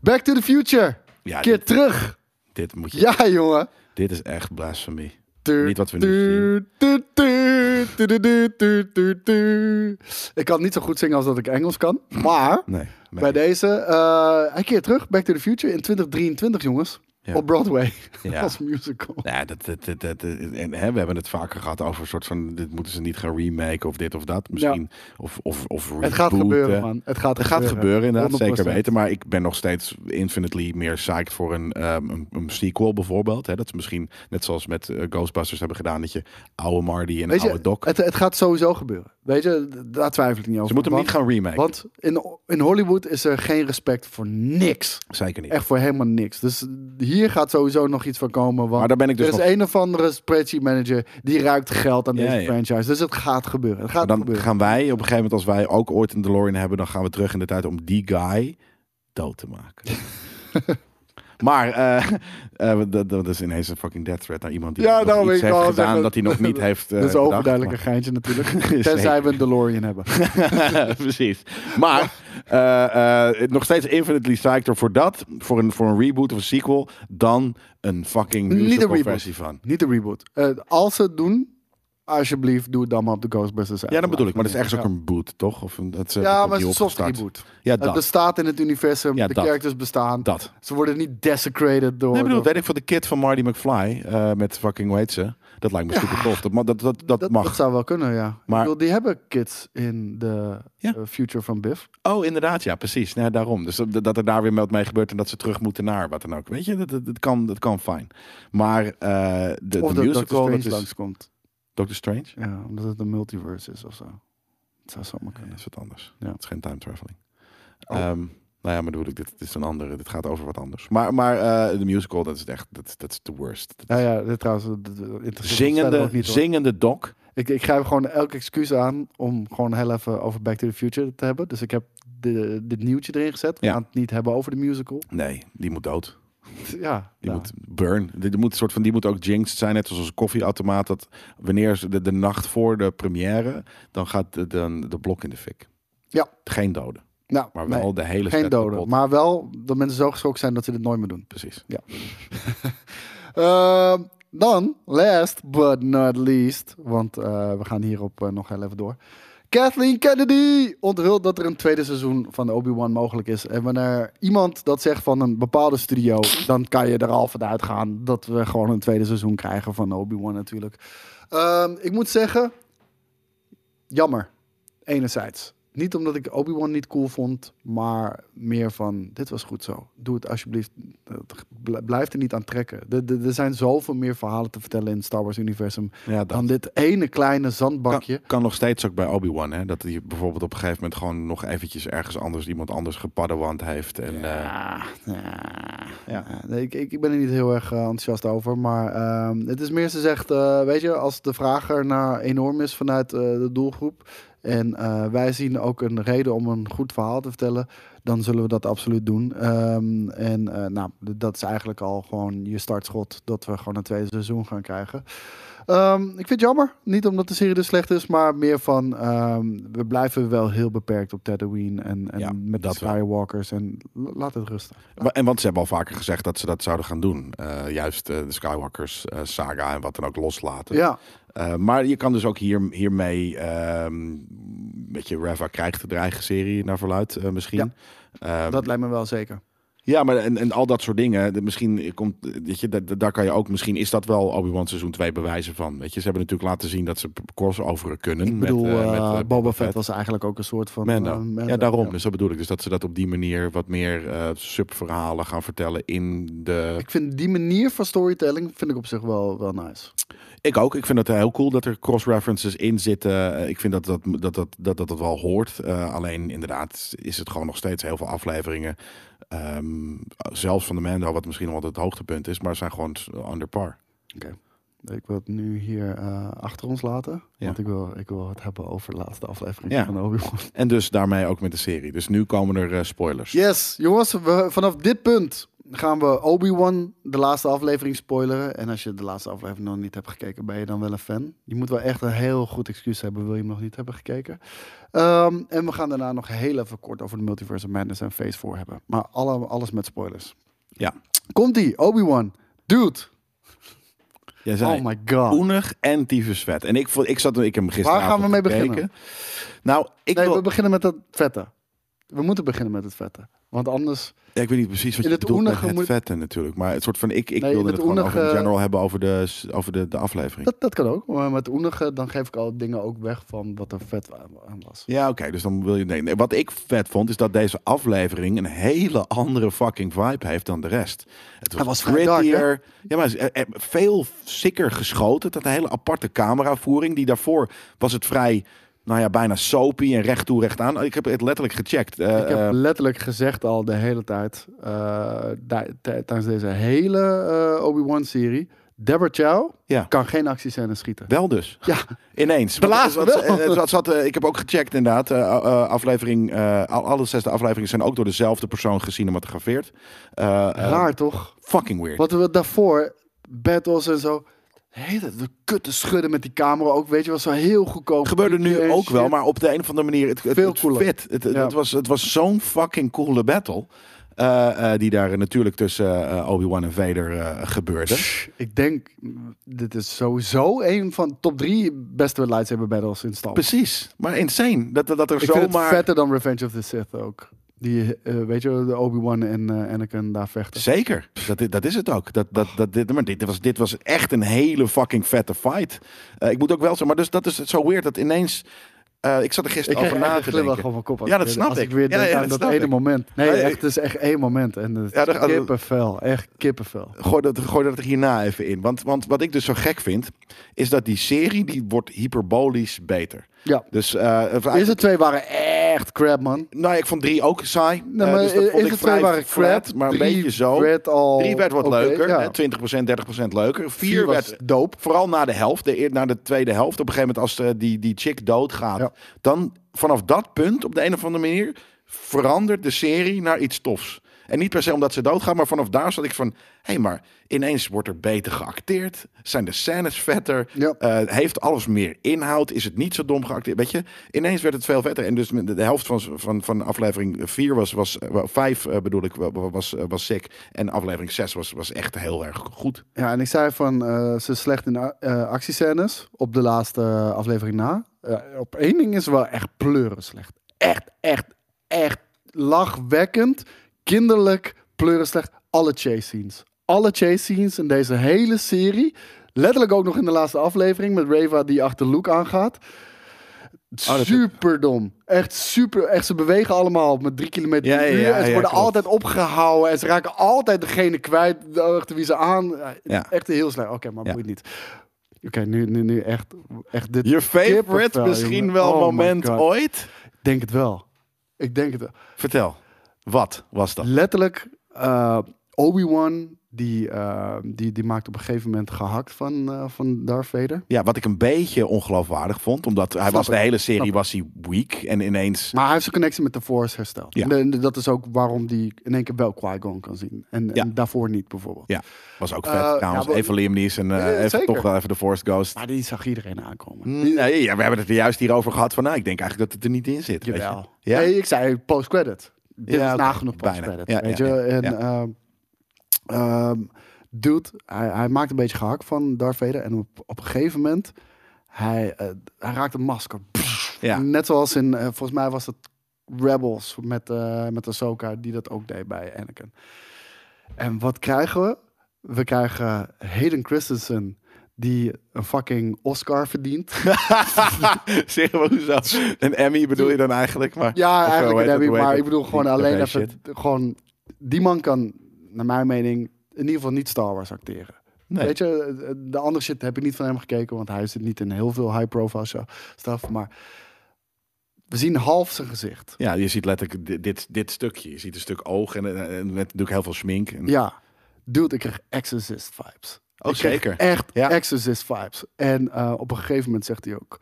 Back to the future.
Ja,
Keer
dit,
terug.
dit moet je,
Ja, jongen.
dit is echt blasphemy.
Tuur,
Niet wat we nu
tuur, tuur, tuur, tuur, tuur, tuur, tuur, tuur. Ik kan niet zo goed zingen als dat ik Engels kan. Maar
Nee, nee.
bij deze. eh een keer terug. Back to the future in 2023, jongens.
Ja.
Op Broadway.
Ja.
(laughs) Als musical.
Nee, dat, dat, dat, dat- en, hè, we hebben het vaker gehad over een soort van, dit moeten ze niet gaan remaken of dit of dat. Misschien, of, of, of
Het gaat
rebooten.
gebeuren, man. Het gaat
Het gaat gebeuren, inderdaad. Zeker
100%.
weten. Maar ik ben nog steeds infinitely meer psyched voor een, ehm, een, een sequel bijvoorbeeld. Hè, dat is misschien net zoals met eh, Ghostbusters hebben gedaan. Dat je oude Marty en
Weet
oude
je,
Doc.
Het, het gaat sowieso gebeuren. Weet je, d- daar twijfel ik niet over.
Ze moeten hem
want,
niet gaan remaken.
Want in, in Hollywood is er geen respect voor niks.
Zeker niet.
Echt voor helemaal niks. Dus hier gaat sowieso nog iets van komen. Want
Maar daar ben ik dus
er is
nog-
een of andere spreadsheet manager die ruikt geld aan
Ja,
deze
ja.
franchise. Dus het gaat gebeuren. Het gaat
Maar dan
gebeuren.
gaan wij op een gegeven moment, als wij ook ooit een DeLorean hebben, dan gaan we terug in de tijd om die guy dood te
(laughs)
maken. maar eh, eh, dat, dat is ineens een fucking death threat naar iemand die
Ja,
nog
daarom
iets
ik
heeft
wou
gedaan
zeggen,
dat hij nog niet heeft. eh,
dat is
bedacht.
overduidelijk
Maar-
een geintje
(laughs)
natuurlijk. Tenzij we een DeLorean hebben.
Precies. Maar eh, eh, nog steeds infinitely psyched er voor dat, voor een, voor een reboot of een sequel, dan een fucking
Niet een
musical
reboot.
versie van.
Niet de reboot. Eh, als ze het doen, alsjeblieft, doe het dan maar op de Ghostbusters.
Ja, dat bedoel ik. Maar dat is
echt
echt
zo.
ook een boot, toch? Of een, dat ze
Ja, maar
opnieuw
het is een soft
opgestart.
reboot.
Ja,
Het
dat.
bestaat in het universum,
Ja,
de
dat.
characters bestaan.
Dat.
Ze worden niet desecrated door...
Nee, ik bedoel,
door-
weet ik van de kid van Marty McFly eh, met fucking, hoe heet ze? Dat lijkt me super tof. Dat, ma- dat, dat, dat,
dat, dat
mag.
zou wel kunnen, ja.
Maar-
ik bedoel, die hebben kids in de
Ja.
eh, future van Biff.
Oh, inderdaad, ja, precies. Nee, daarom. Dus dat, dat er daar weer wat mee gebeurt en dat ze terug moeten naar wat dan ook. Weet je, dat, dat, dat kan, dat kan fijn. Maar eh, de,
of
de
dat Doctor
musical,
Strange
dat is
langskomt.
Doctor Strange.
Ja, omdat het een multiverse is of zo. Het zou zomaar
Ja,
kunnen.
dat is wat anders.
Ja.
Het is geen time traveling.
Oh.
Ehm, nou ja, maar bedoel ik, dit, dit is een andere. Dit gaat over wat anders. Maar, maar eh, de musical, dat is echt, dat, dat is the worst. Dat-
Nou ja, dit trouwens, dat- dat interesseert ons verder
zingende,
ook niet, hoor.
zingende doc.
Ik, ik grijp gewoon elk excuus aan om gewoon heel even over Back to the Future te hebben. Dus ik heb de, dit nieuwtje erin gezet. We
Ja.
gaan het niet hebben over de musical.
Nee, die moet dood.
Ja,
Die
nou.
moet burn. Die, die moet een soort van, die moet ook jinxed zijn, net zoals een koffieautomaat. Dat wanneer ze de, de nacht voor de première, dan gaat de, de, de blok in de fik.
Ja.
Geen doden,
nou,
maar
nee.
wel de hele
Geen
set
doden,
kapot.
maar wel dat mensen zo geschokt zijn dat ze dit nooit meer doen.
Precies.
Ehm, dan, last but not least, want eh, we gaan hierop eh, nog heel even door. Kathleen Kennedy onthult dat er een tweede seizoen van Obi-Wan mogelijk is. En wanneer iemand dat zegt van een bepaalde studio, dan kan je er al vanuit gaan dat we gewoon een tweede seizoen krijgen van Obi-Wan natuurlijk. Ehm, ik moet zeggen, jammer, enerzijds. Niet omdat ik Obi-Wan niet cool vond, maar meer van, dit was goed zo. Doe het alsjeblieft. Dat- bl- Blijf er niet aan trekken. Er- er- Er zijn zoveel meer verhalen te vertellen in het Star Wars-universum
Ja, dat-
dan dit ene kleine zandbakje.
Kan, kan nog steeds ook bij Obi-Wan, hè? Dat hij bijvoorbeeld op een gegeven moment gewoon nog eventjes ergens anders iemand anders gepaddewand heeft. En, eh,
Ah, ja. Nee, Ik, ik, ik ben er niet heel erg eh, enthousiast over. Maar ehm, het is meer, ze zegt, eh, weet je, als de vraag er naar enorm is vanuit eh, de doelgroep. En eh, wij zien ook een reden om een goed verhaal te vertellen. Dan zullen we dat absoluut doen. Ehm, en eh, nou, d- dat is eigenlijk al gewoon je startschot. Dat we gewoon een tweede seizoen gaan krijgen. Ehm, ik vind het jammer. Niet omdat de serie dus slecht is. Maar meer van, ehm, we blijven wel heel beperkt op Tatooine. En, en
Ja,
met de
dat wel.
Skywalkers. En la- laat het rusten.
wa- en want ze hebben al vaker gezegd dat ze dat zouden gaan doen. Eh, juist eh, de Skywalkers eh, saga en wat dan ook loslaten.
Ja,
Eh, maar je kan dus ook hier, hiermee, ehm weet je, Reva krijgt de eigen serie naar verluid eh, misschien. Ja,
dat lijkt me wel zeker.
ja maar en, en al dat soort dingen. dat Misschien komt, weet je, dat- dat- daar kan je ook, misschien is dat wel Obi-Wan seizoen 2 bewijzen van. Weet je, ze hebben natuurlijk laten zien dat ze crossoveren kunnen.
Ik bedoel,
eh,
eh,
met, eh,
Boba Fett, was eigenlijk ook een soort van...
Mando.
eh,
Ja, daarom.
Ja.
Dus dat bedoel ik. Dus dat ze dat op die manier wat meer eh, subverhalen gaan vertellen in de...
Ik vind die manier van storytelling vind ik op zich wel, wel nice.
Ik ook. Ik vind het eh, heel cool dat er cross-references in zitten. Eh, Ik vind dat dat, dat, dat, dat, dat, dat wel hoort. Eh, alleen inderdaad is het gewoon nog steeds heel veel afleveringen. ehm, zelfs van de Mando, wat misschien nog altijd het hoogtepunt is. Maar zijn gewoon under par.
Ik wil het nu hier eh, achter ons laten.
Ja.
Want ik wil, ik wil het hebben over de laatste aflevering
Ja.
van Obi-Wan.
En dus daarmee ook met de serie. Dus nu komen er eh, spoilers.
Yes, jongens, we, vanaf dit punt gaan we Obi-Wan de laatste aflevering spoileren. En als je de laatste aflevering nog niet hebt gekeken, ben je dan wel een fan. Je moet wel echt een heel goed excuus hebben, wil je hem nog niet hebben gekeken. Ehm, en we gaan daarna nog heel even kort over de Multiverse of Madness en Phase 4 hebben. Maar alle, alles met spoilers.
Ja.
Komt-ie, Obi-Wan. Dude,
Jij zei,
oh my god.
Oenig en tyfusvet. En ik, vond- ik zat ik heb hem
Waar
gisteravond
gaan we mee
gekeken.
beginnen?
Nou, ik,
Nee,
wil,
we beginnen met het vette. We moeten beginnen met het vette. Want anders,
Ja, ik weet niet precies wat
In
je
het
bedoelt met
oenige
het
moet-
vette natuurlijk. Maar het soort van, ik, ik
Nee,
wilde
in
het
het
gewoon over
oenige-
in general hebben over de, s- over de, de aflevering.
dat, dat kan ook. Maar met oenige, dan geef ik al dingen ook weg van wat er vet aan was.
Ja, oké, dus dan wil je... Nee, nee, wat ik vet vond, is dat deze aflevering een hele andere fucking vibe heeft dan de rest. Het
Hij was vrij dark, hè?
grittier. ja, maar het is, eh, eh, veel sicker geschoten. Dat een hele aparte cameravoering. Die daarvoor was het vrij, nou ja, bijna soapy en recht toe, recht aan. Ik heb het letterlijk gecheckt. Eh,
Ik heb
eh,
letterlijk gezegd al de hele tijd, eh, tij- tij- tijdens deze hele eh, Obi-Wan-serie, Deborah Chow
Ja.
kan geen actiescènes schieten.
Wel dus.
Ja,
Ineens.
De laatste
Want,
wel.
eh, eh, zat- zat, eh, ik heb ook gecheckt inderdaad. eh, eh, aflevering, eh, al- alle zesde afleveringen zijn ook door dezelfde persoon gecinematografeerd. Eh, eh,
raar toch?
Fucking weird.
Want we daarvoor, battles en zo, heet het, de kutte schudden met die camera ook, weet je wel, zo heel goedkoop.
Gebeurde nu
En
ook
shit.
wel, maar op de een of andere manier. Het, het,
Veel
het
cooler.
fit. Het, het-
Ja.
het was, het was zo'n fucking coole battle. eh, eh, die daar natuurlijk tussen eh, Obi-Wan en Vader eh, gebeurde.
Ik denk, mm, dit is sowieso een van de top drie beste lightsaber battles in Star Wars.
Precies. Maar insane. Dat, dat er
Ik vind het
zomaar...
vetter dan Revenge of the Sith ook. Die, eh, weet je wel, de Obi-Wan en eh, Anakin daar vechten.
Zeker, Dus dat, i- dat is het ook. Dat,
Oh.
dat, dat, dit, maar dit was, dit was echt een hele fucking vette fight. Eh, ik moet ook wel zeggen, maar dus, dat is het zo weird dat ineens... eh, ik zat er
Ik
gisteren
krijg
over
echt
na
een
te
glimlach
denken.
van mijn kop. als
Ja, dat
weer-
snap
als
ik.
ik weer
Ja,
denk
ja,
aan
dat
dat,
snap
ene
ik.
moment. Nee,
Ja, ja,
echt,
ik-
het is echt één moment. En het
Ja, dat-
kippenvel, echt kippenvel.
Gooi dat, gooi dat er hierna even in. Want, want wat ik dus zo gek vind, is dat die serie die wordt hyperbolisch beter.
Ja,
Dus eh,
de eerste twee waren echt crap, man.
Nou, ik vond drie ook saai.
Nee,
Eh,
maar
dus dat vond
eerste
ik
twee
vrij
waren
flat,
crap.
maar een
Drie
beetje zo.
werd al
Drie werd wat
oké,
leuker.
ja.
hè, 20%, 30% leuker. Vier,
Vier was
werd doop. Vooral na de helft, de, eer- na de tweede helft. Op een gegeven moment als eh, die, die chick doodgaat.
Ja.
Dan vanaf dat punt, op de een of andere manier, verandert de serie naar iets tofs. En niet per se omdat ze doodgaat, maar vanaf daar zat ik van... hé, maar ineens wordt er beter geacteerd. Zijn de scènes vetter?
Ja.
Eh, heeft alles meer inhoud? Is het niet zo dom geacteerd? Weet je, ineens werd het veel vetter. En dus met de de helft van, van, van aflevering 4 was, was eh, wel, vijf eh, bedoel ik, wa- wa- was, eh, was sick. En aflevering 6 was, was echt heel erg goed.
Ja, en ik zei van eh, ze is slecht in a- eh, actiescènes op de laatste aflevering na. Eh, op één ding is ze wel echt pleuren slecht. Echt, echt, echt lachwekkend, kinderlijk, pleuren slecht. Alle chase scenes. Alle chase scenes in deze hele serie. Letterlijk ook nog in de laatste aflevering met Reva die achter Luke aangaat.
Oh, dat-
super dom. Echt super. Echt, ze bewegen allemaal met drie kilometer
Ja,
per
ja,
uur.
ja,
en ze
ja,
worden
klopt.
altijd opgehouden. En ze raken altijd degene kwijt achter wie ze aan...
Ja.
Echt heel slecht. Oké, maar
Ja.
boeit niet. Oké, nu, nu, nu echt, echt dit...
Je favorite
kippenvel,
misschien
jongen.
wel
Oh my
moment
God.
ooit?
Ik denk het wel. Ik denk het wel.
Vertel, wat was dat?
Letterlijk, eh, Obi-Wan, die, eh, die, die maakt op een gegeven moment gehakt van, eh, van Darth Vader.
Ja, wat ik een beetje ongeloofwaardig vond, omdat hij
Snap
was de
ik,
hele serie
snap
was hij weak en ineens
Maar hij heeft zijn connectie met de Force hersteld.
Ja.
En, de- de- dat is ook waarom hij in één keer wel Qui-Gon kan zien. En,
Ja.
en daarvoor niet, bijvoorbeeld.
ja, was ook
Eh,
vet. trouwens,
ja, maar-
even Liam Neeson, eh,
Ja, ja,
even
zeker.
toch wel even de Force Ghost.
Maar die zag iedereen aankomen.
Nee, ja, we hebben het er juist hierover gehad van, nou, ik denk eigenlijk dat het er niet in zit. weet je.
Jawel.
Ja?
Nee, ik zei post-credit. Dit
Ja,
is
oké,
nagenoeg
bijna.
post-credit.
Ja,
weet
ja,
je?
ja,
en,
ja.
ehm, ehm, dude, hij, hij maakt een beetje gehakt van Darth Vader. En op, op een gegeven moment, hij, eh, hij raakt een masker. Pff,
Ja.
Net zoals in, eh, volgens mij was het Rebels met, eh met Ahsoka, die dat ook deed bij Anakin. En wat krijgen we? We krijgen Hayden Christensen, die een fucking Oscar verdient.
(laughs) zeg maar hoezo. Een Emmy bedoel je dan eigenlijk? Maar,
Ja,
of, eh, hoe
eigenlijk
heet
een
het,
Emmy,
hoe heet
maar
het?
ik bedoel gewoon
Die-
alleen
oké,
even...
shit.
Gewoon, die man kan, naar mijn mening, in ieder geval niet Star Wars acteren.
Nee.
Weet je, eh, de andere shit heb ik niet van hem gekeken, want hij zit niet in heel veel high-profile show- stuff, maar we zien half zijn gezicht.
Ja, je ziet letterlijk di- dit, dit stukje. Je ziet een stuk oog en, en, en met natuurlijk heel veel smink. En,
Ja, dude, ik kreeg Exorcist vibes.
Oh,
Ik kreeg
zeker.
Echt
Ja.
Exorcist vibes. En eh, op een gegeven moment zegt hij ook: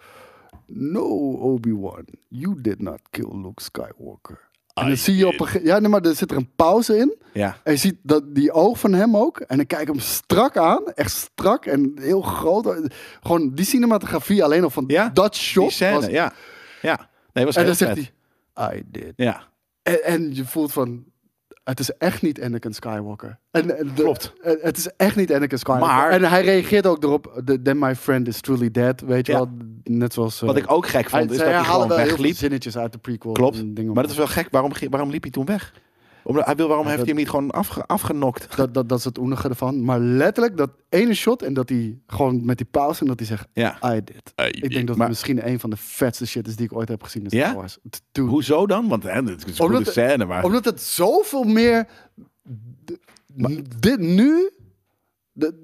No, Obi-Wan, you did not kill Luke Skywalker. En dan zie je op een ge- Ja, nee, maar er zit er een pauze in.
ja.
En je ziet dat, die oog van hem ook. En ik kijk hem strak aan. Echt strak en heel groot. Gewoon die cinematografie alleen al van
Ja,
dat
Die
shot.
scène,
was-
ja. Ja. Nee, was
En dan
heel
zegt
vet.
hij, I did.
Ja.
En, en je voelt van, het is echt niet Anakin Skywalker. En, en de-
Klopt.
en het is echt niet Anakin Skywalker.
Maar-
en hij reageert ook erop, the- then my friend is truly dead. Weet je
Ja.
wel, net zoals... eh,
Wat ik ook gek
hij-
vond, is
ze
dat hij
herhalen
gewoon
wel heel veel
wegliep.
zinnetjes uit de prequel.
Klopt.
en dingen
Maar dat is wel gek. Waarom, ging- waarom liep hij toen weg? Omdat, hij wil, waarom heeft
dat-
hij hem niet gewoon afge, afgenokt? (laughs)
Dat, dat, dat is het oenige ervan. Maar letterlijk dat ene shot en dat hij gewoon met die pauze en dat hij zegt,
Ja. Eh,
I did. ik denk dat
maar-
het misschien een van de vetste shit is die ik ooit heb gezien in
Ja?
Star Wars. Dude.
Hoezo dan? Want hè, het is een goede
Omdat-
scène, maar...
Omdat het zoveel meer... d- dit nu...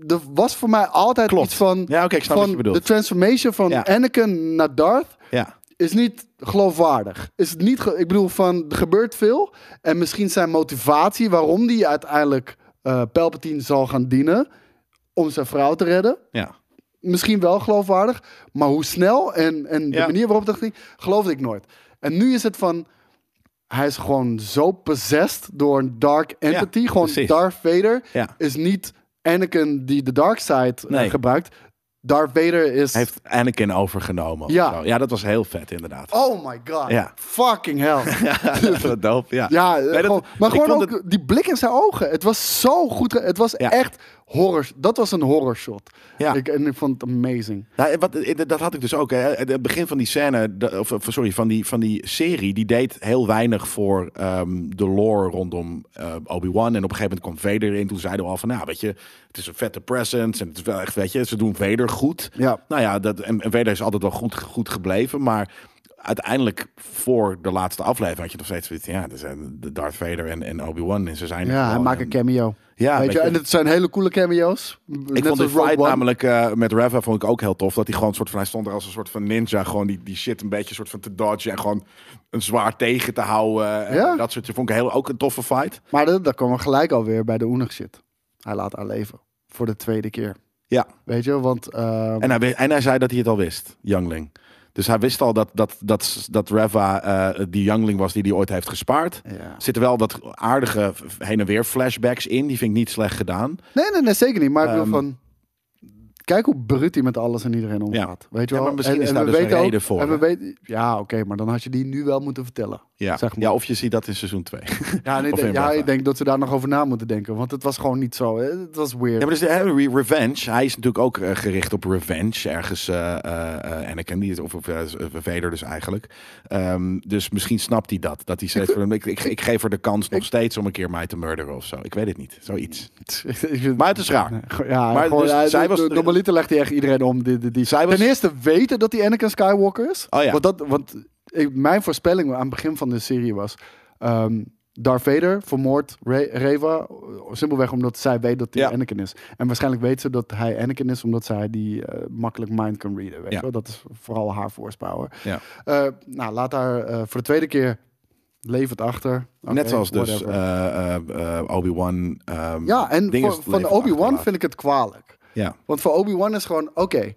Er was voor mij altijd
Klopt.
iets van...
Ja, oké, ik snap wat
van
je bedoelt.
De transformation van
Ja.
Anakin naar Darth
ja.
is niet geloofwaardig. Is niet ge- ik bedoel, van, er gebeurt veel. En misschien zijn motivatie waarom die uiteindelijk eh Palpatine zal gaan dienen... om zijn vrouw te redden
Ja.
misschien wel geloofwaardig, maar hoe snel en, en de
Ja.
manier waarop dat ging, geloofde ik nooit. En nu is het van, hij is gewoon zo possessed door een dark entity. gewoon
precies.
Darth Vader
Ja.
is niet Anakin die de dark side eh,
Nee.
gebruikt. Darth Vader is...
Hij heeft Anakin overgenomen. of
Ja.
zo. ja, dat was heel vet inderdaad.
Oh my god,
Ja.
fucking hell.
(laughs) Ja, (laughs) dat was dope, ja.
Ja, eh,
Nee, dat-
gewoon- maar
ik
gewoon
vond
ook die blik in zijn ogen. Het was zo goed. ge- Het was
Ja.
echt horror. Dat was een horror shot.
Ja.
Ik, en ik vond het amazing.
Nou, wat, eh, dat had ik dus ook. Hè. Het begin van die scène, de- of eh, sorry, van die, van die serie, die deed heel weinig voor ehm, de lore rondom eh, Obi-Wan. En op een gegeven moment kwam Vader in. Toen zeiden we al van, nou, weet je, het is een vette presence. En het is wel echt, weet je, ze doen Vader goed.
Ja.
Nou ja, dat, en, en Vader is altijd wel goed, goed gebleven, maar... Uiteindelijk voor de laatste aflevering had je nog steeds zoiets. Ja, er zijn de Darth Vader en, en Obi-Wan en ze zijn. er
Ja, hij
gewoon.
maakt
En-
een cameo.
Ja,
weet
weet
je,
je.
en het zijn hele coole cameo's.
Ik vond de fight namelijk eh, met Reva vond ik ook heel tof. Dat hij gewoon een soort van, hij stond er als een soort van ninja. Gewoon die, die shit een beetje soort van te dodgen. En gewoon een zwaar tegen te houden. En
Ja.
Dat soort vond ik heel, ook een toffe fight.
Maar dat, dat kwam er gelijk alweer bij de Oenig shit. Hij laat haar leven. Voor de tweede keer.
Ja.
Weet je, want... ehm,
En hij, wi- en hij zei dat hij het al wist, Youngling. Dus hij wist al dat, dat, dat, dat Reva eh, die Youngling was die hij ooit heeft gespaard.
ja.
Er zitten wel wat aardige f- heen en weer flashbacks in. Die vind ik niet slecht gedaan.
Nee, nee, nee, zeker niet. Maar ik
Ehm,
bedoel van... Kijk hoe brut hij met alles en iedereen omgaat. Weet je
Ja,
wel?
maar misschien
en,
is
en
daar
we
dus een
weten ook-
reden voor,
En we
hè?
weten, ja, oké, maar dan had je die nu wel moeten vertellen.
Ja.
Zeg maar.
ja, of je ziet dat in seizoen 2.
Ja, en
(laughs)
ik
Of
denk,
in
ja,
Brava.
ik denk dat ze daar nog over na moeten denken. Want het was gewoon niet zo. hè. Het was weird.
Ja, maar dus de hè, re- Revenge, hij is natuurlijk ook eh, gericht op Revenge. Ergens eh eh eh, Anakin, die, is- of, of eh, Vader dus eigenlijk. Ehm, dus misschien snapt hij dat. Dat hij steeds van, ik, ik, ik geef haar de kans nog steeds om een keer mij te murderen of zo. Ik weet het niet, zoiets.
(laughs) Ik vind-
Maar het is raar.
Ja,
Maar
gewoon,
dus
ja,
zij
de-
was-
de- normaliter legt hij echt iedereen om. Die, die, die.
Zij was-
Ten eerste weten dat hij Anakin Skywalker is.
Oh ja.
Want, dat, want ik- mijn voorspelling aan het begin van de serie was... ehm Darth Vader vermoordt Re- Reva eh, simpelweg omdat zij weet dat hij
Ja.
Anakin is. En waarschijnlijk weet ze dat hij Anakin is omdat zij die eh, makkelijk mind kan readen. Weet
Ja.
je wel? Dat is vooral haar force power.
Ja.
Eh, nou, laat haar eh, voor de tweede keer levend achter. Oké,
Net zoals dus
whatever.
eh, eh, eh, Obi-Wan. ehm,
ja, en
dingen
voor- van
leven
Obi-Wan
achterlaten.
vind ik het kwalijk.
Ja,
Want voor Obi-Wan is gewoon, oké.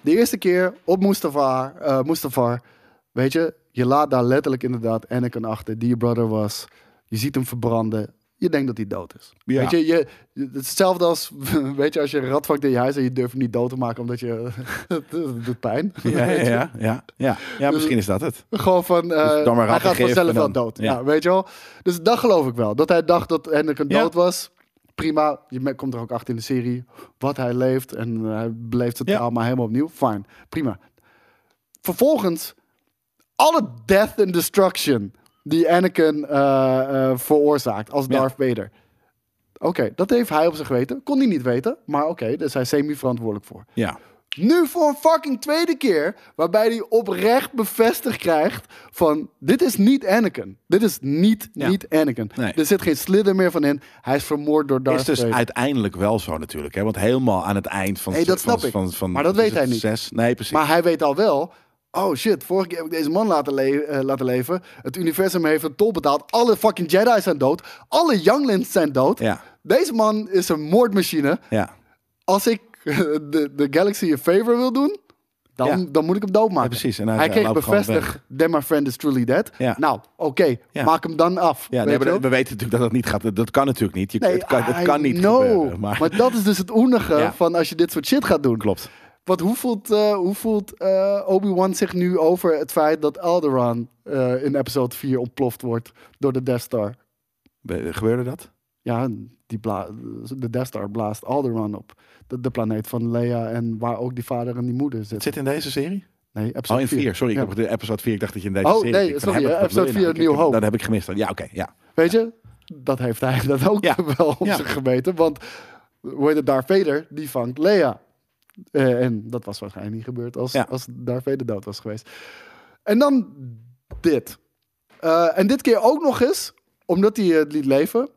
de eerste keer op Mustafar, eh, Mustafar. Weet je, je laat daar letterlijk inderdaad Anakin achter. Die je brother was. Je ziet hem verbranden. Je denkt dat hij dood is.
Ja.
Weet je, je, je- het is hetzelfde als, (laughs) weet je, als je een rat vangt in je huis en je durft hem niet dood te maken omdat je, (laughs) het doet pijn.
ja,
Weet
ja,
je?
ja, ja, ja. Ja, misschien is dat het.
Gewoon van, eh,
Dus dan maar
hij
ratten
gaat
geven
vanzelf
en
wel
dan-
dood. Ja.
ja.
weet je wel. Dus dat geloof ik wel. Dat hij dacht dat Anakin
Ja.
dood was, prima. Je me- komt er ook achter in de serie wat hij leeft. En eh, hij beleeft het
Ja.
allemaal helemaal opnieuw. Fine, prima. Vervolgens, alle death and destruction die Anakin eh, eh, veroorzaakt als
Ja.
Darth Vader. Oké, dat heeft hij op zich geweten. Kon hij niet weten, maar oké, daar is hij semi-verantwoordelijk voor.
Ja.
Nu voor een fucking tweede keer. Waarbij hij oprecht bevestigd krijgt van... Dit is niet Anakin. Dit is niet,
Ja.
niet Anakin.
Nee.
Er zit geen slidder meer van in. Hij is vermoord door Darth
Is dus
Vader.
uiteindelijk wel zo natuurlijk. Hè? Want helemaal aan het eind van...
Nee, dat
van-
snap ik.
Van, van,
Maar dat
wat is
weet
het,
hij niet.
Zes? Nee, precies.
Maar hij weet al wel... Oh shit, vorige keer heb ik deze man laten, le- eh, laten leven. Het universum heeft een tol betaald. Alle fucking Jedi's zijn dood. Alle younglings zijn dood.
Ja.
Deze man is een moordmachine.
Ja.
Als ik eh, de, de galaxy een favor wil doen... Dan,
Ja.
dan moet ik hem doodmaken.
Ja, precies. En hij-
hij
hij
kreeg
loopt gewoon
bevestigd, then my friend is truly dead.
Ja.
Nou, oké,
Ja.
maak hem dan af.
Ja,
weet
nee,
je
maar dat-
wel?
we weten natuurlijk dat dat niet gaat. Dat- Dat kan natuurlijk niet. Je,
Nee,
het, kan, het
I
kan niet
know.
gebeuren. Maar,
dat is dus het oenige
Ja.
van als je dit soort shit gaat doen.
klopt.
Want hoe voelt, eh, hoe voelt eh, Obi-Wan zich nu over het feit dat Alderaan eh, in episode 4 ontploft wordt door de Death Star?
Be- Gebeurde dat?
Ja, die bla- de Death Star blaast Alderaan op. De, de planeet van Leia en waar ook die vader en die moeder
Het
zitten.
zit in deze serie?
Nee, episode
Oh, in 4. Sorry, ik
Ja.
heb de episode 4. Ik dacht dat je in deze
Oh,
serie...
nee,
ik van,
sorry,
hè, wat-
hè,
wat wil je
episode vier,
nou?
het nieuwe
Ik heb-
hoop.
Dat heb ik gemist. dan. Ja, oké. ja.
Weet je, dat heeft hij dat ook
Ja.
(laughs) wel op
Ja.
zich geweten. Want hoe heet het, Darth Vader, die vangt Leia. Eh, en dat was waarschijnlijk niet gebeurd als,
Ja.
als Darth Vader dood was geweest. En dan dit. Eh, en dit keer ook nog eens, omdat hij het liet leven,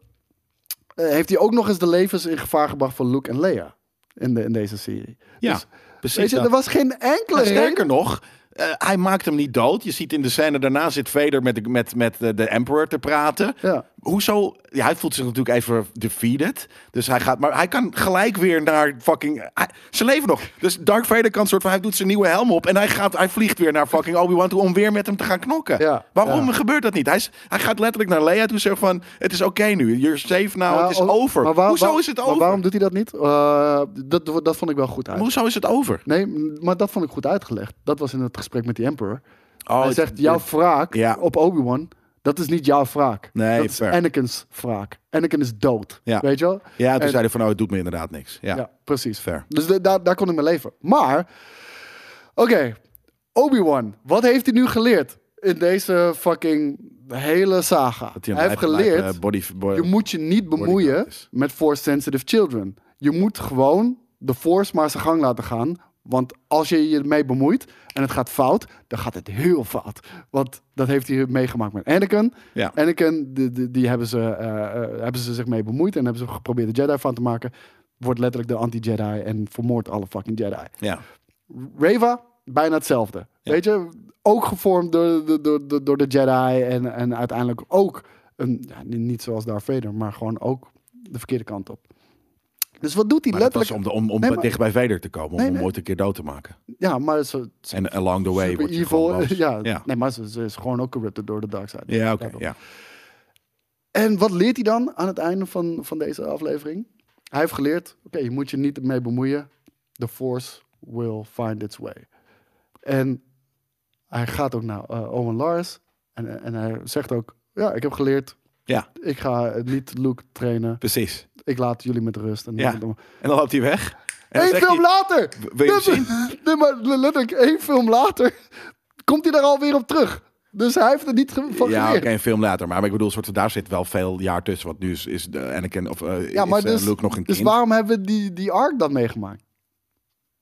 eh, heeft hij ook nog eens de levens in gevaar gebracht van Luke en Leia. In, de, in deze serie.
Ja,
Dus,
precies
weet je,
dat.
er was geen enkele
Nou,
reden.
sterker nog, eh, hij maakt hem niet dood. Je ziet in de scène daarna zit Vader met, de- met, met eh, de Emperor te praten.
Ja.
Hoezo? Ja, hij voelt zich natuurlijk even defeated. Dus hij gaat, maar hij kan gelijk weer naar fucking. Hij, ze leven nog. Dus Dark Vader kan soort van. Hij doet zijn nieuwe helm op en hij, gaat, hij vliegt weer naar fucking Obi-Wan toe om weer met hem te gaan knokken.
Ja,
Waarom
ja.
gebeurt dat niet? Hij, is- hij gaat letterlijk naar Leia toe en zegt van: Het is oké nu. You're safe now.
Nou,
het is
o-
over.
maar waar-
Hoezo
waar-
is het
maar
over?
waarom doet hij dat niet? Eh, dat, dat vond ik wel goed uit.
Hoezo is het over?
Nee, m- maar dat vond ik goed uitgelegd. Dat was in het gesprek met die Emperor.
Oh,
Hij
het-
zegt, jouw wraak
Ja.
op Obi-Wan, dat is niet jouw wraak.
Nee,
dat is
fair.
Anakin's wraak. Anakin is dood,
Ja.
weet je wel?
Ja, toen
En-
zei hij van: Oh, het doet me inderdaad niks. Ja,
Ja, precies.
fair.
Dus da- daar, daar kon ik mee leven. Maar, oké, Obi-Wan, wat heeft hij nu geleerd in deze fucking hele saga?
Dat
Hij
een
heeft
lijp- lijp,
geleerd...
eh, body,
Je moet je niet bemoeien
Bodyguard is.
met force sensitive children. Je moet gewoon de force maar zijn gang laten gaan. Want als je je ermee bemoeit en het gaat fout, dan gaat het heel fout. Want dat heeft hij meegemaakt met Anakin.
Ja.
Anakin, die, die, die hebben, ze, eh, eh, hebben ze zich mee bemoeid en hebben ze geprobeerd de Jedi van te maken. Wordt letterlijk de anti-Jedi en vermoordt alle fucking Jedi.
Ja.
Reva, bijna hetzelfde. Weet je, ook gevormd door, door- door, door, door de Jedi en, en uiteindelijk ook, een, ja, ni- niet zoals Darth Vader, maar gewoon ook de verkeerde kant op. Dus wat doet hij
Maar dat was
letterlijk?
om, de- om, om
Nee, maar-
dicht bij Vader te komen. Om
Nee,
hem
nee.
ooit een keer dood te maken.
Ja, maar ze ze-
En along the way
super
wordt je gewoon
evil.
boos.
(laughs) Ja,
ja.
Nee, maar ze, ze is gewoon ook corrupted door de dark side.
Ja, oké.
Daardoor.
ja.
En wat leert hij dan aan het einde van, van deze aflevering? Hij heeft geleerd, oké, je moet je niet mee bemoeien. The force will find its way. En hij gaat ook naar eh, Owen Lars. En, en hij zegt ook, ja, ik heb geleerd.
Ja.
Ik ga eh, niet Luke trainen.
Precies.
Ik laat jullie met rust. En
Ja. En dan loopt hij weg. En dan
Eén
zegt
film
hij,
later!
Wil je hem zien?
(laughs) Nee, maar letterlijk één film later komt hij daar alweer op terug. Dus hij heeft er niet ge- van
Ja, oké,
geleerd.
een film later. Maar, ik bedoel, soort van, daar zit wel veel jaar tussen. Want nu is, is de Anakin of eh
Ja, maar
is, eh,
dus,
Luke nog een
dus
kind.
waarom hebben we die, die arc dan meegemaakt?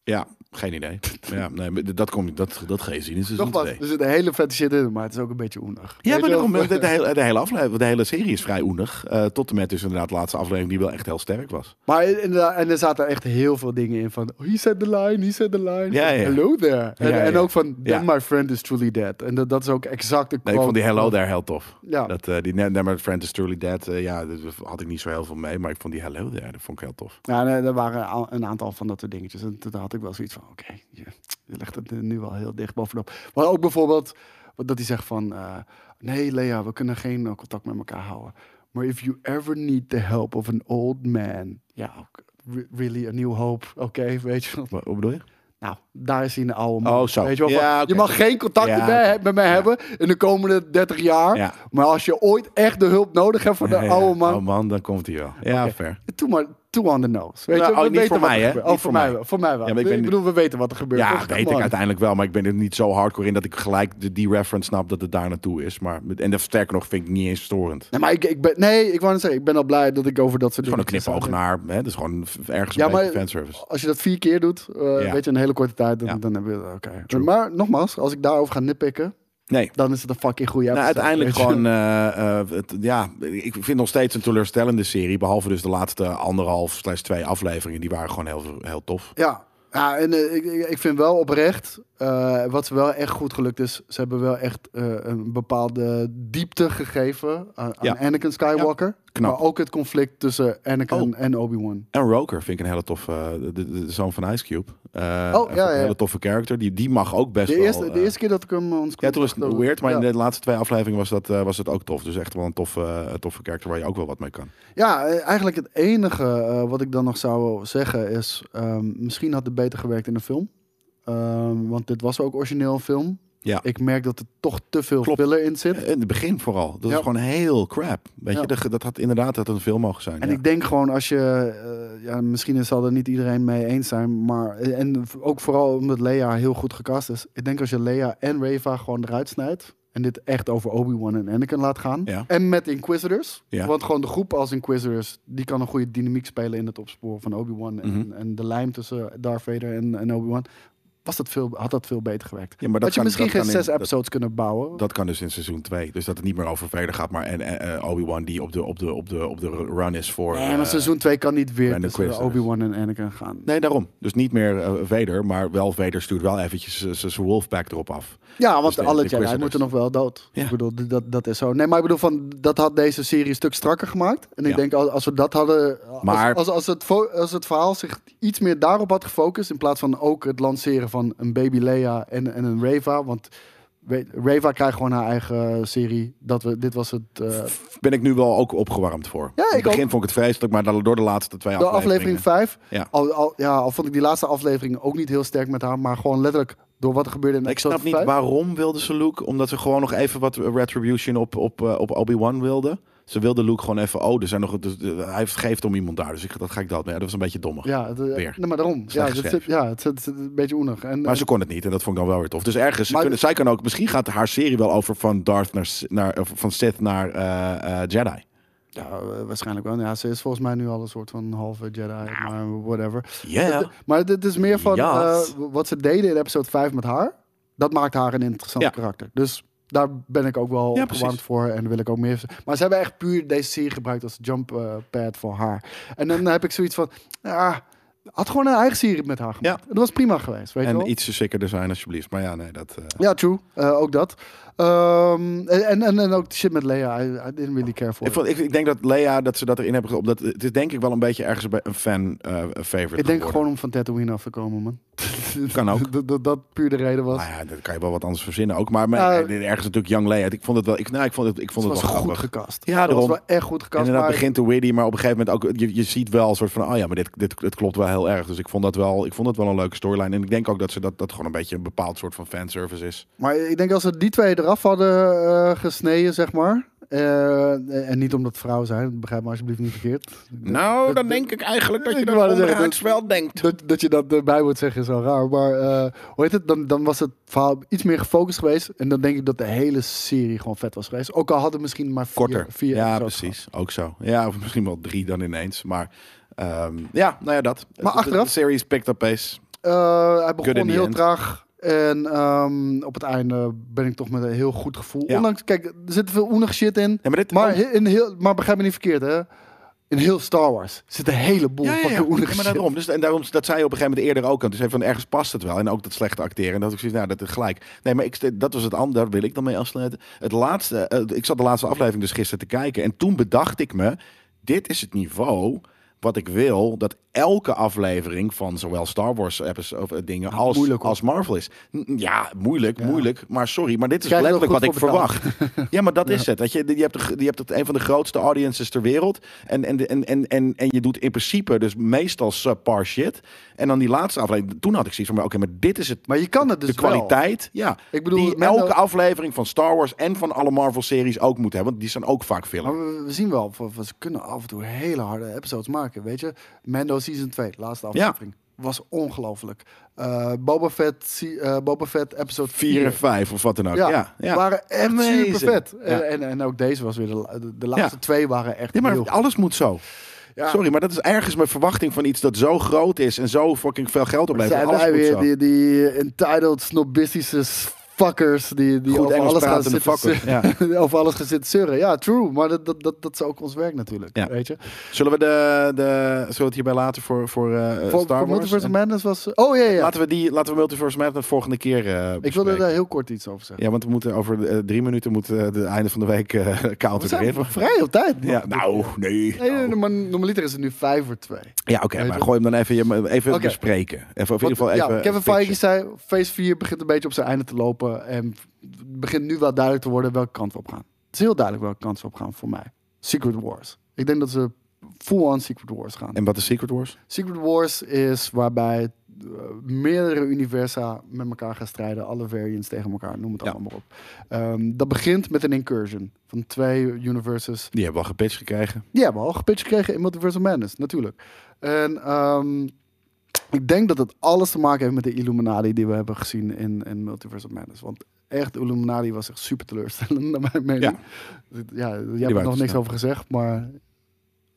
Ja, geen idee. ja, nee, maar dat, kom, dat, dat ga je zien in seizoen
Nogmaals,
2.
er zit een hele vette shit in, maar het is ook een beetje oenig.
Ja,
Weet
maar
je
daarom, eh,
wel?
de, de, hele, de, hele afle- de hele serie is vrij oenig. Eh, tot en met dus inderdaad de laatste aflevering die wel echt heel sterk was.
Maar inderdaad, en er zaten echt heel veel dingen in van... Oh, he said the line, he said the line.
Ja, ja.
Hello there. En,
Ja, ja.
en ook van,
Ja.
then my friend is truly dead. En dat, dat is ook exact de
Nee, ik vond die Hello
van-
There heel tof.
Ja.
Dat, eh, die Never Friend is Truly Dead, eh, ja, daar had ik niet zo heel veel mee. Maar ik vond die Hello There, dat vond ik heel tof.
Ja, en, eh, er waren a- een aantal van dat soort dingetjes. En toen had ik wel zoiets van, oké, je, je legt het nu wel heel dicht bovenop. Maar ook bijvoorbeeld wat- dat hij zegt van... eh, nee, Lea, we kunnen geen eh, contact met elkaar houden. Maar if you ever need the help of an old man... Ja, ook re- really a new hope. Oké, weet je wel.
Wat, wat bedoel je?
Nou, daar is hij een oude man.
Oh, zo.
Weet je, wel,
Ja,
van,
oké.
je mag geen contact
Ja,
bij,
oké.
met mij hebben in de komende 30 jaar.
Ja.
Maar als je ooit echt de hulp nodig hebt van de
Ja, ja,
oude man...
Oude man, dan komt hij wel. Ja, fair.
Toe maar, toe on the nose. Weet
Nou,
je, we
oh, niet
weten
voor
wat
mij,
er
hè?
gebeurt.
Niet
Oh, voor mij wel. Voor mij wel.
Ja, maar
ik,
ik ben-
bedoel, we weten wat er gebeurt.
Ja,
Toch?
weet
Come
ik
on.
uiteindelijk wel. Maar ik ben er niet zo hardcore in dat ik gelijk de, die reference snap dat het daar naartoe is. Maar, met- en dat sterker nog vind ik niet eens storend.
Nee, maar ik, ik ben, nee, ik wou net zeggen, ik ben al blij dat ik over dat soort
Het is gewoon een
dingetjes
knipoog
aan-
naar, hè? Dat is gewoon f- ergens
Ja,
een beetje
maar-
fanservice.
Als je dat vier keer doet, eh,
Ja.
weet je, een hele korte tijd, dan,
Ja.
dan heb je dat. Oké. Maar nogmaals, als ik daarover ga nippikken,
Nee.
dan is het een fucking goede
Nou,
episode,
uiteindelijk
weet je.
gewoon, eh, eh, het- ja, ik vind nog steeds een teleurstellende serie. Behalve dus de laatste anderhalf slash twee afleveringen. Die waren gewoon heel, heel tof.
Ja, ja en eh, ik, ik ik vind wel oprecht, eh, wat ze wel echt goed gelukt is, ze hebben wel echt eh, een bepaalde diepte gegeven aan, aan
Ja.
Anakin Skywalker.
knap. Oh.
Maar ook het conflict tussen Anakin en Obi-Wan.
En Roker vind ik een hele toffe, eh, de, de- de zoon van Ice Cube. Eh,
Oh, ja,
een
ja.
hele toffe character. Die, die mag ook best
De eerste,
wel...
de
eh,
eerste keer dat ik hem eh, ons
ja, toen was het
zag, eh,
weird, maar
ja.
in de laatste twee afleveringen was dat, eh, was dat ook tof. Dus echt wel een toffe, eh, toffe character waar je ook wel wat mee kan.
Ja, eh, eigenlijk het enige eh, wat ik dan nog zou zeggen is... ehm, misschien had het beter gewerkt in een film. Ehm, want dit was ook origineel een film.
Ja.
Ik merk dat er toch te veel
Klopt. Eh,
filler in zit.
In het begin vooral. Dat
Ja.
is gewoon heel crap. Weet
Ja.
je, dat, dat had inderdaad dat had een film mogen zijn.
En
ja.
ik denk gewoon als je, eh, ja, misschien zal er niet iedereen mee eens zijn, maar eh, en ook vooral omdat Leia heel goed gecast is. Ik denk als je Leia en Reva gewoon eruit snijdt en dit echt over Obi-Wan en Anakin laat gaan,
Ja.
en met Inquisitors,
Ja.
want gewoon de groep als Inquisitors die kan een goede dynamiek spelen in het opsporen van Obi-Wan en,
Mhm.
en de lijm tussen Darth Vader en, en Obi-Wan. Was dat veel, had dat veel beter gewerkt?
Ja, maar dat
had je
kan-
misschien
dat
geen
kan in-
zes
dat-
episodes kunnen bouwen?
Dat kan dus in seizoen 2. Dus dat het niet meer over verder gaat. Maar en, eh, eh, Obi-Wan die op de, op, de, op, de, op de run is voor...
nee, maar
eh,
seizoen 2 kan niet weer
en de
tussen
Inquisitors.
Obi-Wan en Anakin gaan.
Nee, daarom. Dus niet meer eh, Vader, maar wel Vader stuurt wel eventjes eh, zijn zijn wolfpack erop af.
Ja, want
Dus de-
alle
de
Jedi
Inquisitors.
moeten nog wel dood.
Ja.
Ik bedoel, d- dat, dat is zo. Nee, maar ik bedoel, van, dat had deze serie een stuk strakker gemaakt. En ik
Ja.
denk, als, als we dat hadden... als-
Maar-
Als, als, het vo- als het verhaal zich iets meer daarop had gefocust... in plaats van ook het lanceren van een baby Leia en, en een Reva. Want we- Reva krijgt gewoon haar eigen serie. Dat we, dit was het... eh,
Ben ik nu wel ook opgewarmd voor.
Ja,
In het
ik ook.
begin vond ik het vreselijk, maar dan door de laatste twee
de
afleveringen...
aflevering 5.
Ja.
Al, al, ja, al vond ik die laatste aflevering ook niet heel sterk met haar. Maar gewoon letterlijk door wat er gebeurde in
Ik snap
episode
niet
vijf.
waarom wilde ze Luke. Omdat ze gewoon nog even wat retribution op, op, eh, op Obi-Wan wilde. Ze wilde Luke gewoon even... Oh, er zijn nog, dus, eh, hij geeft om iemand daar. Dus ik, dat ga ik dat mee. Dat was een beetje dommig.
Ja, het, eh,
Weer.
nee, maar daarom. Ja,
Slecht
het zit,
geschreven.
ja, het zit, het zit een beetje oenig. En,
Maar ze kon het niet en dat vond ik dan wel weer tof. Dus ergens, ze
Maar-
kunnen- zij kan ook, misschien gaat haar serie wel over van Darth naar, S- naar of van Sith naar eh, eh, Jedi.
Ja, eh, waarschijnlijk wel. Ja, ze is volgens mij nu al een soort van halve Jedi, maar whatever.
Nou. Ja.
Het- Maar dit is meer van
Ja.
eh, wat ze deden in episode 5 met haar. Dat maakt haar een interessant
Ja.
karakter. Dus daar ben ik ook wel
Ja,
opgewarmd
precies.
voor en wil ik ook meer. Maar ze hebben echt puur deze serie gebruikt als jump eh, pad voor haar. En dan heb ik zoiets van, ja, had gewoon een eigen serie met haar gemaakt.
Ja.
Dat was prima geweest, weet je wel.
En iets zekerder zijn alsjeblieft. Maar ja, nee, dat... eh,
Ja, true. Eh, ook dat. Ehm, en, en, en ook die shit met Leia. I, I didn't really care for
ik,
it.
vond, ik, ik denk dat Lea, dat ze dat erin hebben gezet. Omdat, het is denk ik wel een beetje ergens bij een fan eh favorite
Ik denk
geworden.
gewoon om van Tatooine af te komen, man.
Kan (laughs)
(laughs)
ook.
dat, dat, dat puur de reden was.
Nou ja, dat kan je wel wat anders verzinnen ook. Maar, maar
Ja.
eh, ergens natuurlijk Young Leia. Ik vond het wel, ik, nou, ik vond het, ik vond
het
het,
Nou, was
wel
goed
grappig.
gekast.
Ja,
dat was
daarom.
wel echt goed gekast.
Inderdaad,
maar-
begint de witty, maar op een gegeven moment ook, je, je ziet wel een soort van, oh ja, maar dit, dit het klopt wel heel erg. Dus ik vond dat wel, ik vond dat wel een leuke storyline. En ik denk ook dat ze dat, dat gewoon een beetje een bepaald soort van fanservice is.
Maar ik denk als we die twee eraf hadden eh, gesneden, zeg maar. eh, en niet omdat het vrouwen zijn, begrijp me alsjeblieft niet
(laughs)
verkeerd.
Nou, dan denk ik eigenlijk dat je
Ik
dat
wou net zeggen,
onderhuids
dat-
wel denkt.
Dat, dat je dat erbij moet zeggen is wel raar. Maar eh, hoe heet het? Dan, dan was het verhaal iets meer gefocust geweest. En dan denk ik dat de hele serie gewoon vet was geweest. Ook al hadden misschien maar vier,
Korter.
vier
ja,
episodes
precies. Ook zo. Ja, of misschien wel drie dan ineens. Maar ehm, ja, nou ja, dat. De- de-
achteraf?
De series picked up pace.
gehad. Eh, hij
Good in
begon
the
heel
end.
traag. En ehm, op het einde ben ik toch met een heel goed gevoel.
Ja.
Ondanks, kijk, er zit veel oenig shit in.
Ja, maar dit...
Maar, he- in heel, maar begrijp me niet verkeerd, hè. In heel Star Wars zit een heleboel
ja, ja, ja.
fucking oenig
Ja, maar
shit.
daarom. Dus, en daarom, dat zei je op een gegeven moment eerder ook. al. Dus hij van ergens past het wel. En ook dat slechte acteren. En dat ik zoiets, nou, dat is gelijk. Nee, maar ik, dat was het andere. Daar wil ik dan mee afsluiten. Het laatste, eh, ik zat de laatste aflevering dus gisteren te kijken. En toen bedacht ik me, dit is het niveau wat ik wil dat elke aflevering van zowel Star Wars episodes of eh, dingen als,
moeilijk, hoor.
als Marvel is. N- Ja, moeilijk, moeilijk. Maar sorry, maar dit is
Krijg je er
letterlijk wat ik
ook goed voor
verwacht. (laughs) Ja, maar dat is het. Dat je, je, hebt, de- je hebt het, een van de grootste audiences ter wereld. En, en, en, en, en, en je doet in principe dus meestal subpar shit. En dan die laatste aflevering. Toen had ik zoiets van, maar oké, maar dit is het.
Maar je kan het dus
de kwaliteit. Ja,
Ik bedoel,
die
Mendo-
elke aflevering van Star Wars en van alle Marvel-series ook moet hebben. Want die zijn ook vaak
wel.
filler.
Maar we, we zien wel, of- of ze kunnen af en toe hele harde episodes maken, weet je. Mando Season 2, laatste
Ja.
aflevering, was ongelooflijk. Eh, Boba, Fett, se- eh, Boba Fett episode
4
4.
en 5 of wat dan ook.
Ja,
Ja, ja.
waren echt
Amazing.
super vet.
Ja.
En, en ook deze was weer de, la- de, de laatste twee waren echt
Ja, maar
heel
alles moet zo.
Ja.
Sorry, maar dat is ergens mijn verwachting van iets dat zo groot is en zo fucking veel geld oplevert.
Zijn
Alles
wij
moet
weer
zo.
die, die entitled snobistische fuckers die, die
Goed
over,
Engels
alles gaan
pratende
zitten
fuckers,
zeuren, (laughs) over alles gaan zitten zeuren. Ja, true, maar dat, dat, dat, dat is ook ons werk natuurlijk,
Ja. Eh,
weet je.
Zullen we, de, de, zullen we het hierbij laten voor, voor, eh,
Voor,
Star
voor
Wars?
Multiverse
En-
of Madness was... Oh ja, ja, ja.
Laten we, die, laten we Multiverse Madness de volgende keer eh
ik wilde daar
bespreken.
heel kort iets over zeggen.
Ja, want we moeten over eh, drie minuten moet eh, de einde van de week eh (laughs)
we
counter
zijn
erin.
vrij op tijd. man.
Ja, nou, nee.
Nee, nee, nee, maar normaliter is het nu vijf voor twee.
Ja, oké, maar gooi hem dan even, je- even
Oké.
bespreken. Even, of in
Want,
ieder geval even
ja, Kevin
fixen.
Feige zei, phase 4 begint een beetje op zijn einde te lopen. En het begint nu wel duidelijk te worden welke kant we op gaan. Het is heel duidelijk welke kant we op gaan voor mij. Secret Wars. Ik denk dat ze full-on Secret Wars gaan.
En wat is Secret Wars?
Secret Wars is waarbij eh, meerdere universa met elkaar gaan strijden. Alle variants tegen elkaar, noem het
Ja.
allemaal maar op. Ehm, dat begint met een incursion van twee universes.
Die hebben we al gepitcht gekregen.
Die hebben we al gepitcht gekregen in Multiverse of Madness, natuurlijk. En ehm, ik denk dat het alles te maken heeft met de Illuminati die we hebben gezien in, in Multiverse of Madness. Want echt, de Illuminati was echt super teleurstellend, naar mijn mening. Dus Ja, jij hebt er
waren
nog
te
niks
snel.
over gezegd, maar...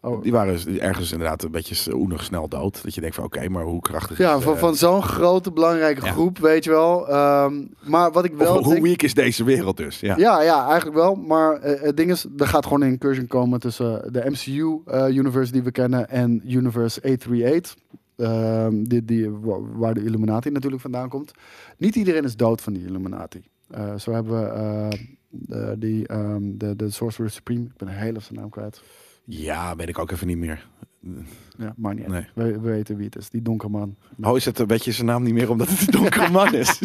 Oh.
Die waren ergens inderdaad een beetje oenig snel dood. Dat je denkt van, oké, maar hoe krachtig
Ja,
is...
van,
eh,
van zo'n grote belangrijke
Ja.
groep, weet je wel. Ehm, maar wat ik
of
wel
hoe
denk-
weak is deze wereld dus? Ja.
Ja, ja, eigenlijk wel. Maar eh, het ding is, er gaat gewoon een incursion komen tussen eh, de MCU-universe die we kennen en Universe 838. Ehm, die, die, wa- waar de Illuminati natuurlijk vandaan komt. Niet iedereen is dood van die Illuminati. Eh, zo hebben we eh, de, die, ehm, de, de Sorcerer Supreme. Ik ben heel even zijn naam kwijt.
ja, weet ik ook even niet meer.
Ja, maar niet uit.
Nee.
We, we weten wie het is. Die donkere man.
Oh, is het een beetje zijn naam niet meer omdat het een donkere man
(laughs)
is?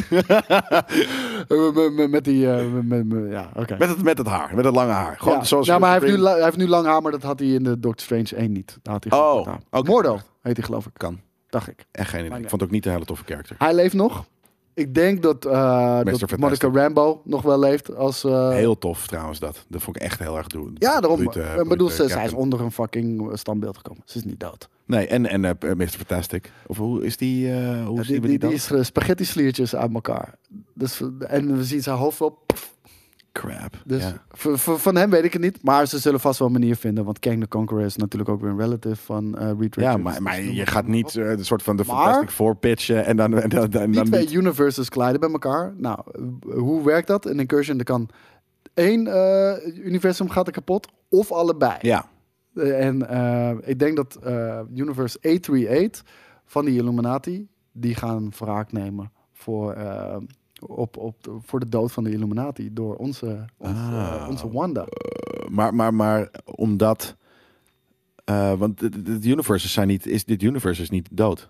Eh, met- met- Met die... eh, met- met- met- ja, oké.
Met het, met het haar, met het lange haar. Gewoon
ja.
zoals
ja, maar hij heeft, nu,
Supreme-
la- hij heeft nu lang haar, maar dat had hij in de Doctor Strange 1 niet. Daar had hij
Oh,
gewoon kort haar.
oké.
Mordo heet hij geloof ik,
kan.
dacht ik.
En geen idee.
Maar
Ik vond het ook niet een hele toffe karakter.
Hij leeft nog. Ik denk dat, eh dat
Fantastic.
Monica Rambo nog wel leeft als... eh,
Heel tof trouwens dat. Dat vond ik echt heel erg doen. eh,
ja, daarom.
Brute,
Ik
brute
bedoel, ze,
karakter.
zij is onder een fucking eh, standbeeld gekomen. Ze is niet dood.
Nee, en, en eh, Mr. Fantastic. Of hoe is die? eh, hoe
Ja,
is
die,
die,
die,
die,
die is eh, spaghetti sliertjes uit elkaar. Dus, eh, en we zien zijn hoofd wel.
Crap.
Dus
Ja.
v- v- van hem weet ik het niet. Maar ze zullen vast wel een manier vinden. Want Kang the Conqueror is natuurlijk ook weer een relative van eh Reed Richards.
Ja, maar, maar
Dus noem
je
het
gaat
allemaal
niet eh, een soort van de
Maar-
Fantastic Four pitchen en dan... En dan, en dan,
Die twee
niet-
universes colliden bij elkaar. Nou, eh, hoe werkt dat? Een incursion, er kan één eh, universum gaat er kapot of allebei.
Ja,
Eh, en eh, ik denk dat eh, universe 838 van die Illuminati, die gaan wraak nemen voor, eh, op, op, de- voor de dood van de Illuminati door onze, onze,
Ah.
eh, onze Wanda.
maar, maar, maar omdat... eh, want het universe zijn niet, is, dit universe is niet dood.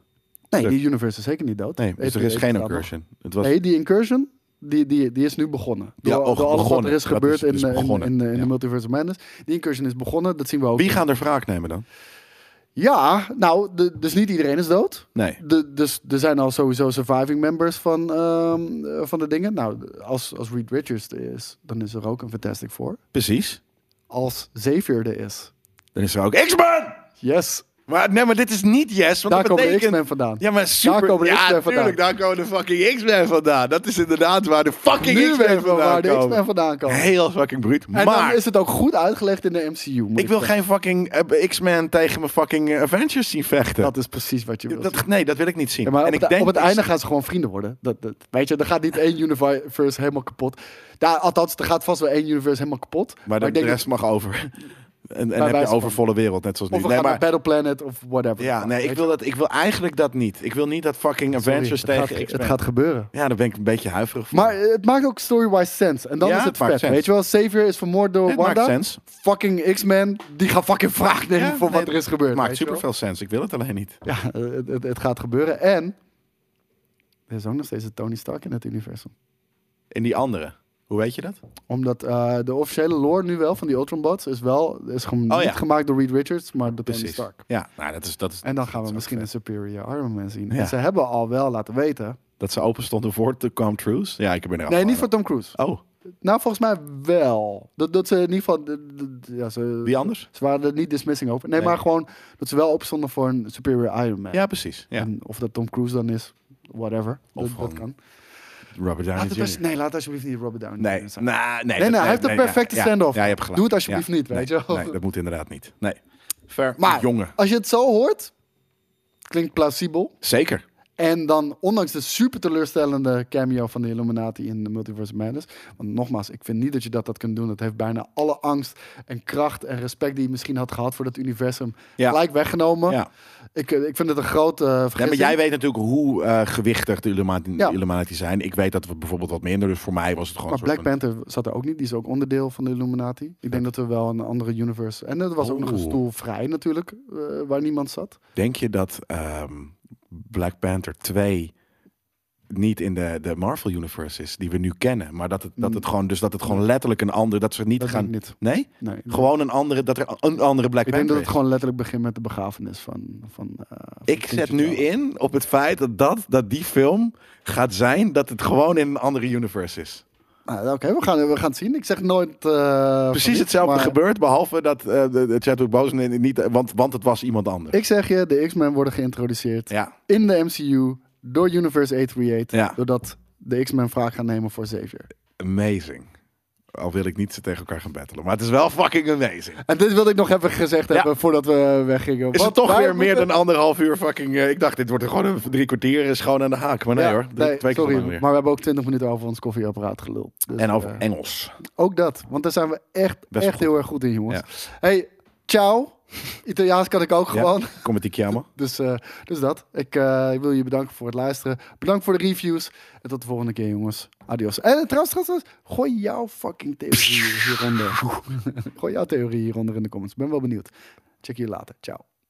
Nee,
Stuk.
die universe is zeker niet dood.
Nee, dus er
838
is geen
staat nog.
incursion. Het was,
Nee, die incursion, die, die, die is nu begonnen. Door,
Ja, oh,
door alles wat
begonnen.
er is
Dat is-
gebeurd
is
in, eh, in,
begonnen,
in, eh, in
ja.
de Multiverse of Madness. Die incursion is begonnen, dat zien we ook.
wie gaan er wraak nemen dan?
Ja, nou, de- dus niet iedereen is dood.
Nee.
De, dus er zijn al sowieso surviving members van, ehm, eh, van de dingen. Nou, als, als Reed Richards er is, dan is er ook een Fantastic Four.
Precies.
Als Xavier er is.
Dan is er ook X-Men!
Yes,
Maar, nee, maar dit is niet yes, want
daar
dat
komen de
betekent...
X-Men vandaan.
Ja, maar super...
Daar komen de
ja,
X-Men vandaan.
tuurlijk, daar komen de fucking X-Men vandaan. Dat is inderdaad waar de fucking
nu
X-Men
weten we
vandaan
waar de
komen.
X-Men vandaan komen.
Heel fucking bruut.
en
maar
dan is het ook goed uitgelegd in de MCU. moet
ik wil
zeggen.
geen fucking eh, X-Men tegen mijn fucking eh, Avengers zien vechten.
Dat is precies wat je wil
Dat- nee, dat wil ik niet zien.
Ja, maar
en
op,
ik
het-
denk dus-
op het
dat-
einde gaan ze gewoon vrienden worden. Dat, dat, weet je, er gaat niet één universe helemaal kapot. Daar, althans, er gaat vast wel één universe helemaal kapot.
Maar de,
ik denk
de rest mag over. (laughs) En, en heb
wijze
je
van.
overvolle wereld, net zoals
dat-
nu.
of we
Nee,
gaan
maar,
naar Battle Planet of whatever.
ja, nee, ik wil, dat, ik wil eigenlijk dat niet. Ik wil niet dat fucking
Sorry,
Avengers
het
tegen
gaat,
X-Men.
Het gaat gebeuren.
Ja, daar ben ik een beetje huiverig voor.
Maar eh, het maakt ook story-wise sense. En dan
Ja,
is het
het maakt
vet.
sense.
Weet je wel, Xavier is vermoord door
Dit maakt
Wanda.
sens.
Fucking X-Men, die gaan fucking vraag nemen
Ja,
voor
nee,
wat er is gebeurd.
het maakt
weet je wel.
super veel sens. Ik wil het alleen niet.
Ja, het, het, het gaat gebeuren. En er is ook nog steeds een Tony Stark in het universum.
En die andere. Hoe weet je dat?
Omdat eh, de officiële lore nu wel van die Ultronbots is wel is gem-
Oh ja.
niet gemaakt door Reed Richards, maar door Tony
Precies.
Stark.
Ja, nou, dat, is, dat, is,
En dan gaan
dat
we
is
misschien
ook
een Superior Armament zien.
Ja.
En ze hebben al wel laten weten.
vet. Dat ze open stonden voor To Come Truth. Ja, ik ben er
Nee,
al-
niet voor Tom Cruise.
Oh,
Nou, volgens mij wel. Dat, dat ze in ieder geval... de- de- de- Ja, ze,
die anders?
ze waren er niet dismissing over. Nee,
Nee.
maar gewoon dat ze wel opstonden voor een Superior Iron Man.
Ja, precies. Ja.
En of dat Tom Cruise dan is, whatever.
Of
dat,
gewoon
dat kan.
Robert Downey
Laat het
Jr.
best- nee, laat alsjeblieft niet Robert Downey
Nee,
Jr. zijn.
nah, nee, dat-
nee, hij heeft een perfecte
ja,
stand-off.
Ja, je hebt gelijk.
Doe het alsjeblieft
Ja,
niet, weet
nee,
je wel.
Nee, dat moet inderdaad niet. Nee. Ver,
Maar
jongen.
als je het zo hoort, klinkt plausibel.
Zeker.
En dan, ondanks de super teleurstellende cameo van de Illuminati in de Multiverse of Madness. Want nogmaals, ik vind niet dat je dat, dat kunt doen. Dat heeft bijna alle angst en kracht en respect die je misschien had gehad voor dat universum
Ja.
gelijk weggenomen.
Ja.
Ik, eh, ik vind het een grote eh,
Ja,
vergissing.
maar jij weet natuurlijk hoe eh, gewichtig de Illuminati,
Ja.
Illuminati zijn. Ik weet dat we bijvoorbeeld wat minder. Dus voor mij was het gewoon.
maar
een soort
Black Panther zat er ook niet. Die is ook onderdeel van de Illuminati. Ik denk dat er wel een andere universe... En er was ook nog een
Oeh.
stoel vrij natuurlijk, eh, waar niemand zat.
van- Denk je dat ehm, Black Panther 2 niet in de, de Marvel Universe is die we nu kennen, maar dat het, dat het gewoon dus dat het gewoon letterlijk een ander dat ze niet
Mm. Dat
gaan.
denk ik niet.
Nee,
Nee, ik
gewoon een andere dat er een andere Black Panther
Ik denk dat het
is.
gewoon letterlijk begint met de begrafenis van... van eh, van
Ik zet
T'Challa.
nu in op het feit dat, dat, dat die film gaat zijn dat het gewoon in een andere universe is.
Ah, Oké, we, gaan, we gaan het zien. Ik zeg nooit... eh, van
Precies
niet,
hetzelfde
maar
gebeurt, behalve dat eh, de, de Chadwick Boseman niet, want, want het was iemand anders.
Ik zeg je, de X-Men worden geïntroduceerd
Ja,
in de MCU door Universe 838.
Ja.
Doordat de X-Men vraag gaan nemen voor Xavier.
amazing. Al wil ik niet ze tegen elkaar gaan battelen, maar het is wel fucking amazing.
En dit wilde ik nog even gezegd
Ja.
hebben voordat we weggingen.
Is
Want
het toch
wij
weer meer
moeten-
dan anderhalf uur fucking... eh, ik dacht, dit wordt gewoon een drie kwartier, is gewoon aan de haak. Maar nee
Ja,
hoor, drie-
nee,
twee keer
sorry,
zo lang weer.
maar we hebben ook 20 minuten over ons koffieapparaat gelul. Dus,
en over
eh,
Engels.
Ook dat, want daar zijn we echt,
Best
echt
goed.
heel erg goed in, jongens. Hey, ciao. Italiaans kan ik ook gewoon.
Ja, kom met die chiamo.
Dus, eh, dus dat. Ik, eh, ik wil je bedanken voor het luisteren. Bedankt voor de reviews. En tot de volgende keer, jongens. Adios. En eh, trouwens, trouwens, trouwens, gooi jouw fucking theorie hieronder. gooi jouw theorie hieronder in de comments. Ben wel benieuwd. Check je later. Ciao.